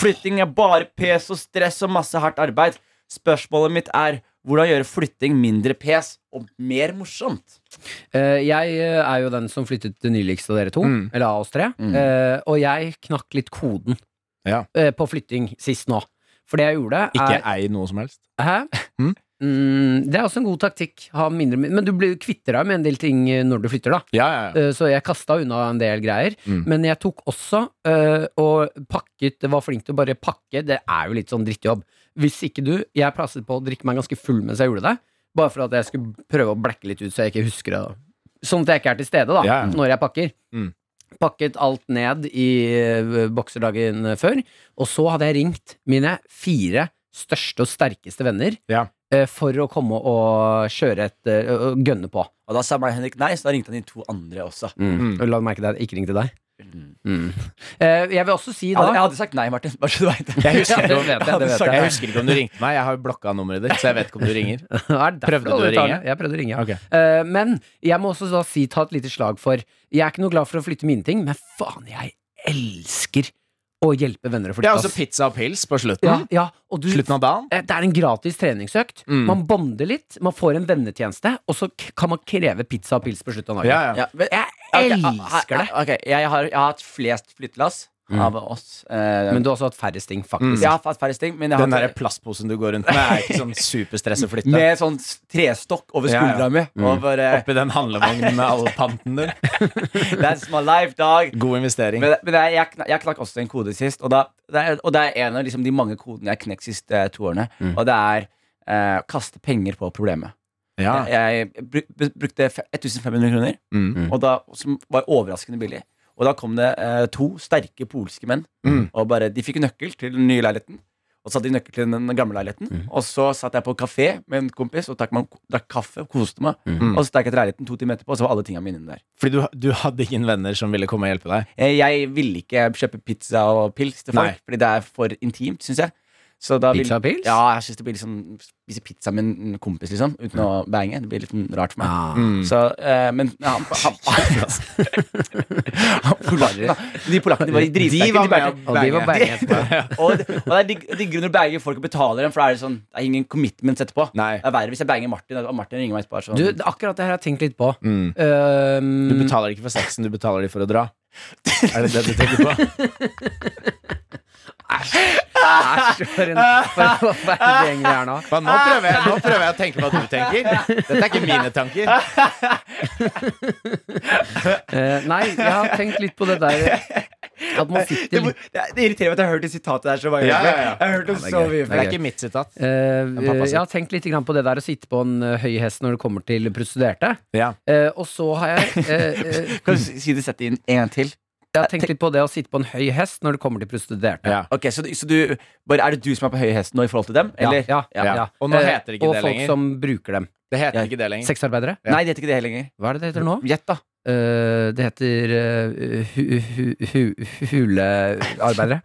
[SPEAKER 4] Flytting er bare pes og stress og masse hardt arbeid. Spørsmålet mitt er hvordan gjøre flytting mindre pes og mer morsomt?
[SPEAKER 2] Eh, jeg eh, er jo den som flyttet det nyligst av dere to,
[SPEAKER 3] Mm.
[SPEAKER 2] eller av oss tre.
[SPEAKER 4] Mm.
[SPEAKER 2] Eh, og jeg knakk litt koden
[SPEAKER 3] Ja.
[SPEAKER 2] eh, på flytting sist nå. For det jeg gjorde,
[SPEAKER 3] Ikke
[SPEAKER 2] er
[SPEAKER 3] ei noe som helst.
[SPEAKER 2] Hæ?
[SPEAKER 3] Mm.
[SPEAKER 2] Mm, det er også en god taktikk. Ha mindre, men du blir kvitter deg med en del ting eh, når du flytter, da.
[SPEAKER 3] Ja, ja, ja.
[SPEAKER 2] Eh, Så jeg kasta unna en del greier.
[SPEAKER 3] Mm.
[SPEAKER 2] Men jeg tok også eh, og pakket Var flink til å bare pakke. Det er jo litt sånn drittjobb. Hvis ikke du Jeg plasset på å drikke meg ganske full mens jeg gjorde det. Bare for at jeg skulle prøve å blekke litt ut, så jeg ikke husker det. Sånn at jeg ikke er til stede da
[SPEAKER 3] Ja, ja.
[SPEAKER 2] når jeg pakker.
[SPEAKER 3] Mm.
[SPEAKER 2] Pakket alt ned i eh, bokser dagen før. Og så hadde jeg ringt mine fire største og sterkeste venner
[SPEAKER 3] Ja.
[SPEAKER 2] eh, for å komme og kjøre et eh, og gønne på.
[SPEAKER 4] Og da sa meg Henrik nei, så da ringte han de to andre også.
[SPEAKER 2] Mm. La meg merke til at jeg ikke ringte deg. Mm. Eh, jeg vil også si
[SPEAKER 4] Jeg
[SPEAKER 2] da
[SPEAKER 4] hadde, jeg hadde sagt nei, Martin. Bare så du vet det.
[SPEAKER 3] Jeg husker,
[SPEAKER 2] Ja, det
[SPEAKER 3] ikke om-
[SPEAKER 2] vet jeg, det vet
[SPEAKER 3] jeg.
[SPEAKER 2] jeg.
[SPEAKER 3] husker ikke om du ringte meg. Jeg har jo blokka nummeret ditt, så jeg vet ikke om du ringer.
[SPEAKER 2] Er det derfor
[SPEAKER 3] Prøvde du å
[SPEAKER 2] alle tar
[SPEAKER 3] ringe?
[SPEAKER 2] det? Jeg prøvde å ringe, ja.
[SPEAKER 3] Ok.
[SPEAKER 2] Eh, men jeg må også da si, ta et lite slag for Jeg er ikke noe glad for å flytte mine ting, men faen, jeg elsker å hjelpe venner å
[SPEAKER 3] Ja, altså, og så
[SPEAKER 2] flytte. ass.
[SPEAKER 3] pizza og pils på slutten.
[SPEAKER 2] ja, ja, og du,
[SPEAKER 3] Slutten av dagen.
[SPEAKER 2] eh, det er en gratis treningsøkt.
[SPEAKER 3] Mm.
[SPEAKER 2] Man bonder litt, man får en vennetjeneste, og så k- kan man kreve pizza og pils på slutten av dagen.
[SPEAKER 3] Ja, ja. ah,
[SPEAKER 4] (laughs) Ja, men, ah,
[SPEAKER 2] Jeg elsker det. Mm.
[SPEAKER 4] Ok, jeg, har, jeg har hatt flest flyttelass av oss. Eh,
[SPEAKER 2] Men du har også hatt færrest ting,
[SPEAKER 3] Mm.
[SPEAKER 2] faktisk.
[SPEAKER 4] jeg har hatt færre ting, men jeg har
[SPEAKER 3] Den derre
[SPEAKER 4] hatt
[SPEAKER 3] plastposen du går rundt med, er ikke sånn superstress å
[SPEAKER 2] (laughs)
[SPEAKER 3] flytte.
[SPEAKER 4] med sånn s- trestokk over
[SPEAKER 3] Ja, ja.
[SPEAKER 4] skuldra mi.
[SPEAKER 2] Mm.
[SPEAKER 4] eh, Og bare
[SPEAKER 3] Oppi den handlevognen med all panten din.
[SPEAKER 4] (laughs) That's my life, dog.
[SPEAKER 3] God investering.
[SPEAKER 4] Men, men jeg, jeg, kn- jeg knakk også en kode sist, og, da, det er, og det er en av liksom, de mange kodene jeg knekk sist eh, to årene.
[SPEAKER 3] Mm.
[SPEAKER 4] Og det er eh, kaste penger på problemet.
[SPEAKER 3] Ja.
[SPEAKER 4] Jeg, jeg bru- bru- brukte fe- 1500 kroner,
[SPEAKER 3] Mm.
[SPEAKER 4] og da, som var overraskende billig. Og da kom det eh, to sterke polske menn,
[SPEAKER 3] Mm.
[SPEAKER 4] og bare, de fikk nøkkel til den nye leiligheten. Og så hadde de nøkkel til den gamle leiligheten.
[SPEAKER 3] Mm.
[SPEAKER 4] Og så satt jeg på kafé med en kompis og drakk meg- drakk kaffe og koste meg.
[SPEAKER 3] Mm.
[SPEAKER 4] Og så stakk jeg til leiligheten to timer etterpå, og så var alle tingene mine inne der.
[SPEAKER 3] Fordi du, du hadde ingen venner som ville komme og hjelpe deg.
[SPEAKER 4] Eh, Jeg ville ikke kjøpe pizza og pils til folk,
[SPEAKER 3] Nei.
[SPEAKER 4] fordi det er for intimt, syns jeg. Så da vil-
[SPEAKER 2] Pizza og pils?
[SPEAKER 4] Ja, jeg synes det blir litt sånn Spise pizza med en kompis, liksom, uten å bange. Det blir litt sånn rart for meg.
[SPEAKER 2] Ah.
[SPEAKER 3] Mm.
[SPEAKER 4] Så, eh, men ja, han, han, han, Polakker, da. De polakkene de var dritsterke.
[SPEAKER 3] var med
[SPEAKER 4] bærte-
[SPEAKER 3] å
[SPEAKER 2] Og de var
[SPEAKER 3] bange.
[SPEAKER 2] bange etterpå.
[SPEAKER 4] og, og det er digg digg når du banger folk og betaler dem, for da er det sånn Det er ingen commitments etterpå.
[SPEAKER 3] Nei.
[SPEAKER 4] Det er verre hvis jeg banger Martin, og Martin ringer meg etterpå. og er
[SPEAKER 2] Du,
[SPEAKER 4] Sånn,
[SPEAKER 2] akkurat det her har jeg tenkt litt på.
[SPEAKER 3] Mm.
[SPEAKER 2] Øhm,
[SPEAKER 3] Du betaler ikke for sexen, du betaler de for å dra. Er det det du tenker på?
[SPEAKER 2] (laughs) Æsj, for en for en forferdelig gjeng vi er
[SPEAKER 3] (laughs)
[SPEAKER 2] nå.
[SPEAKER 3] Hva, nå, prøver jeg, nå prøver jeg å tenke hva du tenker. Dette er ikke mine (laughs) tanker.
[SPEAKER 2] Eh, nei, jeg har tenkt litt på det der at man sitter
[SPEAKER 4] det,
[SPEAKER 2] litt
[SPEAKER 4] det- det irriterer meg at jeg har hørt det sitatet der så mange
[SPEAKER 3] Ja, ja,
[SPEAKER 4] ganger.
[SPEAKER 3] ja.
[SPEAKER 4] Jeg har hørt det så mye
[SPEAKER 3] Det er ikke mitt sitat.
[SPEAKER 2] Eh,
[SPEAKER 3] pappa
[SPEAKER 2] jeg har tenkt litt grann på det der å sitte på en eh, høy hest når det kommer til prostituerte.
[SPEAKER 3] Ja.
[SPEAKER 2] Eh, og så
[SPEAKER 3] (laughs)
[SPEAKER 2] har jeg, eh, eh,
[SPEAKER 4] Kan du si si det settet inn en til?
[SPEAKER 2] jeg har tenkt litt på det å sitte på en høy hest når det kommer til prostituerte.
[SPEAKER 3] Ja.
[SPEAKER 4] Ok, så, du- så du, bare, Er det du som er på høye hesten nå i forhold til dem? Eller?
[SPEAKER 2] Ja, ja,
[SPEAKER 3] Ja.
[SPEAKER 2] ja.
[SPEAKER 3] Og nå
[SPEAKER 2] Eh,
[SPEAKER 3] heter det ikke
[SPEAKER 2] og
[SPEAKER 3] det
[SPEAKER 2] folk
[SPEAKER 3] lenger.
[SPEAKER 2] som bruker dem.
[SPEAKER 3] Det heter ikke det lenger.
[SPEAKER 2] Sexarbeidere.
[SPEAKER 3] Ja.
[SPEAKER 4] Nei, det heter ikke det lenger.
[SPEAKER 2] Hva er det det heter nå?
[SPEAKER 4] Gjett, da.
[SPEAKER 2] Eh, det heter eh, hu, hu, hu,
[SPEAKER 4] (laughs)
[SPEAKER 2] hulearbeidere.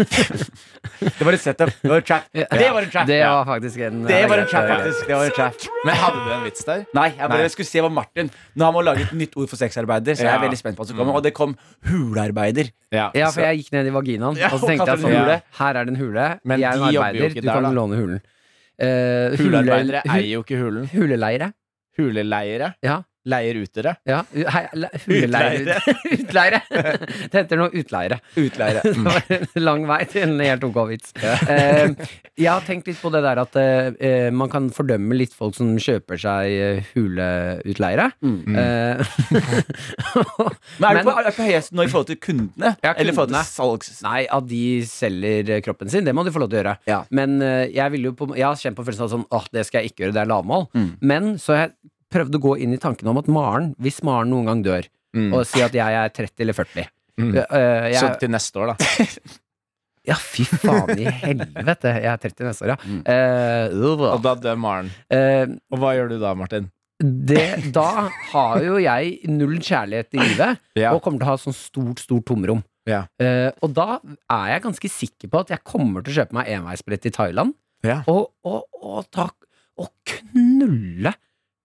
[SPEAKER 4] Det var et setup. Det var en trap.
[SPEAKER 2] Ja.
[SPEAKER 4] Det var en trap.
[SPEAKER 2] Det var faktisk en
[SPEAKER 4] Det var en trap,
[SPEAKER 2] eh,
[SPEAKER 4] faktisk. Det var en trap.
[SPEAKER 3] Men hadde du en vits der?
[SPEAKER 4] Nei, jeg bare
[SPEAKER 3] Nei.
[SPEAKER 4] skulle se hva Martin Nå har man laget et nytt ord for sexarbeider, så jeg er
[SPEAKER 3] Ja.
[SPEAKER 4] veldig spent på hva som kommer. Og det kom hulearbeider.
[SPEAKER 2] Ja,
[SPEAKER 3] så-
[SPEAKER 2] for jeg gikk ned i vaginaen,
[SPEAKER 4] Ja,
[SPEAKER 2] og så
[SPEAKER 4] og
[SPEAKER 2] tenkte jeg
[SPEAKER 4] kalte
[SPEAKER 2] sånn
[SPEAKER 4] det en
[SPEAKER 2] hule.
[SPEAKER 4] hule.
[SPEAKER 2] Her er det en hule.
[SPEAKER 3] Men
[SPEAKER 2] jeg er en
[SPEAKER 3] de jobber jo
[SPEAKER 2] arbeider.
[SPEAKER 3] ikke
[SPEAKER 2] Du
[SPEAKER 3] der,
[SPEAKER 2] kan
[SPEAKER 3] da.
[SPEAKER 2] låne hulen. Eh, hule-
[SPEAKER 3] Hulearbeidere
[SPEAKER 2] hu-
[SPEAKER 3] eier jo ikke hulen.
[SPEAKER 2] Huleleire.
[SPEAKER 3] Huleleiere.
[SPEAKER 2] Ja.
[SPEAKER 3] Leierutere.
[SPEAKER 2] ja. hu- hei, le- Huleleire. (laughs) Utleire. Det heter noe utleire.
[SPEAKER 4] Utleire.
[SPEAKER 2] (laughs) Det var en lang vei til en helt ok vits. Eh, jeg har tenkt litt på det der at eh, eh, man kan fordømme litt folk som kjøper seg eh, huleutleire.
[SPEAKER 3] Mm.
[SPEAKER 2] Eh, (laughs)
[SPEAKER 4] Men er du
[SPEAKER 2] Men-
[SPEAKER 4] på, er du på høye hesten nå i forhold til kundene?
[SPEAKER 2] Ja,
[SPEAKER 4] Eller i forhold til
[SPEAKER 2] kundene.
[SPEAKER 4] salgs...
[SPEAKER 2] Nei, at de selger eh, kroppen sin, det må de få lov til å gjøre.
[SPEAKER 4] Ja.
[SPEAKER 2] Men eh, jeg, vil jo på, jeg har kjent på følelsen av sånn åh, det skal jeg ikke gjøre, det er lavmål.
[SPEAKER 3] Mm.
[SPEAKER 2] Men så har jeg prøvd å gå inn i tanken om at Maren, hvis Maren noen gang dør, og si at jeg er 30 eller 40
[SPEAKER 3] Mm.
[SPEAKER 2] Eh, eh, jeg,
[SPEAKER 3] Så til neste år, da.
[SPEAKER 2] Ja, fy faen i helvete! Jeg er 30 neste år, ja.
[SPEAKER 3] Mm.
[SPEAKER 2] Eh, øh,
[SPEAKER 3] Og da dør Maren.
[SPEAKER 2] eh,
[SPEAKER 3] Og hva gjør du da, Martin?
[SPEAKER 2] det, da har jo jeg null kjærlighet i livet,
[SPEAKER 3] Ja.
[SPEAKER 2] og kommer til å ha sånn stort, stort tomrom.
[SPEAKER 3] Ja.
[SPEAKER 2] Eh, og da er jeg ganske sikker på at jeg kommer til å kjøpe meg enveisbrett i Thailand,
[SPEAKER 3] Ja.
[SPEAKER 2] og, og, og, ta, og knulle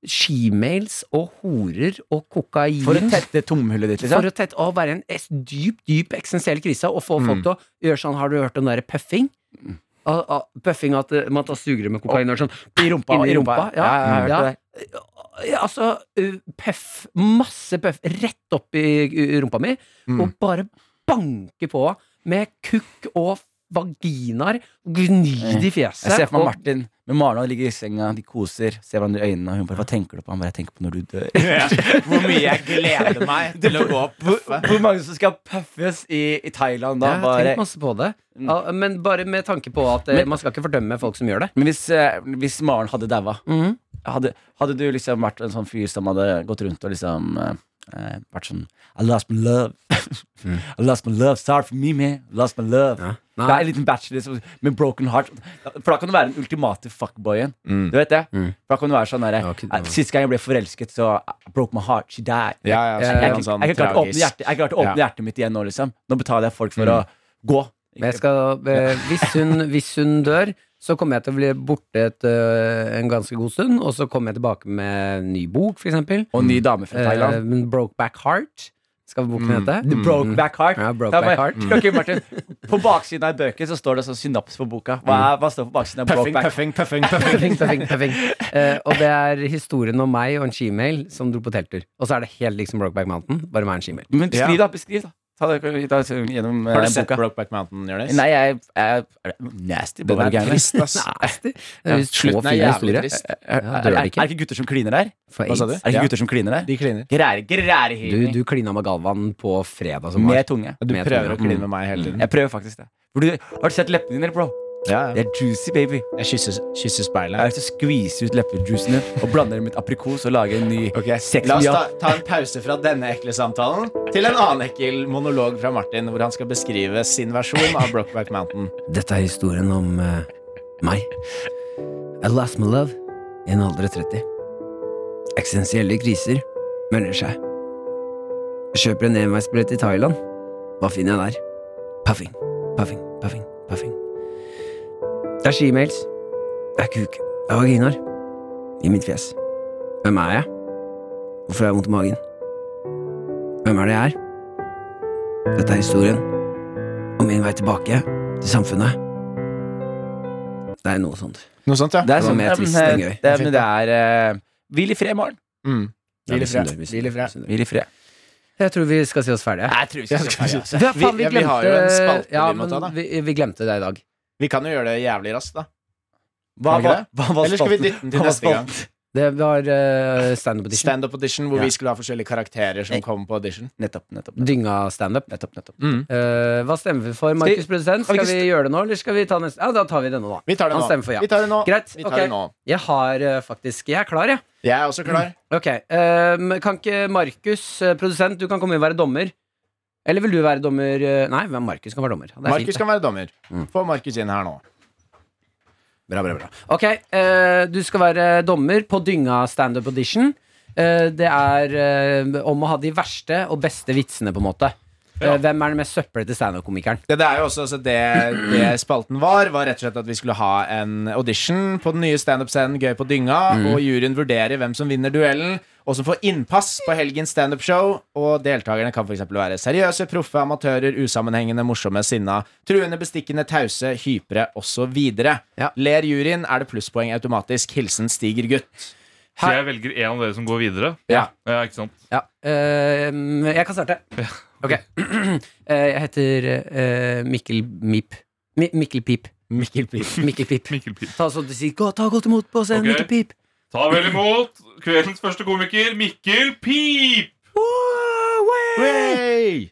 [SPEAKER 2] shemales og horer og kokain
[SPEAKER 4] For å tette tomhullet ditt, liksom?
[SPEAKER 2] For å tette- å være i en es- dyp, dyp eksistensiell krise og få folk
[SPEAKER 3] Mm.
[SPEAKER 2] til å gjøre sånn Har du hørt om den derre puffing? ah, ah, Puffing at eh, man tar sugerør med kokain og sånn
[SPEAKER 3] I rumpa.
[SPEAKER 2] Inni rumpa, ja.
[SPEAKER 3] jeg har hørt
[SPEAKER 2] Ja.
[SPEAKER 3] det.
[SPEAKER 2] Ja, Altså, eh, puff, masse puff rett opp i eh, rumpa mi, og bare banke på med kukk og vaginaer, gnid i fjeset.
[SPEAKER 4] Jeg ser for meg
[SPEAKER 2] og-
[SPEAKER 4] Martin med Maren og ligger i senga, de koser, ser hverandre i øynene, og hun bare Hva tenker du på? Han bare Jeg tenker på når du dør.
[SPEAKER 3] Hvor mye jeg gleder meg (laughs) til å gå opp.
[SPEAKER 4] Hvor mange som skal puffes i, i Thailand da?
[SPEAKER 2] jeg har
[SPEAKER 4] Bare
[SPEAKER 2] tenkt masse på det. Ja, men bare med tanke på at eh, man skal ikke fordømme folk som gjør det.
[SPEAKER 4] Men hvis, eh, hvis Maren hadde daua, hadde, hadde du liksom vært en sånn fyr som hadde gått rundt og liksom eh, eh, vært sånn I lost my love. (laughs) I lost my love. Sorry for me, man. I lost my love. Det er en liten bachelor som- med broken heart. For da kan du være den ultimate fuckboyen.
[SPEAKER 3] Mm.
[SPEAKER 4] Du vet det? For da kan du være sånn derre Sist gang jeg ble forelsket, så I broke my heart. She died.
[SPEAKER 3] Ja, ja, så
[SPEAKER 4] Jeg,
[SPEAKER 3] blir
[SPEAKER 4] jeg,
[SPEAKER 3] han sånn
[SPEAKER 4] jeg, klarte å åpne
[SPEAKER 3] tragisk.
[SPEAKER 4] hjertet, jeg klarte å åpne
[SPEAKER 3] Ja.
[SPEAKER 4] hjertet mitt igjen nå, liksom. Nå betaler jeg folk for å gå.
[SPEAKER 2] Men jeg skal, eh, hvis, hun, hvis hun dør, så kommer jeg til å bli borte et, eh, en ganske god stund, og så kommer jeg tilbake med en ny bok, for eksempel.
[SPEAKER 4] Og ny dame fra Thailand.
[SPEAKER 2] Eh, men Brokeback Heart skal boken hete. (laughs)
[SPEAKER 4] The Brokeback Heart.
[SPEAKER 2] Mm-hmm. Ja, Brokeback
[SPEAKER 4] Da må
[SPEAKER 2] Heart.
[SPEAKER 4] jeg- Ok, Martin. På baksiden av bøken så står det sånn synaps på boka. Hva, er, hva står på baksiden av
[SPEAKER 3] Puffing,
[SPEAKER 4] Brokeback?
[SPEAKER 3] puffing, puffing, puffing. (laughs)
[SPEAKER 2] Puffing, puffing, puffing. Eh, og det er historien om meg og en shemale som dro på telttur. Og så er det helt liksom Brokeback Mountain, bare meg og en shemale.
[SPEAKER 4] Men beskriv, da. beskriv da Ta det ta det gjennom eh,
[SPEAKER 3] Har du sett
[SPEAKER 4] boka.
[SPEAKER 3] Brokeback Mountain, Jonis?
[SPEAKER 4] Nei, jeg, jeg er det nasty.
[SPEAKER 3] Den
[SPEAKER 4] bare
[SPEAKER 3] er
[SPEAKER 4] gærne.
[SPEAKER 3] trist, ass.
[SPEAKER 2] Nasty. Det er jo så
[SPEAKER 3] Slutten er
[SPEAKER 2] fin
[SPEAKER 3] jævlig
[SPEAKER 2] historie.
[SPEAKER 3] trist.
[SPEAKER 4] Er,
[SPEAKER 2] Ja,
[SPEAKER 4] er,
[SPEAKER 2] dør
[SPEAKER 4] er,
[SPEAKER 2] det ikke?
[SPEAKER 4] ikke gutter som kliner her?
[SPEAKER 2] For
[SPEAKER 3] Hva sa du?
[SPEAKER 2] aids.
[SPEAKER 4] Er det
[SPEAKER 3] Ja.
[SPEAKER 4] ikke gutter som kliner her?
[SPEAKER 3] De kliner.
[SPEAKER 4] Grære, grære
[SPEAKER 2] Du,
[SPEAKER 4] hiring.
[SPEAKER 2] du klina med Galvan på fredag som var.
[SPEAKER 4] Med tunge.
[SPEAKER 3] Du
[SPEAKER 2] Med
[SPEAKER 3] prøver å
[SPEAKER 2] tunga.
[SPEAKER 3] kline med meg hele tiden.
[SPEAKER 4] Mm. Jeg prøver faktisk det. Hvor du, har du sett leppene dine, eller, bro?
[SPEAKER 3] Ja,
[SPEAKER 4] Det
[SPEAKER 3] ja.
[SPEAKER 4] er juicy, baby.
[SPEAKER 3] Jeg kysser, kysser
[SPEAKER 4] Jeg
[SPEAKER 3] speilet.
[SPEAKER 4] har lyst til å skvise ut leppejuicen din og blande den med et aprikos og lage en ny
[SPEAKER 3] Ok,
[SPEAKER 4] sexy
[SPEAKER 3] La oss ta,
[SPEAKER 4] up.
[SPEAKER 3] ta en pause fra denne ekle samtalen til en annen ekkel monolog fra Martin, hvor han skal beskrive sin versjon av Brokeback Mountain.
[SPEAKER 2] Dette er historien om eh, meg. I lost my love i en alder av 30. Eksistensielle kriser melder seg. Jeg kjøper en enveisbillett i Thailand. Hva finner jeg der? Puffing, puffing, puffing, puffing. Det er skimails. Det er kuk. Det er vaginaer. I mitt fjes. Hvem er jeg? Hvorfor har jeg vondt i magen? Hvem er det jeg er? Dette er historien om min vei tilbake til samfunnet. Det er noe sånt.
[SPEAKER 3] Noe sånt, ja.
[SPEAKER 4] Det er
[SPEAKER 2] Det var
[SPEAKER 4] sånn,
[SPEAKER 2] mer
[SPEAKER 4] ja, men,
[SPEAKER 2] trist enn
[SPEAKER 4] eh,
[SPEAKER 2] gøy.
[SPEAKER 4] Det, men det er eh, Hvil i fred, Maren.
[SPEAKER 3] Mm. Hvil i fred. Hvil i fred.
[SPEAKER 4] Hvil i fred.
[SPEAKER 2] Jeg tror vi skal si oss ferdige.
[SPEAKER 4] Jeg tror
[SPEAKER 3] Jeg skal ikke si-
[SPEAKER 2] Hva faen,
[SPEAKER 3] Vi-
[SPEAKER 2] vi,
[SPEAKER 3] ja, vi
[SPEAKER 2] glemte,
[SPEAKER 3] har jo en spalte
[SPEAKER 2] ja,
[SPEAKER 3] vi må
[SPEAKER 2] men
[SPEAKER 3] ta, da.
[SPEAKER 2] Vi, vi glemte det i dag.
[SPEAKER 3] Vi kan jo gjøre det jævlig raskt, da.
[SPEAKER 4] Hva,
[SPEAKER 3] Kan vi
[SPEAKER 4] hva,
[SPEAKER 3] ikke det?
[SPEAKER 4] hva var
[SPEAKER 3] Eller skal vi
[SPEAKER 4] spalten?
[SPEAKER 3] dytte den til
[SPEAKER 4] Hva var
[SPEAKER 3] neste gang?
[SPEAKER 4] spalten?
[SPEAKER 2] Det var uh, standup audition.
[SPEAKER 3] Stand-up audition, hvor
[SPEAKER 4] Ja.
[SPEAKER 3] vi skulle ha forskjellige karakterer som
[SPEAKER 4] Nei.
[SPEAKER 3] kom på audition.
[SPEAKER 4] Nettopp, nettopp. nettopp,
[SPEAKER 2] Dynga standup.
[SPEAKER 4] nettopp, nettopp.
[SPEAKER 2] Uh, hva stemmer vi for, Markus Produsent?
[SPEAKER 4] kan vi
[SPEAKER 2] Skal
[SPEAKER 4] ikke
[SPEAKER 2] vi gjøre det nå, eller skal vi ta neste? Ja, da tar vi denne nå.
[SPEAKER 3] Vi tar det
[SPEAKER 2] Han
[SPEAKER 3] nå.
[SPEAKER 2] stemmer for ja.
[SPEAKER 3] Vi tar det nå.
[SPEAKER 2] Greit.
[SPEAKER 3] Vi tar
[SPEAKER 2] ok.
[SPEAKER 3] det nå.
[SPEAKER 2] Jeg har eh, faktisk Jeg er klar, jeg.
[SPEAKER 3] Jeg er også klar.
[SPEAKER 2] Ok. eh, kan ikke Markus, eh, produsent, du kan komme inn og være dommer? Eller vil du være dommer? eh, Nei, men Markus kan være dommer. Det er fint, det.
[SPEAKER 3] Markus kan være dommer. Få Markus inn her nå. Bra, bra, bra.
[SPEAKER 2] Ok, eh, du skal være dommer på Dynga Standup Audition. Eh, det er eh, om å ha de verste og beste vitsene, på en måte. Eh, hvem er den mest søppelete standup-komikeren?
[SPEAKER 3] Det, det er jo også altså det, det spalten var, var rett og slett at vi skulle ha en audition på den nye standup-scenen Gøy på dynga, og juryen vurderer hvem som vinner duellen, og som får innpass på helgens standup-show. Og deltakerne kan f.eks. være seriøse, proffe, amatører, usammenhengende, morsomme, sinna, truende, bestikkende, tause, hypre osv.
[SPEAKER 2] Ja.
[SPEAKER 3] Ler juryen, er det plusspoeng automatisk. Hilsen Stiger (laughs) gutt.
[SPEAKER 7] Så jeg velger en av dere som går videre.
[SPEAKER 3] Ja.
[SPEAKER 7] Ja, ikke sant?
[SPEAKER 2] Ja. eh, jeg kan starte. Ok. (clears throat) Eh, jeg heter eh, Mikkel Mip. Mi Mikkel Pip.
[SPEAKER 3] Mikkel Pip.
[SPEAKER 2] Mikkel Pip.
[SPEAKER 7] Mikkel Pip.
[SPEAKER 2] Ta sånn til si, gå, ta godt imot på scenen,
[SPEAKER 7] Ok.
[SPEAKER 2] Mikkel Pip.
[SPEAKER 7] Ta vel imot kveldens første komiker, Mikkel Pip!
[SPEAKER 3] Hey!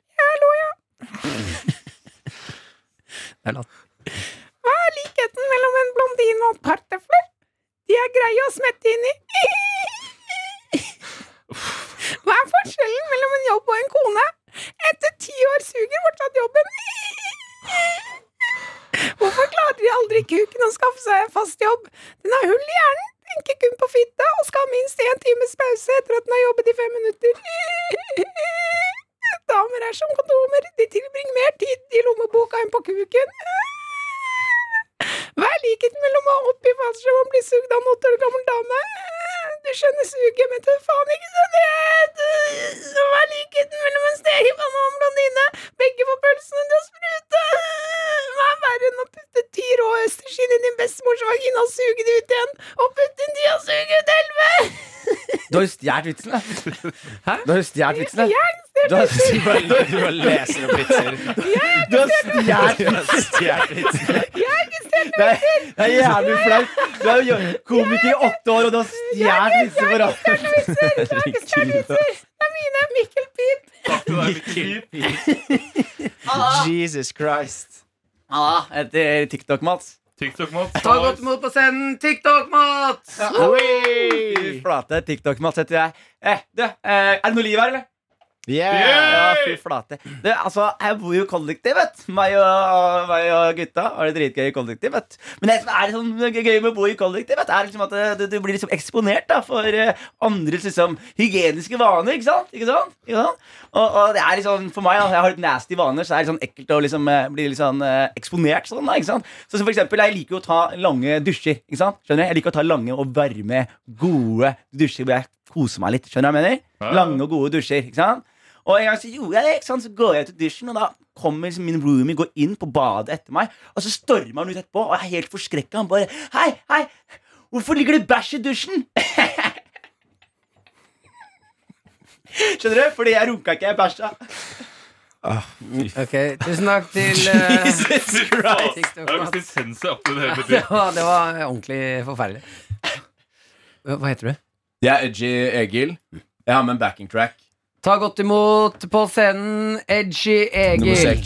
[SPEAKER 2] Hva er likheten mellom en blondine og et par tøfler? De er greie å smette inn i. Hva er forskjellen mellom en jobb og en kone? Etter ti år suger fortsatt jobben. Hvorfor klarer de aldri kuken å skaffe seg en fast jobb? Den har hull i hjernen, tenker kun på fitte og skal ha minst én times pause etter at den har jobbet i fem minutter. Damer er som kondomer, de tilbringer mer tid i lommeboka enn på kuken. Hva er likheten mellom å ha oppi fallskjerm og bli sugd av en åtte år gammel dame? Du skjønner suget, men du er faen ikke så redd! Hva er likheten mellom en stekepanne og en blondine? Begge får pølsene til å sprute! Hva er verre enn å putte ti rå østers
[SPEAKER 8] bestemors vagina og suge den ut igjen. Og putte den i og suge ut elve!
[SPEAKER 4] Du har jo stjålet (laughs) vitsene. Hæ? Du har jo stjålet vitsene. Du har
[SPEAKER 3] Du må lese noen (laughs) vitser.
[SPEAKER 4] Du har stjålet (laughs) Det er det er jævlig flaut. Du er jo komiker i åtte år, og du har stjålet vitser for alle.
[SPEAKER 8] Mine er Mikkel Pip.
[SPEAKER 7] Det er Mikkel Pip.
[SPEAKER 3] Jesus Christ.
[SPEAKER 4] Halla, jeg heter TikTok-Mats.
[SPEAKER 7] TikTok-mat.
[SPEAKER 2] Ta godt imot på scenen, TikTok-mat!
[SPEAKER 4] Fy flate, TikTok-Mats heter jeg. Eh, du, eh, er det noe liv her, eller? Ja,
[SPEAKER 7] Yeah!
[SPEAKER 4] fy flate. Du, altså, jeg bor jo i kollektiv, vet du. Meg og, meg og gutta har det dritgøy i kollektiv, vet du. Men det som er sånn gøy med å bo i kollektiv, vet du, er liksom at eh, du, du blir liksom eksponert da, for eh, andres liksom, hygieniske vaner, ikke sant? Ikke sant? Ikke sant? Og, og det er liksom, for meg, da, jeg har litt nasty vaner, så er det sånn ekkelt å liksom, eh, bli litt sånn eh, eksponert sånn, da, ikke sant? Så, så for eksempel, jeg liker jo å ta lange dusjer, ikke sant? Skjønner du? Jeg liker å ta lange og varme, gode dusjer hvor jeg koser meg litt, skjønner du hva jeg mener?
[SPEAKER 7] Ja.
[SPEAKER 4] Lange og gode dusjer, ikke sant? Og en gang så gjorde jeg det, ikke sant? så går jeg ut i dusjen, og da kommer liksom min roomie går inn på badet etter meg, og så stormer han ut etterpå, og jeg er helt forskrekka. Han bare Hei, hei, hvorfor ligger det bæsj i dusjen? (laughs) Skjønner du? Fordi jeg runka ikke, jeg bæsja.
[SPEAKER 2] (laughs) Ok, tusen takk (laughs) til eh,
[SPEAKER 7] Det er
[SPEAKER 2] TikTok-mat.
[SPEAKER 7] ganske sensi opp til det hele
[SPEAKER 2] (laughs) Det
[SPEAKER 7] tiden.
[SPEAKER 2] var, det var ordentlig forferdelig. Hva hva heter du?
[SPEAKER 3] Jeg er Edgy Egil. Jeg har med en backing track.
[SPEAKER 2] Ta godt imot på scenen, Edgy Egil.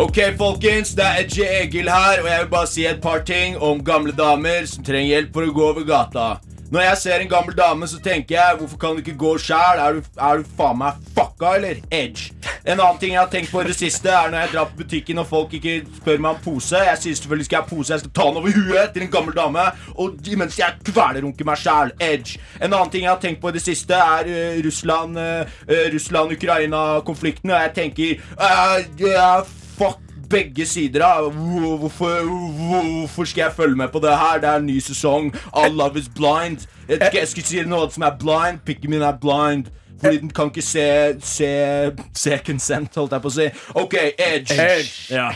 [SPEAKER 3] Ok, folkens, det er Edgy Egil her, og jeg vil bare si et par ting om gamle damer som trenger hjelp for å gå over gata. Når jeg ser en gammel dame, så tenker jeg hvorfor kan du ikke gå sjæl? Er, du- er du faen meg fucka, eller? Edge. En annen ting jeg har tenkt på i det siste, er når jeg drar på butikken og folk ikke spør meg om pose. Jeg sier selvfølgelig skal jeg ha pose, jeg skal ta den over huet til en gammel dame, og mens jeg kvelerunker meg sjæl. Edge. En annen ting jeg har tenkt på i det siste, er eh, Russland, eh, eh, Russland-Ukraina-konflikten, og jeg tenker eh, ja, Fuck begge sider av hvor- hvorfor, hvor- hvorfor skal jeg følge med på det her? Det er en ny sesong. All love is blind. Jeg, skal- jeg skal si noe som er blind. Pikken min er blind. Fordi den kan ikke se Se, se consent, holdt jeg på å si. OK, edge. Ja.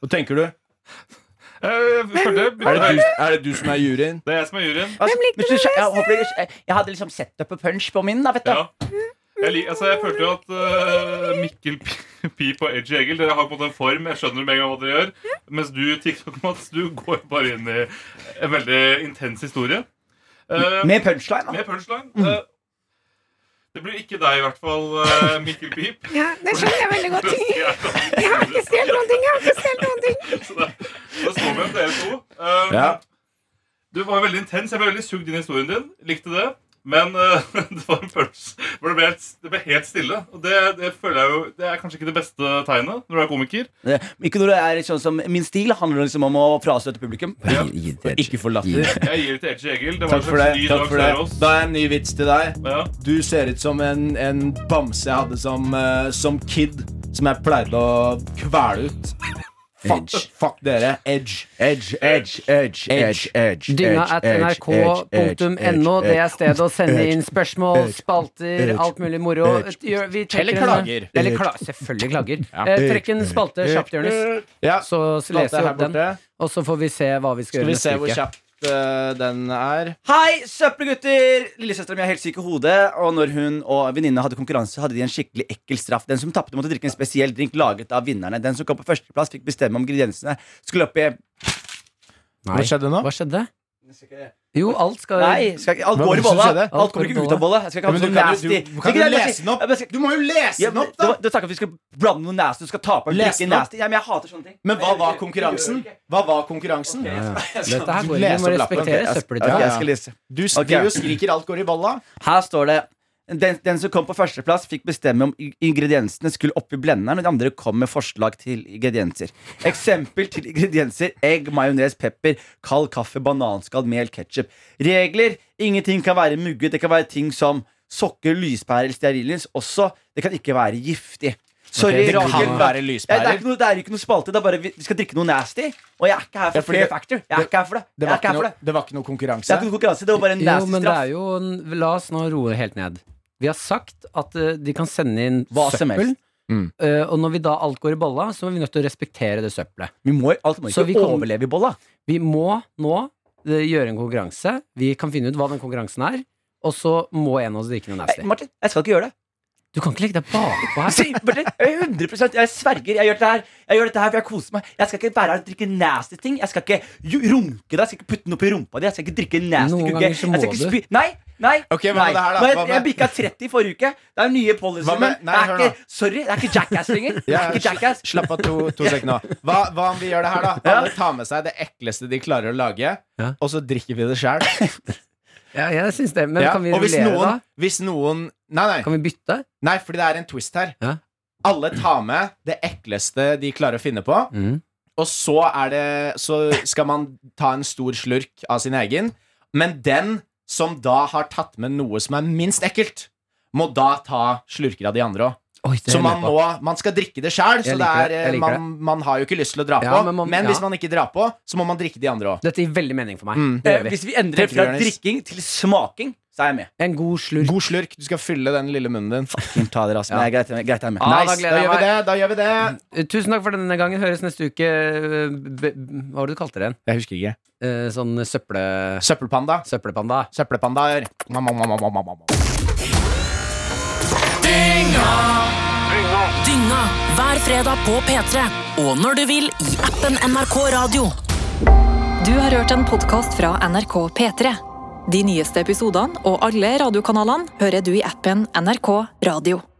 [SPEAKER 3] Hva tenker du?
[SPEAKER 7] Eh, følte jeg-
[SPEAKER 3] Er det du, er det du som er juryen?
[SPEAKER 7] Det er jeg som er juryen.
[SPEAKER 4] Men så- jeg, håper dere- jeg, jeg hadde liksom setup og punch på min, da, vet du.
[SPEAKER 7] Ja. Jeg, lik, altså, jeg følte jo at eh, Mikkel P- Pip og Edgy Egil Dere har på en måte en form. Jeg skjønner med en gang hva dere gjør. Mens du, TikTok-Mats, du går bare inn i en veldig intens historie. Eh,
[SPEAKER 4] Med punchline. da
[SPEAKER 7] med punchline. Eh, det blir ikke deg, i hvert fall, eh, Mikkel Pip.
[SPEAKER 8] Ja, det skjønner jeg veldig
[SPEAKER 7] (laughs)
[SPEAKER 8] godt.
[SPEAKER 7] Jeg er sånn.
[SPEAKER 8] Jeg har ikke stjålet noen ting. Jeg har ikke stjålet noen ting.
[SPEAKER 7] (laughs) Så da, da står vi om dere to. Eh,
[SPEAKER 3] Ja.
[SPEAKER 7] Du var veldig intens. Jeg ble veldig sugd inn i historien din. Likte det. Men eh, (laughs) det var en følelse hvor det ble helt, det ble helt stille. Og det, det føler jeg jo Det er kanskje ikke det beste tegnet når du er komiker.
[SPEAKER 4] Det- Eh, Ikke når det er sånn som Min stil handler liksom om å frastøte publikum.
[SPEAKER 3] Ikke for latter.
[SPEAKER 7] Jeg gir det til Edgy Egil. Det var
[SPEAKER 3] Takk
[SPEAKER 7] en
[SPEAKER 3] for
[SPEAKER 7] slags
[SPEAKER 3] det.
[SPEAKER 7] ny
[SPEAKER 3] Takk
[SPEAKER 7] dag
[SPEAKER 3] for
[SPEAKER 7] for
[SPEAKER 3] det.
[SPEAKER 7] oss.
[SPEAKER 3] Da har jeg en ny vits til deg.
[SPEAKER 7] Ja.
[SPEAKER 3] Du ser ut som en, en bamse jeg hadde som, eh, som kid, som jeg pleide å kvele ut. Fuck, fuck dere. Edge. Edge, edge, edge, edge. edge.
[SPEAKER 2] Dynga at nrk.no. Det er stedet å sende inn spørsmål, spalter, alt mulig moro. Gjør- vi trekker
[SPEAKER 3] Eller
[SPEAKER 2] en-
[SPEAKER 3] klager.
[SPEAKER 2] Eller kla selvfølgelig klager. Eh, trekk en spalte kjapt, Jonis.
[SPEAKER 3] Ja,
[SPEAKER 2] Så
[SPEAKER 3] Plate
[SPEAKER 2] leser vi
[SPEAKER 3] her
[SPEAKER 2] opp den,
[SPEAKER 3] borte.
[SPEAKER 2] og så får vi se hva vi skal
[SPEAKER 3] Skal
[SPEAKER 2] gjøre
[SPEAKER 3] vi se
[SPEAKER 2] neste
[SPEAKER 3] hvor
[SPEAKER 2] uke.
[SPEAKER 3] kjapt eh, den er.
[SPEAKER 4] Hei, søppelgutter! Lillesøstera mi er helt syk i hodet. Og når hun og venninna hadde konkurranse, hadde de en skikkelig ekkel straff. Den som tapte, måtte drikke en spesiell drink laget av vinnerne. Den som kom på førsteplass, fikk bestemme om ingrediensene skulle oppi
[SPEAKER 2] Nei.
[SPEAKER 3] skjedde nå?
[SPEAKER 2] Hva skjedde? Jo, alt skal
[SPEAKER 4] Nei, skal ikke, alt
[SPEAKER 3] Hva
[SPEAKER 4] går i
[SPEAKER 3] var det som
[SPEAKER 4] bolla.
[SPEAKER 3] skjedde?
[SPEAKER 4] Alt kommer ikke ut av bolla. Jeg skal ikke
[SPEAKER 3] Ja,
[SPEAKER 4] ha
[SPEAKER 3] men du,
[SPEAKER 4] noe sånn
[SPEAKER 3] kan, jo-
[SPEAKER 4] nasty.
[SPEAKER 3] du, du, kan jo lese den
[SPEAKER 4] Jeg bare
[SPEAKER 3] opp!
[SPEAKER 4] skal-
[SPEAKER 3] Du må jo lese
[SPEAKER 4] Ja,
[SPEAKER 3] den
[SPEAKER 4] men
[SPEAKER 3] opp,
[SPEAKER 4] det
[SPEAKER 3] da!
[SPEAKER 4] var- Du snakker om vi skal blande noe nasty, du skal tape og
[SPEAKER 3] Les
[SPEAKER 4] drikke
[SPEAKER 3] den opp.
[SPEAKER 4] nasty. Ja, men jeg hater sånne ting.
[SPEAKER 3] Men hva var konkurransen? Hva var konkurransen?
[SPEAKER 2] Dette her
[SPEAKER 3] Du
[SPEAKER 2] går ikke.
[SPEAKER 3] leser
[SPEAKER 2] Vi må
[SPEAKER 3] opp lappen,
[SPEAKER 2] respektere
[SPEAKER 3] ok.
[SPEAKER 2] søppeldyret.
[SPEAKER 4] Ok,
[SPEAKER 3] Ja,
[SPEAKER 4] jeg
[SPEAKER 3] ja.
[SPEAKER 4] skal lese.
[SPEAKER 3] Du
[SPEAKER 4] Ok.
[SPEAKER 3] skriver og skriker 'alt går i bolla'.
[SPEAKER 4] Her står det den, den som kom på førsteplass, fikk bestemme om i- ingrediensene skulle oppi blenderen, og de andre kom med forslag til ingredienser. Eksempel til ingredienser egg, majones, pepper, kald kaffe, bananskall, mel, ketsjup. Regler ingenting kan være mugget. Det kan være ting som sokker, lyspærer eller stearinlys. Også det kan ikke være giftig. Sorry,
[SPEAKER 2] det kan
[SPEAKER 4] Rakel.
[SPEAKER 2] være
[SPEAKER 4] Ja, Det er, ikke noe, det er ikke noe spalte. Det er bare vi, vi skal drikke noe nasty. Og jeg er ikke her for
[SPEAKER 3] Ja, fordi-
[SPEAKER 4] fear factor. Jeg er ikke her for det.
[SPEAKER 3] Det
[SPEAKER 4] Jeg er
[SPEAKER 3] var
[SPEAKER 4] ikke
[SPEAKER 3] ikke
[SPEAKER 4] her for
[SPEAKER 3] noe,
[SPEAKER 4] det.
[SPEAKER 3] det var ikke noe
[SPEAKER 4] Det
[SPEAKER 3] konkurranse.
[SPEAKER 4] er ikke noe konkurranse. Det var bare en
[SPEAKER 2] Jo,
[SPEAKER 4] nasty
[SPEAKER 2] men det
[SPEAKER 4] straff.
[SPEAKER 2] er jo en, La oss nå roe helt ned. Vi har sagt at eh, de kan sende inn
[SPEAKER 4] Hva som
[SPEAKER 2] søppel.
[SPEAKER 4] helst.
[SPEAKER 3] Mm.
[SPEAKER 2] Eh, og når vi da alt går i balla, så er vi nødt til å respektere det søppelet.
[SPEAKER 4] Vi må, alt må
[SPEAKER 2] Så
[SPEAKER 4] ikke
[SPEAKER 2] vi kom-
[SPEAKER 4] overleve i bolla.
[SPEAKER 2] Vi må nå eh, gjøre en konkurranse. Vi kan finne ut hva den konkurransen er, og så må en av oss drikke noe
[SPEAKER 4] Nei,
[SPEAKER 2] nasty.
[SPEAKER 4] Martin, jeg skal ikke gjøre det.
[SPEAKER 2] Du kan ikke legge deg bakpå her.
[SPEAKER 4] Si, Martin, jeg er 100 Jeg sverger. Jeg gjør dette her Jeg gjør dette her for jeg koser meg. Jeg skal ikke være her og drikke nasty ting. Jeg skal ikke ju- runke deg. Jeg skal ikke putte den opp i rumpa di. Jeg skal ikke drikke nasty
[SPEAKER 2] Noen
[SPEAKER 4] kugge.
[SPEAKER 2] ganger så må
[SPEAKER 4] Jeg skal ikke
[SPEAKER 2] du.
[SPEAKER 4] spy Nei! Nei!
[SPEAKER 3] Ok, hva med
[SPEAKER 4] nei.
[SPEAKER 3] det her da?
[SPEAKER 4] Nå,
[SPEAKER 3] Hva
[SPEAKER 4] Jeg,
[SPEAKER 3] med-
[SPEAKER 4] jeg bikka 30 forrige uke. Det er nye
[SPEAKER 3] Hva
[SPEAKER 4] policies.
[SPEAKER 3] med-
[SPEAKER 4] Men
[SPEAKER 3] nei,
[SPEAKER 4] det er
[SPEAKER 3] hør
[SPEAKER 4] ikke,
[SPEAKER 3] nå.
[SPEAKER 4] sorry, det er ikke jackass lenger. Det
[SPEAKER 3] (laughs) Ja,
[SPEAKER 4] er ikke jackass
[SPEAKER 3] Slapp av to, to sekunder nå. Hva, hva om vi gjør det her, da? Alle tar med seg det ekleste de klarer å lage,
[SPEAKER 2] Ja.
[SPEAKER 3] og så drikker vi det sjøl.
[SPEAKER 2] (laughs) Ja, jeg synes det. Men
[SPEAKER 3] Ja.
[SPEAKER 2] kan vi
[SPEAKER 3] Og hvis
[SPEAKER 2] rullere,
[SPEAKER 3] noen,
[SPEAKER 2] da?
[SPEAKER 3] hvis noen Nei, nei,
[SPEAKER 2] Kan vi bytte?
[SPEAKER 3] nei, fordi det er en twist her.
[SPEAKER 2] Ja.
[SPEAKER 3] Alle tar med det ekleste de klarer å finne på,
[SPEAKER 2] Mm.
[SPEAKER 3] og så, er det, så skal man ta en stor slurk av sin egen. Men den som da har tatt med noe som er minst ekkelt, må da ta slurker av de andre òg.
[SPEAKER 2] Oi, det er
[SPEAKER 3] Så
[SPEAKER 2] jeg
[SPEAKER 3] man,
[SPEAKER 2] med på.
[SPEAKER 3] må, man skal drikke det sjøl, så
[SPEAKER 2] Jeg
[SPEAKER 3] det
[SPEAKER 2] liker
[SPEAKER 3] er,
[SPEAKER 2] det, jeg
[SPEAKER 3] eh,
[SPEAKER 2] liker
[SPEAKER 3] man, man har jo ikke lyst til å dra
[SPEAKER 2] Ja,
[SPEAKER 3] på.
[SPEAKER 2] men
[SPEAKER 3] Men,
[SPEAKER 2] man- ja.
[SPEAKER 3] hvis man ikke drar på, så må man drikke de andre òg.
[SPEAKER 2] Dette gir veldig mening for meg.
[SPEAKER 3] Mm.
[SPEAKER 2] Det
[SPEAKER 4] Eh,
[SPEAKER 2] gjør vi.
[SPEAKER 4] Hvis vi endrer
[SPEAKER 3] Treffer
[SPEAKER 4] fra
[SPEAKER 3] Jonis.
[SPEAKER 4] drikking til smaking, så er jeg med.
[SPEAKER 2] En god slurk.
[SPEAKER 3] God slurk. Du skal fylle den lille munnen din.
[SPEAKER 4] Ta det, altså. Nei, greit, jeg er med. greit, jeg er med.
[SPEAKER 2] Ja, da
[SPEAKER 3] nice. Da,
[SPEAKER 2] gleder jeg
[SPEAKER 3] gjør vi
[SPEAKER 2] meg.
[SPEAKER 3] det. Da gjør vi det.
[SPEAKER 2] Eh, Tusen takk for denne gangen. Høres neste uke. eh, b- b- Hva var det du kalte den?
[SPEAKER 3] Jeg husker ikke.
[SPEAKER 2] Eh, Sånn søple...
[SPEAKER 3] Søppelpanda.
[SPEAKER 2] søppelpanda.
[SPEAKER 3] Søppelpandaer. Mam, mam, mam, mam, mam, mam.
[SPEAKER 1] Dynga hver fredag på P3. Og når du vil i appen NRK Radio. Du har hørt en podkast fra NRK P3. De nyeste episodene og alle radiokanalene hører du i appen NRK Radio.